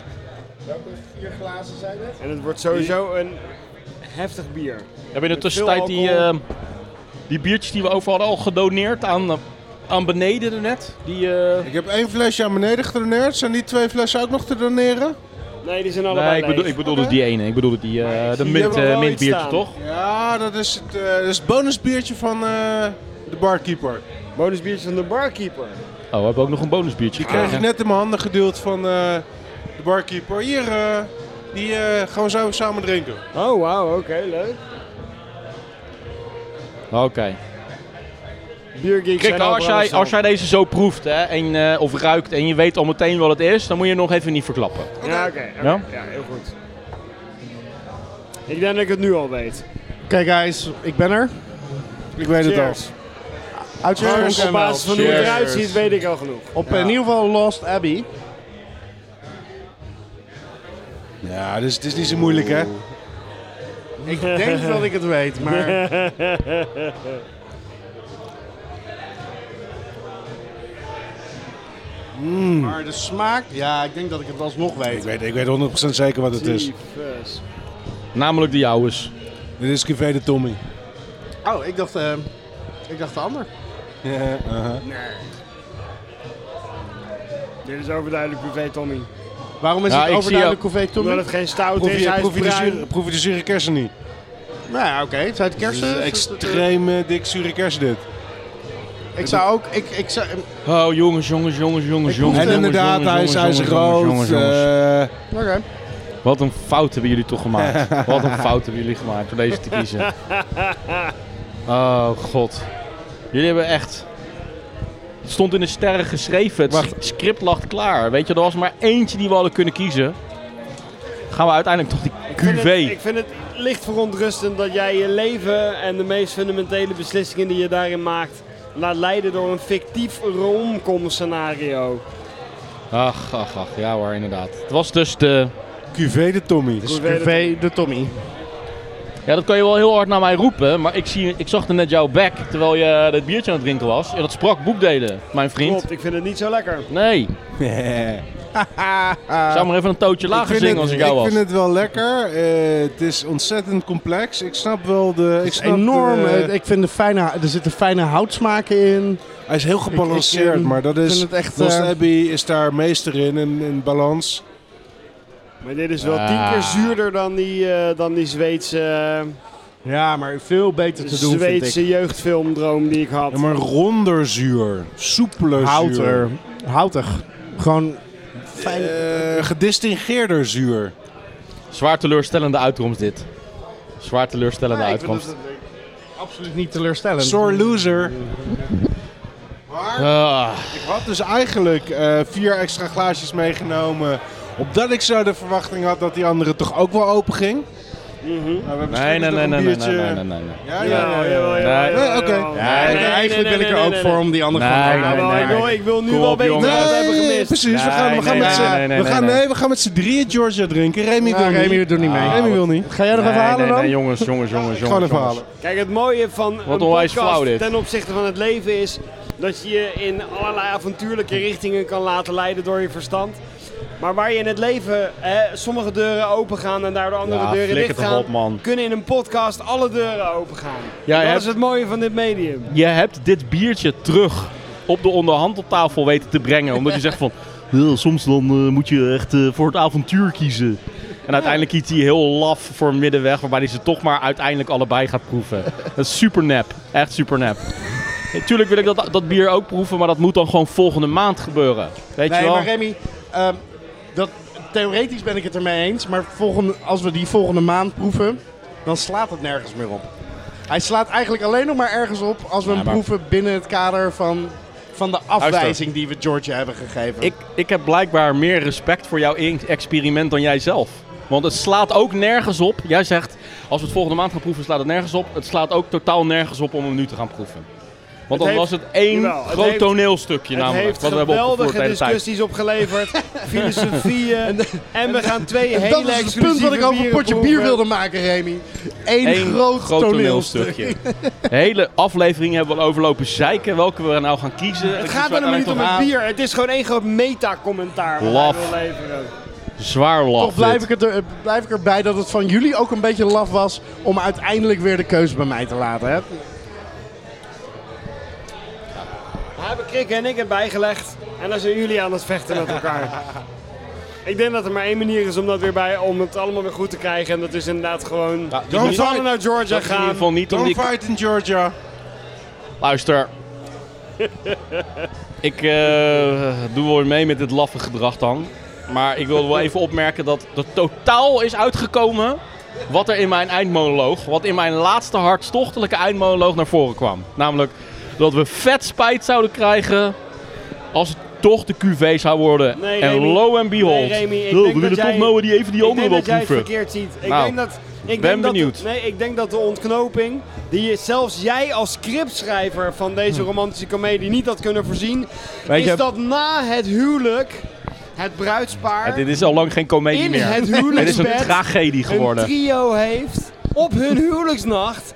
Speaker 2: Vier glazen zijn het.
Speaker 4: En het wordt sowieso een heftig bier.
Speaker 1: hebben in de tussentijd die,
Speaker 4: veel
Speaker 1: eh, die biertjes die we overal al gedoneerd aan, eh, aan beneden er net. Die, eh,
Speaker 5: Ik heb één flesje aan beneden gedoneerd. Zijn die twee flessen ook nog te doneren?
Speaker 4: Nee, die zijn allebei
Speaker 1: nee, ik bedoel,
Speaker 4: leeg.
Speaker 1: ik bedoel dus die ene. Ik bedoel dus die, eh,
Speaker 4: ik
Speaker 1: de
Speaker 4: zie
Speaker 1: mint, eh,
Speaker 4: helemaal wel iets
Speaker 1: mintbiertje
Speaker 4: staan.
Speaker 1: toch?
Speaker 5: Ja, dat is het, eh, dat is het bonusbiertje van eh, de barkeeper.
Speaker 4: Bonusbiertje van de barkeeper.
Speaker 1: Oh, we hebben ook nog een bonusbiertje
Speaker 5: Die kreeg
Speaker 1: gekregen.
Speaker 5: ik net in mijn handen geduwd van eh, de barkeeper. Hier, eh, die eh, gaan we zo samen drinken.
Speaker 4: Oh, wauw, oké, leuk.
Speaker 1: Oké. Kijk,
Speaker 4: Biergeeks zijn
Speaker 1: als
Speaker 4: overal
Speaker 1: jij,
Speaker 4: hetzelfde.
Speaker 1: als jij deze zo proeft hè, en, eh, of ruikt en je weet al meteen wat het is, dan moet je nog even niet verklappen.
Speaker 4: Ja, oké. oké,
Speaker 1: Ja?
Speaker 4: ja, heel goed. Ik denk dat ik het nu al weet.
Speaker 2: Oké guys, ik ben er.
Speaker 5: Ik weet
Speaker 4: Cheers.
Speaker 2: Uitgangspunt
Speaker 4: Gewoon op basis van hoe het
Speaker 5: Cheers.
Speaker 4: eruit ziet, weet ik al genoeg.
Speaker 2: Op eh, in ieder geval Lost Abbey.
Speaker 5: Ja, dus het is niet zo moeilijk, hè?
Speaker 2: Ik denk dat ik het weet, maar...
Speaker 5: [LAUGHS] Mm.
Speaker 2: Maar de smaak, ja, ik denk dat ik het alsnog
Speaker 5: Ik
Speaker 2: weet.
Speaker 5: weet, ik weet 100% zeker wat het is.
Speaker 4: Tyfus.
Speaker 1: Namelijk de jouwes.
Speaker 5: Dit is Café de Tommy.
Speaker 2: Oh, ik dacht, eh, ik dacht de ander.
Speaker 5: Ja, aha.
Speaker 4: Dit is overduidelijk privé Tommy.
Speaker 2: Waarom is
Speaker 1: Ja, ik
Speaker 2: het
Speaker 1: zie
Speaker 2: overduidelijk hoeveel
Speaker 4: Omdat
Speaker 2: Tommy?
Speaker 4: het geen stout
Speaker 5: Proef
Speaker 4: is,
Speaker 5: je,
Speaker 4: hij
Speaker 5: proef,
Speaker 4: is
Speaker 5: je de
Speaker 4: bruin.
Speaker 5: zure, proef je de zure kersen niet?
Speaker 2: Nou ja, oké. Het zijn het
Speaker 5: Het is
Speaker 2: kersen.
Speaker 5: extreem eh, dik zure kersen dit.
Speaker 2: Ik zou ook... Ik, ik zou,
Speaker 1: Oh, jongens, jongens, jongens, jongens, jongens.
Speaker 5: En inderdaad, hij is ijzerrood. eh,
Speaker 2: oké.
Speaker 1: Wat een fout hebben jullie toch
Speaker 4: [LAUGHS]
Speaker 1: gemaakt. Wat een fout hebben jullie gemaakt voor deze te kiezen. Oh, god. Jullie hebben echt... Het stond in de sterren geschreven. Het
Speaker 5: Wacht.
Speaker 1: script lag klaar. Weet je, er was maar eentje die we hadden kunnen kiezen. Gaan we uiteindelijk toch die
Speaker 4: Ik vind, het,
Speaker 1: QV...
Speaker 4: ik vind het licht verontrustend dat jij je leven en de meest fundamentele beslissingen die je daarin maakt, laat leiden door een fictief romcom-scenario.
Speaker 1: Ach, ach, ach. Ja hoor, inderdaad. Het was dus de...
Speaker 5: Cuvée de Tommy.
Speaker 2: Privé de Tommy.
Speaker 1: Ja, dat kan je wel heel hard naar mij roepen, maar ik, zie, ik zag er net jouw bek terwijl je dat biertje aan het drinken was. En dat sprak boekdelen, mijn vriend.
Speaker 4: Klopt, ik vind het niet zo lekker.
Speaker 1: Nee, ik zou maar even een tootje
Speaker 5: Ik
Speaker 1: lager
Speaker 5: vind,
Speaker 1: zingen
Speaker 5: het,
Speaker 1: als ik jou
Speaker 5: ik
Speaker 1: was.
Speaker 5: vind het wel lekker. Eh, het is ontzettend complex. Ik snap wel de. Ik
Speaker 2: Het is
Speaker 5: snap
Speaker 2: enorm.
Speaker 5: de-
Speaker 2: eh, ik vind de fijne, er zitten fijne houtsmaken in.
Speaker 5: hij is heel gebalanceerd,
Speaker 2: ik, eh,
Speaker 5: maar dat
Speaker 2: vind
Speaker 5: is.
Speaker 2: het echt,
Speaker 5: Lost
Speaker 2: eh,
Speaker 5: Abbey is daar meester in, in, in balans.
Speaker 4: Maar dit is wel
Speaker 1: Ah.
Speaker 4: tien keer zuurder dan die, eh, dan die Zweedse, eh,
Speaker 2: Ja, maar veel beter te doen vind ik.
Speaker 4: Zweedse jeugdfilmdroom die ik had.
Speaker 5: Ja, maar ronder zuur. Soepeler zuur.
Speaker 2: Houter. Houtig. Gewoon fijn.
Speaker 5: Eh, gedistingeerder zuur.
Speaker 1: Zwaar teleurstellende uitkomst dit. Zwaar teleurstellende
Speaker 4: Ja, ik vind
Speaker 1: uitkomst.
Speaker 4: het-
Speaker 2: absoluut niet teleurstellend.
Speaker 5: Sore loser. Maar
Speaker 1: Ah,
Speaker 5: ik had dus eigenlijk eh, vier extra glaasjes meegenomen. Opdat ik zo de verwachting had dat die andere toch ook wel open ging.
Speaker 4: Mhm.
Speaker 5: Maar we hebben
Speaker 1: nee, nee,
Speaker 5: straks nog
Speaker 1: nee,
Speaker 5: een
Speaker 1: nee, nee,
Speaker 5: biertje.
Speaker 1: nee, nee, nee, nee.
Speaker 4: Ja,
Speaker 5: Ja, ja, ja, ja.
Speaker 4: jawel,
Speaker 1: Nee.
Speaker 4: jawel,
Speaker 5: Nee,
Speaker 4: jawel,
Speaker 5: oké.
Speaker 4: jawel.
Speaker 2: Ja,
Speaker 1: Nee,
Speaker 2: ik-
Speaker 1: nee,
Speaker 2: eigenlijk
Speaker 4: nee,
Speaker 2: ben ik er
Speaker 4: nee,
Speaker 2: ook
Speaker 4: nee,
Speaker 2: voor om die andere
Speaker 1: Nee,
Speaker 2: gewoon
Speaker 1: nee,
Speaker 2: te
Speaker 4: Ja,
Speaker 2: houden.
Speaker 4: maar ik, wil, ik wil nu
Speaker 1: Kom
Speaker 4: wel
Speaker 1: op,
Speaker 4: weten
Speaker 1: jongen.
Speaker 4: wat we hebben
Speaker 5: Nee,
Speaker 4: gemist.
Speaker 5: precies. we gaan, we
Speaker 1: Nee,
Speaker 5: gaan
Speaker 1: nee,
Speaker 5: met
Speaker 1: nee,
Speaker 5: z'n
Speaker 1: nee, nee,
Speaker 5: we gaan-
Speaker 1: nee.
Speaker 5: nee, we gaan met z'n drieën Georgia drinken. Remy
Speaker 2: Ja,
Speaker 5: wil niet.
Speaker 2: Remy doet niet mee.
Speaker 1: Ah,
Speaker 5: Remy wil niet.
Speaker 2: Ga jij nog even halen
Speaker 1: nee,
Speaker 2: dan?
Speaker 1: nee, jongens, jongens, jongens,
Speaker 5: Gewoon
Speaker 1: jongens.
Speaker 5: even
Speaker 1: jongens.
Speaker 5: halen.
Speaker 4: Kijk, het mooie van een
Speaker 1: onwijs
Speaker 4: podcast
Speaker 1: flauw dit.
Speaker 4: ten opzichte van het leven is dat je je in allerlei avontuurlijke richtingen kan laten leiden door je verstand. Maar waar je in het leven hè, sommige deuren open gaan en daardoor andere
Speaker 1: Ja,
Speaker 4: deuren
Speaker 1: flikker
Speaker 4: dicht gaan,
Speaker 1: toch op, man.
Speaker 4: kunnen in een podcast alle deuren open gaan.
Speaker 1: Ja,
Speaker 4: dat
Speaker 1: hè?
Speaker 4: is het mooie van dit medium.
Speaker 1: Je hebt dit biertje terug op de onderhandeltafel weten te brengen. Omdat je zegt van, [LAUGHS] "Eh, soms dan eh, moet je echt eh, voor het avontuur kiezen. En uiteindelijk kiest hij heel laf voor een middenweg, waarbij hij ze toch maar uiteindelijk allebei gaat proeven. Dat is super nep. Echt super nep. Natuurlijk wil ik dat, dat bier ook proeven, maar dat moet dan gewoon volgende maand gebeuren. Weet je
Speaker 2: Nee,
Speaker 1: wel?
Speaker 2: maar Remy, ehm, dat, theoretisch ben ik het ermee eens. Maar volgende, als we die volgende maand proeven, dan slaat het nergens meer op. Hij slaat eigenlijk alleen nog maar ergens op als we hem
Speaker 1: maar-
Speaker 2: proeven binnen het kader van, van de afwijzing die we Georgia hebben gegeven.
Speaker 1: Ik, ik heb blijkbaar meer respect voor jouw in- experiment dan jij zelf. Want het slaat ook nergens op. Jij zegt, als we het volgende maand gaan proeven, slaat het nergens op. Het slaat ook totaal nergens op om hem nu te gaan proeven. Want dan
Speaker 4: heeft-
Speaker 1: was het één
Speaker 4: Jawel, het
Speaker 1: groot
Speaker 4: heeft-
Speaker 1: toneelstukje
Speaker 4: Het
Speaker 1: namelijk.
Speaker 4: heeft
Speaker 1: Wat we hebben opgevoerd de
Speaker 4: geweldige
Speaker 1: hele tijd.
Speaker 4: discussies opgeleverd, filosofieën en we gaan twee hele
Speaker 2: dat is het punt wat ik
Speaker 4: exclusieve
Speaker 2: over een
Speaker 4: bieren
Speaker 2: potje bier
Speaker 4: proeven.
Speaker 2: wilde maken, Remy. Eén
Speaker 1: Eén
Speaker 4: [LAUGHS]
Speaker 2: groot, toneelstuk.
Speaker 1: De hele aflevering hebben we al overlopen zeiken. Welke we nou gaan kiezen.
Speaker 4: Het gaat er nog niet om het bier, het is gewoon één groot meta-commentaar wat
Speaker 1: Laf.
Speaker 4: hij wil leveren.
Speaker 1: Zwaar laf
Speaker 2: Toch blijf
Speaker 1: dit.
Speaker 2: ik, het er, blijf ik erbij dat het van jullie ook een beetje laf was om uiteindelijk weer de keuze bij mij te laten. Hè?
Speaker 4: Daar hebben Krik en ik het bijgelegd. En dan zijn jullie aan het vechten met elkaar. ik denk dat er maar één manier is om, dat weer bij, om het allemaal weer goed te krijgen. En dat is inderdaad gewoon...
Speaker 1: Ja,
Speaker 4: we
Speaker 5: Don't
Speaker 4: zullen
Speaker 5: fight,
Speaker 4: naar Georgia
Speaker 1: dat is in ieder
Speaker 4: gaan.
Speaker 1: geval niet om
Speaker 5: don't
Speaker 1: die
Speaker 5: fight in Georgia.
Speaker 4: [LAUGHS]
Speaker 1: Luister. ik eh, doe wel weer mee met dit laffe gedrag dan. Maar ik wil wel even opmerken dat er totaal is uitgekomen wat er in mijn eindmonoloog, wat in mijn laatste hartstochtelijke eindmonoloog naar voren kwam. Namelijk dat we vet spijt zouden krijgen als het toch de QV zou worden.
Speaker 4: Nee,
Speaker 1: en
Speaker 4: Remy.
Speaker 1: lo and behold,
Speaker 4: Nee, Remy, ik
Speaker 1: Oh,
Speaker 4: denk
Speaker 1: we willen
Speaker 4: dat
Speaker 1: toch
Speaker 4: jij-
Speaker 1: nou die even die
Speaker 4: ik
Speaker 1: andere
Speaker 4: denk
Speaker 1: wel
Speaker 4: dat jij het
Speaker 1: proeven.
Speaker 4: verkeerd ziet. Ik
Speaker 1: Nou,
Speaker 4: denk dat... Ik
Speaker 1: ben
Speaker 4: denk dat de-
Speaker 1: benieuwd.
Speaker 4: nee, ik denk dat de ontknoping, die je zelfs jij als scriptschrijver van deze romantische komedie niet had kunnen voorzien, is
Speaker 1: Hm. je-
Speaker 4: dat na het huwelijk het bruidspaar
Speaker 1: Ja, dit is al lang geen komedie
Speaker 4: in
Speaker 1: meer.
Speaker 4: het
Speaker 1: dit is een
Speaker 4: huwelijksbed
Speaker 1: tragedie geworden.
Speaker 4: een trio heeft op hun huwelijksnacht.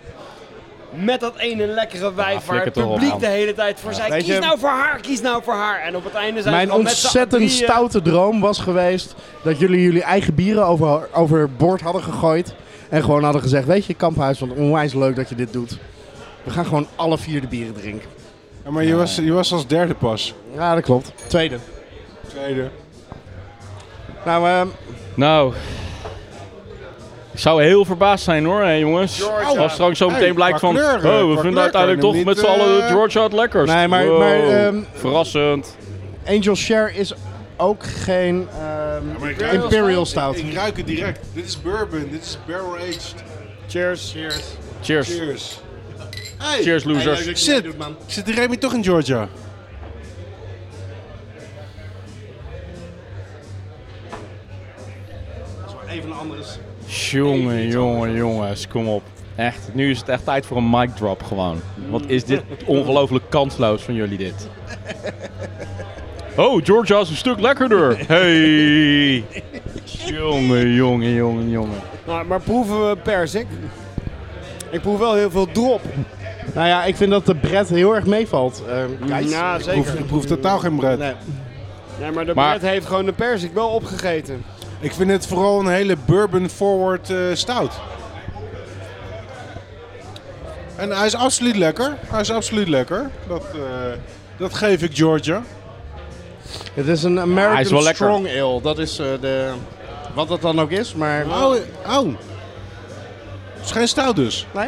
Speaker 4: Met dat ene lekkere wijf waar
Speaker 1: flikker
Speaker 4: het
Speaker 1: toch op,
Speaker 4: publiek
Speaker 1: man.
Speaker 4: de hele tijd voor zei.
Speaker 2: weet
Speaker 4: Kies
Speaker 2: je-
Speaker 4: nou voor haar, kies nou voor haar. En op het einde zijn
Speaker 2: Mijn
Speaker 4: ze al met z'n
Speaker 2: ontzettend
Speaker 4: drieën-
Speaker 2: stoute droom was geweest dat jullie jullie eigen bieren over, overboord hadden gegooid. En gewoon hadden gezegd, weet je, Kamphuis, want onwijs leuk dat je dit doet. We gaan gewoon alle vier de bieren drinken.
Speaker 5: Ja, maar je was, je was als derde pas.
Speaker 2: Ja, dat klopt. Tweede.
Speaker 5: Tweede.
Speaker 2: Nou, ehm,
Speaker 1: Nou, ik zou heel verbaasd zijn hoor, hé, jongens.
Speaker 4: Georgia.
Speaker 1: Als straks zo
Speaker 5: Hey,
Speaker 1: meteen blijkt
Speaker 5: qua
Speaker 1: van,
Speaker 5: kleur, eh, qua
Speaker 1: oh, we
Speaker 5: kleur
Speaker 1: vinden uiteindelijk
Speaker 5: kan
Speaker 1: toch
Speaker 5: je
Speaker 1: met
Speaker 5: hem
Speaker 1: z'n
Speaker 5: niet,
Speaker 1: allen
Speaker 5: eh,
Speaker 1: Georgia het lekkerst.
Speaker 2: Nee, maar-
Speaker 1: Wow,
Speaker 2: maar, ehm,
Speaker 1: Verrassend.
Speaker 2: Angel Share is ook geen ehm, Imperial Stout.
Speaker 5: Ik, ik ruik het direct. Dit is bourbon. Dit is barrel aged.
Speaker 4: Cheers. Cheers.
Speaker 1: Cheers.
Speaker 5: Cheers. Hey.
Speaker 1: Cheers, losers.
Speaker 2: leuk.
Speaker 5: Zit, zit de Remy toch in Georgia?
Speaker 2: Even een andere.
Speaker 1: Jongen, jongen, jongens, kom op. Echt, nu is het echt tijd voor een mic drop gewoon. Wat is dit ongelooflijk kansloos van jullie dit. Oh, Georgia is een stuk lekkerder.
Speaker 5: [LAUGHS]
Speaker 1: Hey. Jongen, jongen, jongen, jongen.
Speaker 4: Nou, maar proeven we persik? Ik proef wel heel veel drop.
Speaker 2: Nou ja, ik vind dat de Brett heel erg meevalt. ehm, guys.
Speaker 4: Ja,
Speaker 5: Ik proef,
Speaker 4: zeker.
Speaker 5: ik proef totaal geen bread.
Speaker 2: Nee.
Speaker 4: Nee, maar de
Speaker 1: Maar-
Speaker 4: Brett heeft gewoon de persik wel opgegeten.
Speaker 5: Ik vind het vooral een hele bourbon-forward eh, stout. En hij is absoluut lekker. Hij is absoluut lekker. Dat, eh, dat geef ik Georgia.
Speaker 2: Het is een
Speaker 1: hij is
Speaker 2: American
Speaker 1: wel lekker.
Speaker 2: Strong Ale. Dat is eh, de, wat dat dan ook is, maar...
Speaker 5: Au, au.
Speaker 2: oh.
Speaker 5: Het is geen stout dus.
Speaker 2: Nee?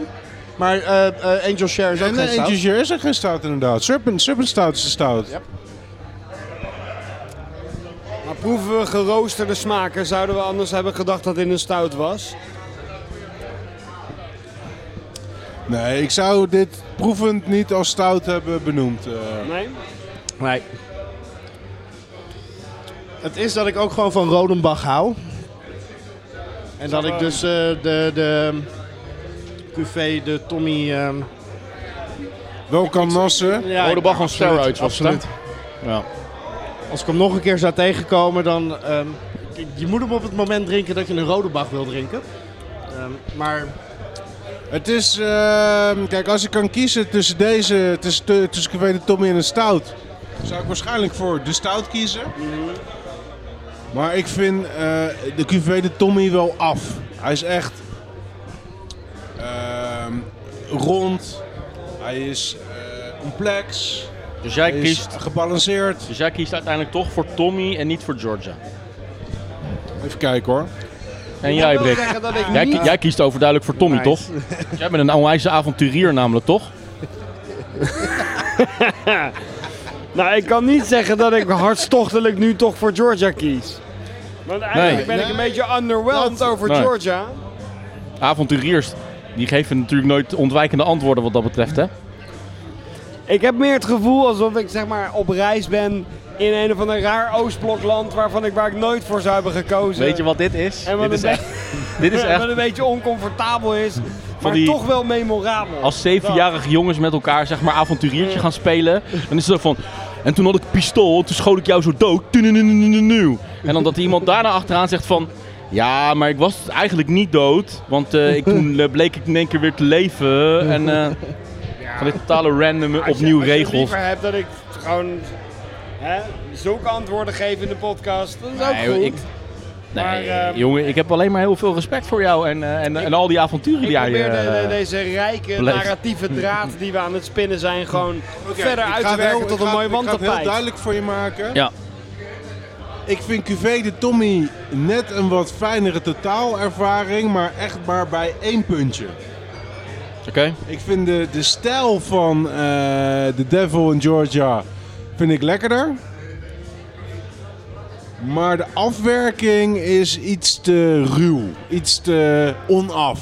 Speaker 2: Maar eh, eh, Angel Share is ook
Speaker 5: En
Speaker 2: geen stout.
Speaker 5: eentje hier is er geen stout inderdaad. Serpent, serpent stout is de stout.
Speaker 2: Ja.
Speaker 4: Maar proeven we geroosterde smaken, zouden we anders hebben gedacht dat dit een stout was.
Speaker 5: Nee, ik zou dit proevend niet als stout hebben benoemd. eh.
Speaker 4: Nee?
Speaker 2: Nee. Het is dat ik ook gewoon van Rodenbach hou. En dat ik dus eh, de, de QV, de Tommy... ehm
Speaker 5: Wel kan nassen.
Speaker 2: ja,
Speaker 1: Rodenbach on
Speaker 2: absoluut,
Speaker 1: steroids was het, hè?
Speaker 2: Absoluut.
Speaker 1: Ja.
Speaker 2: Als ik hem nog een keer zou tegenkomen, dan... ehm, ik- je moet hem op het moment drinken dat je een Rodenbach wil drinken. Ehm, maar
Speaker 5: Het is, ehm, kijk, als ik kan kiezen tussen deze, tussen, tu- tussen
Speaker 4: Mhm.
Speaker 5: Café de Tommy en een stout, zou ik waarschijnlijk voor de stout kiezen. Maar ik vind eh, de QV de Tommy wel af. Hij is echt ehm, rond. Hij is eh, complex.
Speaker 1: Dus jij,
Speaker 5: Hij is
Speaker 1: kiest,
Speaker 5: gebalanceerd.
Speaker 1: dus jij kiest uiteindelijk toch voor Tommy en niet voor Georgia.
Speaker 5: Even kijken hoor.
Speaker 1: En jij,
Speaker 4: Ik wil
Speaker 1: Brik?
Speaker 4: zeggen dat ik
Speaker 1: Jij,
Speaker 4: niet-
Speaker 1: ki- jij kiest overduidelijk voor Tommy, toch? [LAUGHS] Jij bent een onwijze avonturier namelijk, toch?
Speaker 4: Nou, ik kan niet zeggen dat ik hartstochtelijk nu toch voor Georgia kies. Want eigenlijk
Speaker 1: Nee.
Speaker 4: ben ik een beetje underwhelmed over
Speaker 1: Nee.
Speaker 4: Georgia.
Speaker 1: Avonturiers, die geven natuurlijk nooit ontwijkende antwoorden wat dat betreft, hè?
Speaker 4: Ik heb meer het gevoel alsof ik zeg maar op reis ben in een of ander raar Oostblokland waarvan ik, waar ik nooit voor zou hebben gekozen.
Speaker 1: Weet je wat dit is?
Speaker 4: En wat
Speaker 1: Dit is
Speaker 4: een
Speaker 1: echt... [LAUGHS] Dit is
Speaker 4: [LAUGHS] Wat
Speaker 1: echt
Speaker 4: een beetje oncomfortabel is, maar
Speaker 1: die-
Speaker 4: toch wel memorabel.
Speaker 1: als zevenjarige jongens met elkaar zeg maar avonturiertje gaan spelen. Dan is het zo van... En toen had ik een pistool, toen schoot ik jou zo dood. Tununununununuw. En dan dat er iemand daarna achteraan zegt van... Ja, maar ik was eigenlijk niet dood. Want eh, ik, toen eh, bleek ik in één keer weer te leven. En eh van dit totale random
Speaker 4: Als je-
Speaker 1: opnieuw
Speaker 4: als je
Speaker 1: regels.
Speaker 4: liever hebt dat ik gewoon hè, zulke antwoorden geef in de podcast, dat is ook
Speaker 1: Nee,
Speaker 4: goed.
Speaker 1: ik- Nee,
Speaker 4: Maar, ehm,
Speaker 1: jongen, ik heb alleen maar heel veel respect voor jou en, eh, en, en al die avonturen die
Speaker 4: Ik
Speaker 1: jij...
Speaker 4: probeer de- de-
Speaker 1: eh,
Speaker 4: deze rijke
Speaker 1: beleefd.
Speaker 4: narratieve draad die we aan het spinnen zijn gewoon
Speaker 5: Oké,
Speaker 4: verder
Speaker 5: ik
Speaker 4: uit
Speaker 5: ga
Speaker 4: te
Speaker 5: het heel-
Speaker 4: werken
Speaker 5: ik
Speaker 4: tot
Speaker 5: ga
Speaker 4: een
Speaker 5: het-
Speaker 4: mooi
Speaker 5: ik ga het heel
Speaker 4: wandtapijt.
Speaker 5: duidelijk voor je maken.
Speaker 1: Ja,
Speaker 5: Ik vind QV de Tommy net een wat fijnere totaalervaring, maar echt maar bij één puntje.
Speaker 1: oké.
Speaker 5: Ik vind de, de stijl van eh, The Devil in Georgia vind ik lekkerder. Maar de afwerking is iets te ruw, iets te onaf.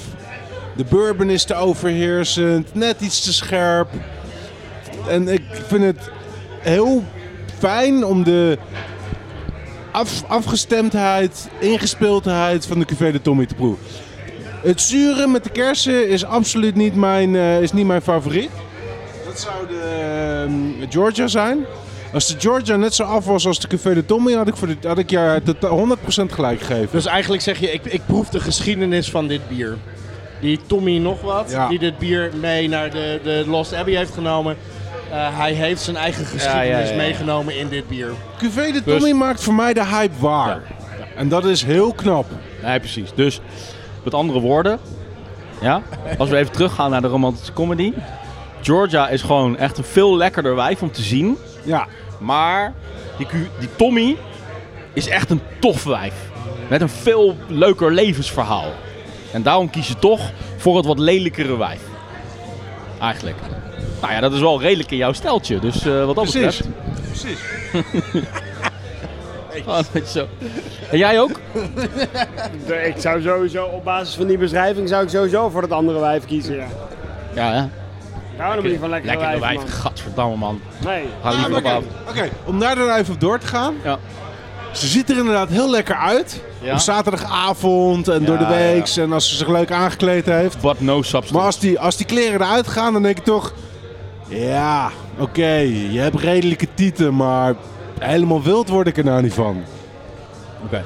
Speaker 5: De bourbon is te overheersend, net iets te scherp. En ik vind het heel fijn om de af, afgestemdheid, ingespeeldheid van de QV de Tommy te proeven. Het zure met de kersen is absoluut niet mijn, eh, is niet mijn favoriet. Dat zou de ehm, Georgia zijn. Als de Georgia net zo af was als de Café de Tommy, had ik, voor de, had ik je totaal 100% gelijk gegeven.
Speaker 2: Dus eigenlijk zeg je, ik, ik proef de geschiedenis van dit bier. Die Tommy nog wat,
Speaker 5: Ja.
Speaker 2: die dit bier mee naar de, de Lost Abbey heeft genomen. Eh, hij heeft zijn eigen geschiedenis
Speaker 1: ja, ja.
Speaker 2: meegenomen in dit bier.
Speaker 5: Café de Tommy maakt voor mij de hype waar. En dat is heel knap.
Speaker 1: Nee, precies. Dus met andere woorden, ja, als we even teruggaan naar de romantische comedy. Georgia is gewoon echt een veel lekkerder wijf om te zien.
Speaker 5: Ja,
Speaker 1: Maar die, Q- die Tommy is echt een tof wijf. Met een veel leuker levensverhaal. En daarom kies je toch voor het wat lelijkere wijf. Eigenlijk. Nou ja, dat is wel redelijk in jouw steltje. Dus eh, wat dat
Speaker 5: Precies.
Speaker 1: betreft... [LAUGHS] Precies. zo. En jij ook?
Speaker 4: Ik zou sowieso op basis van die beschrijving zou ik sowieso voor het andere wijf kiezen. Ja.
Speaker 1: Ja, hè?
Speaker 4: Ik hou namelijk van lekkere,
Speaker 1: Lekker
Speaker 4: wijven,
Speaker 1: wijf, gadverdamme man.
Speaker 4: man. Nee.
Speaker 1: Ga liever
Speaker 5: Ah, oké.
Speaker 1: op af.
Speaker 5: Oké, om daar dan even op door te gaan.
Speaker 1: Ja.
Speaker 5: Ze ziet er inderdaad heel lekker uit.
Speaker 1: Ja.
Speaker 5: Op zaterdagavond en door de
Speaker 1: Ja, ja, ja.
Speaker 5: week. En als ze zich leuk aangekleed heeft.
Speaker 1: What no
Speaker 5: Maar
Speaker 1: substance.
Speaker 5: als die, als die kleren eruit gaan, dan denk ik toch... Ja, oké, je hebt redelijke tieten, maar helemaal wild word ik er nou niet van.
Speaker 1: Oké.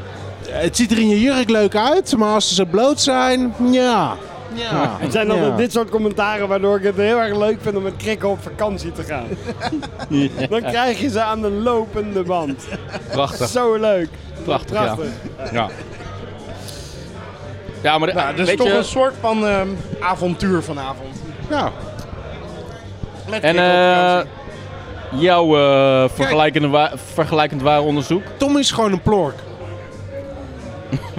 Speaker 5: Het ziet er in je jurk leuk uit, maar als ze zo bloot zijn, ja. Ja.
Speaker 4: Het zijn dan
Speaker 5: Ja.
Speaker 4: dit soort commentaren waardoor ik het heel erg leuk vind om met krikken op vakantie te gaan. Dan krijg je ze aan de lopende band.
Speaker 1: Prachtig,
Speaker 4: Zo leuk.
Speaker 1: prachtig, ja.
Speaker 4: Prachtig.
Speaker 1: ja. Ja, maar de-
Speaker 2: Nou, dus
Speaker 1: weet
Speaker 2: toch
Speaker 1: je-
Speaker 2: een soort van ehm, avontuur vanavond.
Speaker 5: Ja.
Speaker 2: Met
Speaker 1: En
Speaker 2: kick op
Speaker 1: eh
Speaker 2: vakantie.
Speaker 1: jouw eh, vergelijkende wa- vergelijkend waar onderzoek?
Speaker 5: Tom is gewoon een plork.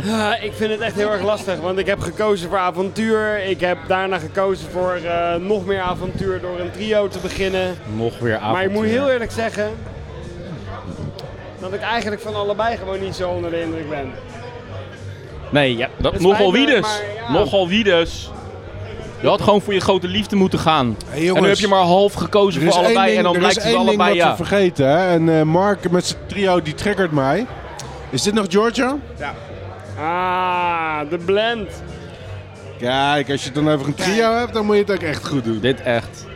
Speaker 4: Ah, ik vind het echt heel erg lastig, want ik heb gekozen voor avontuur. Ik heb daarna gekozen voor eh, nog meer avontuur door een trio te beginnen.
Speaker 1: Nog weer avontuur.
Speaker 4: Maar ik moet heel eerlijk zeggen dat ik eigenlijk van allebei gewoon niet zo onder de indruk ben.
Speaker 1: Nee, ja, dat,
Speaker 4: Het
Speaker 1: nogal
Speaker 4: spijt me,
Speaker 1: wie dus.
Speaker 4: maar ja.
Speaker 1: Nogal wie dus. Je had gewoon voor je grote liefde moeten gaan. en nu
Speaker 5: jongens,
Speaker 1: heb je maar half gekozen
Speaker 5: Er is
Speaker 1: voor
Speaker 5: één
Speaker 1: allebei
Speaker 5: ding,
Speaker 1: en dan
Speaker 5: er
Speaker 1: blijkt
Speaker 5: is
Speaker 1: het
Speaker 5: één ding
Speaker 1: allebei
Speaker 5: wat
Speaker 1: ja.
Speaker 5: we vergeten. Hè? En eh, Mark met zijn trio, die triggert mij. Is dit nog Georgia?
Speaker 4: Ah, de blend.
Speaker 5: Kijk, als je dan over een trio hebt, dan moet je het ook echt goed doen.
Speaker 1: Dit echt.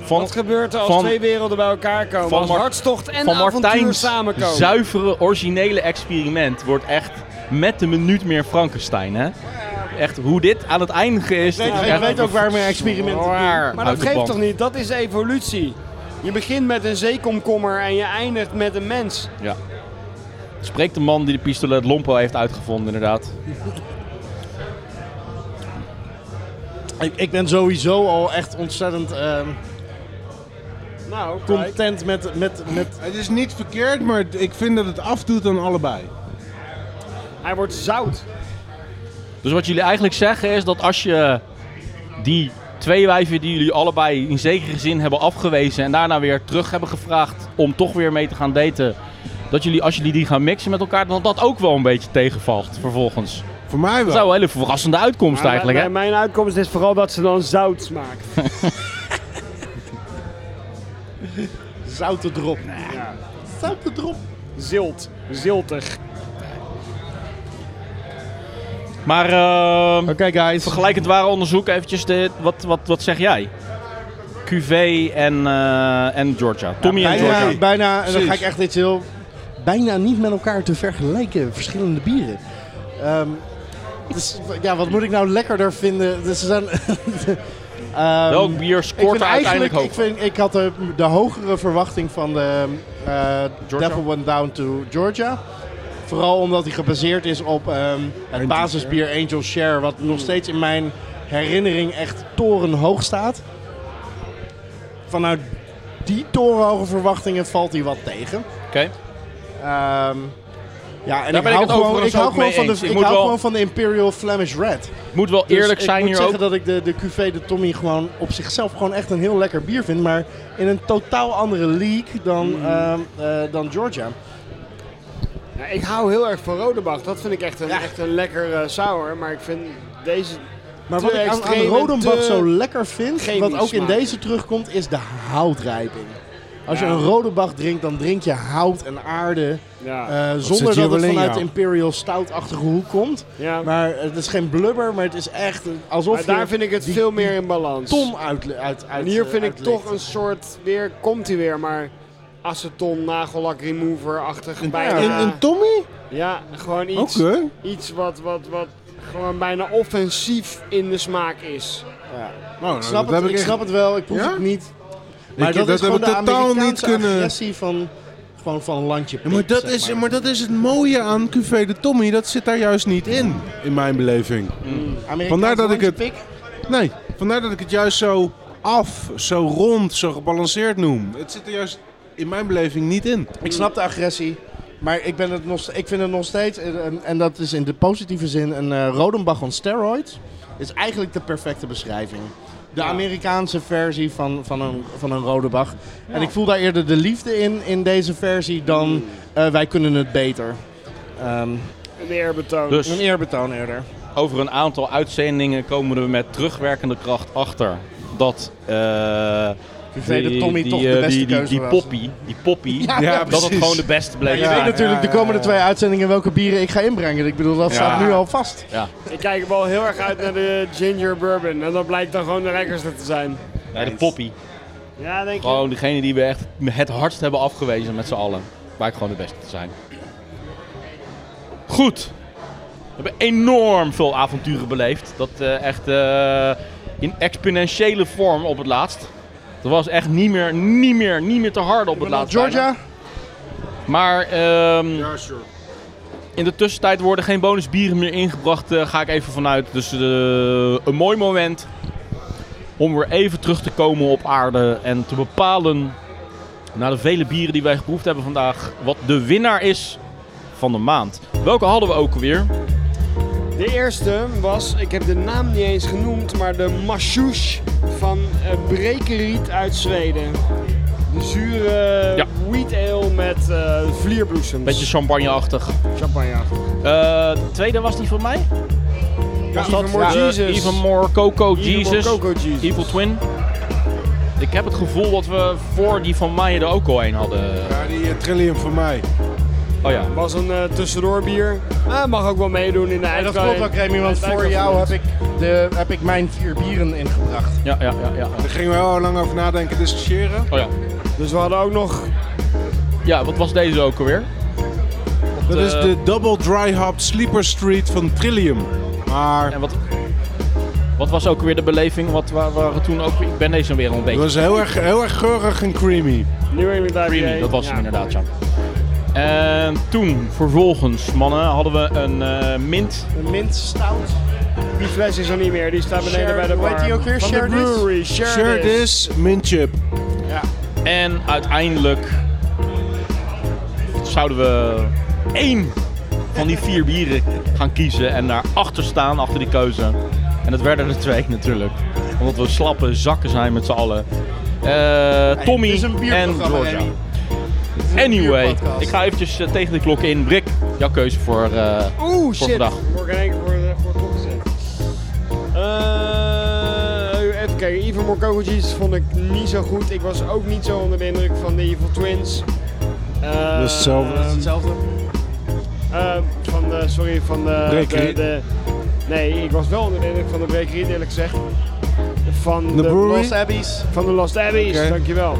Speaker 1: Van,
Speaker 4: Wat gebeurt er als
Speaker 1: van-
Speaker 4: twee werelden bij elkaar komen?
Speaker 1: van
Speaker 4: als
Speaker 1: Mar-
Speaker 4: hartstocht en
Speaker 1: van
Speaker 4: avontuur
Speaker 1: Martijn's
Speaker 4: samenkomen.
Speaker 1: zuivere, originele experiment wordt echt met de minuut meer Frankenstein, hè? Echt, hoe dit aan het eindigen is...
Speaker 2: Ik weet- ik weet ook waar mijn experimenten
Speaker 1: waar.
Speaker 4: maar dat geeft toch niet? Dat is evolutie. Je begint met een zeekomkommer en je eindigt met een mens.
Speaker 1: Ja. Spreekt de man die de pistolet Lompo heeft uitgevonden, inderdaad.
Speaker 2: Ik, ik ben sowieso al echt ontzettend ehm,
Speaker 4: Nou, kijk.
Speaker 2: content met, met, met...
Speaker 5: Het is niet verkeerd, maar ik vind dat het afdoet aan allebei.
Speaker 4: Hij wordt zout.
Speaker 1: Dus wat jullie eigenlijk zeggen is dat als je die twee wijven die jullie allebei in zekere zin hebben afgewezen en daarna weer terug hebben gevraagd om toch weer mee te gaan daten, dat jullie als jullie die gaan mixen met elkaar, dan dat ook wel een beetje tegenvalt vervolgens.
Speaker 5: Voor mij
Speaker 1: Dat
Speaker 5: wel.
Speaker 1: zou een hele verrassende uitkomst eigenlijk, hè?
Speaker 4: Mijn, Nou, mijn uitkomst is vooral dat ze dan zout smaakt.
Speaker 2: Zoute drop.
Speaker 4: Ja.
Speaker 2: Zoute drop.
Speaker 4: Zilt. Ziltig.
Speaker 1: Maar ehm,
Speaker 2: Oké guys.
Speaker 1: vergelijkend ware onderzoek, eventjes, de, wat, wat, wat zeg jij? QV en, eh, en Georgia. Tommy en Georgia.
Speaker 2: Bijna, bijna en dan ga ik
Speaker 5: Precies.
Speaker 2: echt iets heel... Bijna niet met elkaar te vergelijken, verschillende bieren. Ehm, dus ja, wat moet ik nou lekkerder vinden? Dus ze zijn... [LAUGHS] Ehm,
Speaker 1: Welk bier
Speaker 2: Ik
Speaker 1: scoort
Speaker 2: vind
Speaker 1: er uiteindelijk
Speaker 2: eigenlijk, ik,
Speaker 1: hoog?
Speaker 2: vind, ik had de, de hogere verwachting van de eh,
Speaker 1: Georgia?
Speaker 2: Devil Went Down to Georgia. Vooral omdat hij gebaseerd is op ehm, het basisbier Angel Share, wat nog steeds in mijn herinnering echt torenhoog staat. Vanuit die torenhoge verwachtingen valt hij wat tegen.
Speaker 1: Oké.
Speaker 2: Ehm, ja, en
Speaker 1: ben
Speaker 2: ik
Speaker 1: ik het
Speaker 2: hou, gewoon,
Speaker 1: overigens
Speaker 2: ik hou,
Speaker 1: ook
Speaker 2: gewoon,
Speaker 1: mee
Speaker 2: van de,
Speaker 1: eens. Ik
Speaker 2: ik
Speaker 1: moet
Speaker 2: hou
Speaker 1: wel-
Speaker 2: gewoon van de Imperial Flemish Red.
Speaker 1: Moet wel
Speaker 2: Dus
Speaker 1: eerlijk zijn
Speaker 2: ik
Speaker 1: hier
Speaker 2: moet
Speaker 1: ook.
Speaker 2: zeggen dat ik de, de QV de Tommy gewoon op zichzelf gewoon echt een heel lekker bier vind. Maar in een totaal andere league dan,
Speaker 1: Hmm.
Speaker 2: ehm, eh, dan Georgia.
Speaker 4: Ja, ik hou heel erg van Rodebach. Dat vind ik echt een, echt een lekker eh, sour. Maar ik vind deze...
Speaker 2: Maar wat
Speaker 4: te
Speaker 2: ik aan, aan
Speaker 4: extreem en
Speaker 2: Rodenbach
Speaker 4: te-
Speaker 2: zo lekker vind,
Speaker 4: chemisch
Speaker 2: wat ook in
Speaker 4: smaken.
Speaker 2: deze terugkomt, is de houtrijping. Als je een Rodenbach drinkt, dan drink je hout en aarde.
Speaker 4: Ja.
Speaker 2: eh, zonder
Speaker 5: zit
Speaker 2: dat
Speaker 5: hier
Speaker 2: het
Speaker 5: wel in,
Speaker 2: vanuit
Speaker 5: ja.
Speaker 2: Imperial Stout-achtige hoek komt.
Speaker 4: ja. Maar,
Speaker 2: Maar het is geen blubber, maar het is echt eh, alsof je
Speaker 4: daar vind ik het
Speaker 2: die
Speaker 4: veel meer in balans.
Speaker 2: Tom uit, uit,
Speaker 4: en
Speaker 2: uit
Speaker 4: hier
Speaker 2: eh,
Speaker 4: vind ik
Speaker 2: uitlikt.
Speaker 4: toch een soort... Weer komt hij weer, maar... Aceton, nagellak, remover-achtig. bijna.
Speaker 5: In, in Tommy?
Speaker 4: Ja, gewoon
Speaker 5: Oké.
Speaker 4: iets,
Speaker 2: Nou,
Speaker 4: iets wat, wat, wat gewoon bijna offensief in de smaak is.
Speaker 2: Ja.
Speaker 5: Nou,
Speaker 2: Ik
Speaker 5: nou,
Speaker 2: snap,
Speaker 5: dat
Speaker 2: het,
Speaker 5: heb
Speaker 2: ik
Speaker 5: echt-
Speaker 2: snap het wel, ik proef
Speaker 5: Ja?
Speaker 2: het niet. Maar
Speaker 5: Ik-
Speaker 2: dat,
Speaker 5: dat
Speaker 2: is gewoon
Speaker 5: hebben
Speaker 2: de
Speaker 5: we totaal niet
Speaker 2: Amerikaanse
Speaker 5: kunnen-
Speaker 2: agressie van, gewoon van een landje
Speaker 5: Ja, maar,
Speaker 2: pik,
Speaker 5: dat
Speaker 2: zeg
Speaker 5: is, maar dat is het mooie aan QV de Tommy. Dat zit daar juist niet in, in mijn beleving.
Speaker 2: Amerikaanse
Speaker 5: vandaar dat ik het-
Speaker 2: landjepik.
Speaker 5: Nee, vandaar dat ik het juist zo af, zo rond, zo gebalanceerd noem. Het zit er juist in mijn beleving niet in.
Speaker 2: Ik snap de agressie, maar ik, ben het nog, ik vind het nog steeds, eh, en, en dat is in de positieve zin, een eh Rodenbach on steroids. Is eigenlijk de perfecte beschrijving. De Amerikaanse versie van, van, een, van een Rodenbach. En ik voel daar eerder de liefde in, in deze versie, dan
Speaker 5: Mm.
Speaker 2: eh, wij kunnen het beter. Ehm,
Speaker 4: Een eerbetoon.
Speaker 1: Dus
Speaker 2: een eerbetoon eerder.
Speaker 1: over een aantal uitzendingen komen we met terugwerkende kracht achter dat. eh,
Speaker 2: VV de Tommy toch de
Speaker 1: eh,
Speaker 2: beste
Speaker 1: die, die,
Speaker 2: keuze
Speaker 1: die
Speaker 2: was.
Speaker 1: Poppy, die Poppy
Speaker 2: ja,
Speaker 1: dat het gewoon de beste bleef.
Speaker 2: je weet
Speaker 1: zijn.
Speaker 2: natuurlijk
Speaker 5: ja,
Speaker 2: de komende
Speaker 5: ja.
Speaker 2: twee uitzendingen welke bieren ik ga inbrengen. Ik bedoel, dat staat nu al vast.
Speaker 4: Ik kijk wel heel erg uit naar de ginger bourbon. En dat blijkt dan gewoon de lekkerste te zijn.
Speaker 1: Nee, de Poppy.
Speaker 4: Ja, denk ik.
Speaker 1: Gewoon degene die we echt het hardst hebben afgewezen met z'n allen. Blijkt gewoon de beste te zijn. Goed. We hebben enorm veel avonturen beleefd. Dat eh, echt eh, in exponentiële vorm op het laatst. Dat was echt niet meer, niet meer, niet meer te hard op het laatst.
Speaker 2: Georgia,
Speaker 1: bijna. Maar ehm,
Speaker 5: Ja, sure.
Speaker 1: in de tussentijd worden geen bonusbieren meer ingebracht. eh, ga ik even vanuit. Dus eh, een mooi moment om weer even terug te komen op aarde. En te bepalen, na de vele bieren die wij geproefd hebben vandaag, wat de winnaar is van de maand. Welke hadden we ook alweer?
Speaker 4: De eerste was, ik heb de naam niet eens genoemd, maar de Mashush van eh, Brekeriet uit Zweden. De zure
Speaker 1: Ja.
Speaker 4: wheat ale met eh vlierbloesems.
Speaker 1: Beetje champagne-achtig.
Speaker 4: champagne.
Speaker 1: Eh, de tweede was die van mij?
Speaker 4: Ja,
Speaker 1: dat
Speaker 4: Even More
Speaker 1: eh,
Speaker 4: Jesus.
Speaker 1: Even More Coco
Speaker 4: Even More
Speaker 1: Jesus.
Speaker 4: Coco Jesus.
Speaker 1: Evil Twin. Ik heb het gevoel dat we voor die van mij er ook al een hadden.
Speaker 5: Ja, die eh, Trillium voor mij.
Speaker 1: Oh ja.
Speaker 4: Was een eh, tussendoor bier. Ah, mag ook wel meedoen in de
Speaker 2: dat
Speaker 4: eindkaart.
Speaker 2: klopt wel, Remy, want voor jou heb ik, de, heb ik mijn vier bieren ingebracht.
Speaker 1: Ja, ja, ja. ja.
Speaker 5: Daar gingen we heel lang over nadenken, discussiëren.
Speaker 1: Oh ja.
Speaker 4: Dus we hadden ook nog
Speaker 1: Ja, wat was deze ook alweer?
Speaker 5: Dat
Speaker 1: eh,
Speaker 5: is de Double Dry Hop Sleeper Street van Trillium. Maar
Speaker 1: En wat, wat was ook weer de beleving? Wat wa- waren toen ook... Ik ben deze weer al een
Speaker 5: het
Speaker 1: beetje...
Speaker 5: was heel erg, heel erg geurig en creamy.
Speaker 4: New England IPA.
Speaker 1: creamy, dat was
Speaker 4: Ja.
Speaker 1: hem inderdaad, ja. Ehm, En toen, vervolgens, mannen, hadden we een eh, mint.
Speaker 2: Een mint stout.
Speaker 4: Die fles is er niet meer, die staat beneden
Speaker 2: Share-
Speaker 4: bij de
Speaker 2: hoe
Speaker 4: bar.
Speaker 2: heet die ook weer?
Speaker 4: Van de
Speaker 2: Share this?
Speaker 4: brewery, Share,
Speaker 5: Share
Speaker 4: this.
Speaker 5: this, mint chip.
Speaker 1: En uiteindelijk zouden we één van die vier bieren gaan kiezen en daarachter staan, achter die keuze. En dat werden er twee natuurlijk. Omdat we slappe zakken zijn met z'n allen. Eh, Tommy
Speaker 2: het is een
Speaker 1: en
Speaker 2: bierprogramma,
Speaker 1: Georgia.
Speaker 2: Remy. Het is een
Speaker 1: Anyway,
Speaker 2: bierpodcast.
Speaker 1: ik ga eventjes eh, tegen de klok in. Brik, jouw keuze voor, eh
Speaker 2: Oeh,
Speaker 1: voor
Speaker 2: shit.
Speaker 1: vandaag.
Speaker 4: Morgen in één keer voor, de- voor het opgezet. Eh, even kijken, Ivan Morkovic vond ik niet zo goed. Ik was ook niet zo onder de indruk van de Evil Twins. Eh,
Speaker 5: Dat is Dus hetzelfde.
Speaker 4: ehm,
Speaker 2: Hetzelfde.
Speaker 4: eh, van de, sorry, van de...
Speaker 5: Brekerie.
Speaker 4: de- de- nee, ik was wel onder de indruk van de brekerie, eerlijk gezegd. Van de,
Speaker 5: brewery?
Speaker 2: Lost Abbeys.
Speaker 4: Van de Lost Abbeys,
Speaker 5: Oké.
Speaker 4: dankjewel.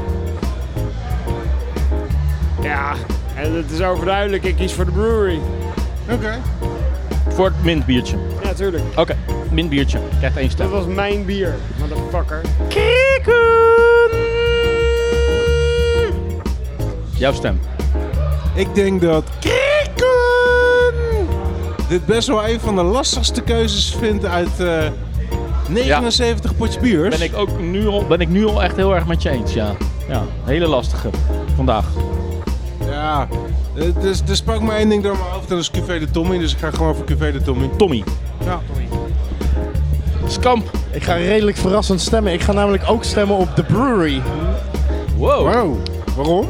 Speaker 4: Ja, en het is overduidelijk, ik kies voor de brewery.
Speaker 5: Oké.
Speaker 1: Voor het mintbiertje.
Speaker 4: Ja, tuurlijk.
Speaker 1: Oké, mintbiertje. Krijgt één stem.
Speaker 4: Dat was mijn bier, motherfucker.
Speaker 1: Jouw stem.
Speaker 5: Ik denk dat Kikken dit best wel een van de lastigste keuzes vindt uit eh, 79 potjes biers.
Speaker 1: Ben ik ook nu al, ben ik nu al echt heel erg met je eens, ja. Ja, hele lastige vandaag.
Speaker 5: Ja, eh, dus er sprak maar één ding door mijn hoofd en dat is QV de Tommy, dus ik ga gewoon voor QV de Tommy.
Speaker 1: Tommy.
Speaker 5: Ja, Tommy.
Speaker 1: Skamp.
Speaker 2: Ik ga redelijk verrassend stemmen. Ik ga namelijk ook stemmen op The Brewery.
Speaker 1: Wow.
Speaker 5: Wow, waarom?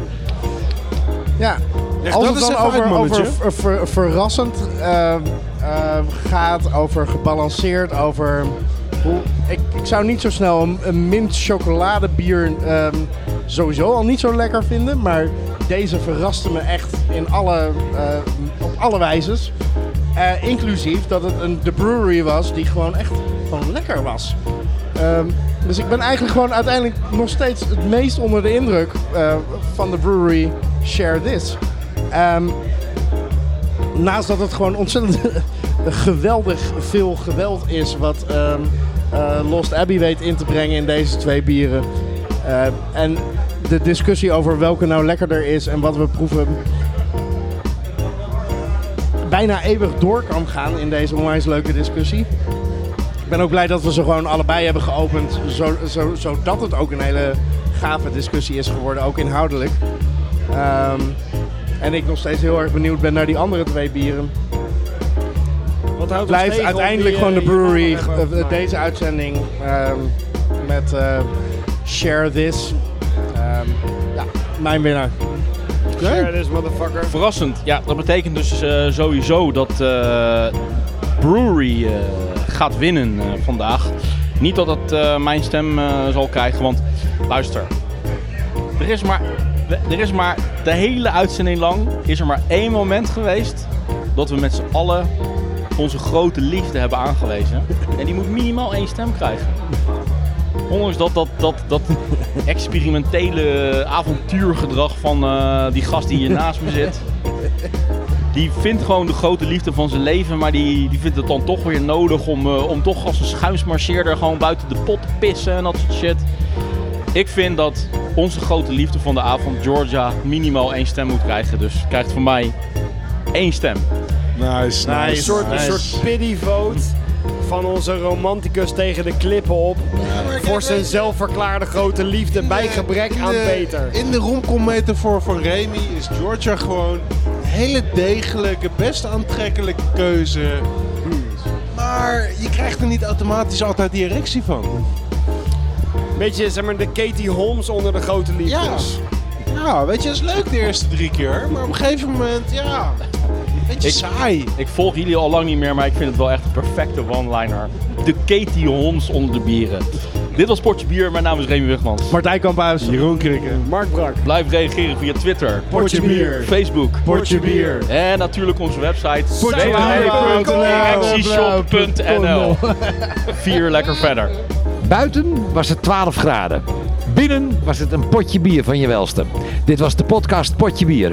Speaker 2: Ja.
Speaker 5: Leg
Speaker 2: Als
Speaker 5: dat
Speaker 2: het
Speaker 5: eens
Speaker 2: dan
Speaker 5: even
Speaker 2: over,
Speaker 5: uit,
Speaker 2: over
Speaker 5: mannetje.
Speaker 2: ver- ver- verrassend eh, eh, gaat, over gebalanceerd, over... Hoe, ik, ik zou niet zo snel een, een mint chocoladebier ehm, sowieso al niet zo lekker vinden. Maar deze verraste me echt in alle, eh, op alle wijzes. Eh, inclusief dat het een de brewery was die gewoon echt gewoon lekker was. Ehm, dus ik ben eigenlijk gewoon uiteindelijk nog steeds het meest onder de indruk eh, van de brewery Share This. Ehm, naast dat het gewoon ontzettend [LAUGHS] geweldig veel geweld is wat ehm, eh, Lost Abbey weet in te brengen in deze twee bieren. Eh, en de discussie over welke nou lekkerder is en wat we proeven bijna eeuwig door kan gaan in deze onwijs leuke discussie. Ik ben ook blij dat we ze gewoon allebei hebben geopend, zo, zo, zodat het ook een hele gave discussie is geworden, ook inhoudelijk. Ehm, en ik nog steeds heel erg benieuwd ben naar die andere twee bieren.
Speaker 4: Wat houdt ons
Speaker 2: Blijft
Speaker 4: tegen om
Speaker 2: uiteindelijk
Speaker 4: die, eh,
Speaker 2: gewoon de
Speaker 4: hier nog
Speaker 2: brewery,
Speaker 4: even over te
Speaker 2: eh,
Speaker 4: maken?
Speaker 2: deze uitzending ehm, met eh, Share This. Ehm, ja, mijn winnaar.
Speaker 4: Share this, motherfucker.
Speaker 1: Verrassend. Ja, dat betekent dus eh, sowieso dat eh, Brewery eh, gaat winnen eh, vandaag. Niet dat dat eh, mijn stem eh, zal krijgen, want luister. Er is, maar, er is maar de hele uitzending lang is er maar één moment geweest dat we met z'n allen onze grote liefde hebben aangewezen. En die moet minimaal één stem krijgen. Ondanks dat, dat, dat, dat experimentele avontuurgedrag van eh, die gast die hier naast me zit. Die vindt gewoon de grote liefde van zijn leven, maar die, die vindt het dan toch weer nodig om, eh, om toch als een schuimsmarcheerder gewoon buiten de pot te pissen en dat soort shit. Ik vind dat onze grote liefde van de avond, Georgia, minimaal één stem moet krijgen. Dus krijgt van mij één stem.
Speaker 5: Nice, nice.
Speaker 4: Een soort, een soort pity vote van onze romanticus tegen de klippen op. Voor zijn zelfverklaarde grote liefde bij gebrek aan Peter.
Speaker 5: In de romcommetafoor van Remy is Georgia gewoon een hele degelijke, best aantrekkelijke keuze.
Speaker 4: Hmm.
Speaker 5: Maar je krijgt er niet automatisch altijd die erectie van.
Speaker 4: Beetje zeg maar de Katie Holmes onder de grote liefdes.
Speaker 5: Ja, weet je, dat is leuk de eerste drie keer, maar op een gegeven moment, ja, een beetje
Speaker 1: Ik-
Speaker 5: saai.
Speaker 1: Ik volg jullie al lang niet meer, maar ik vind het wel echt een perfecte one-liner. De Katie Holmes onder de bieren. Dit was Potje Bier, mijn naam is Remy Wigmans.
Speaker 2: Martijn Kamphuis.
Speaker 5: Jeroen Krikken.
Speaker 4: Mark Brak.
Speaker 1: Blijf reageren via Twitter,
Speaker 2: Potje bier.
Speaker 1: Facebook
Speaker 2: Potje bier.
Speaker 1: en natuurlijk onze website
Speaker 2: www.erectieshop.nl.
Speaker 1: www.erectieshop.nl Vier lekker verder.
Speaker 6: Buiten was het 12 graden. Binnen was het een potje bier van je welste. Dit was de podcast Potje Bier.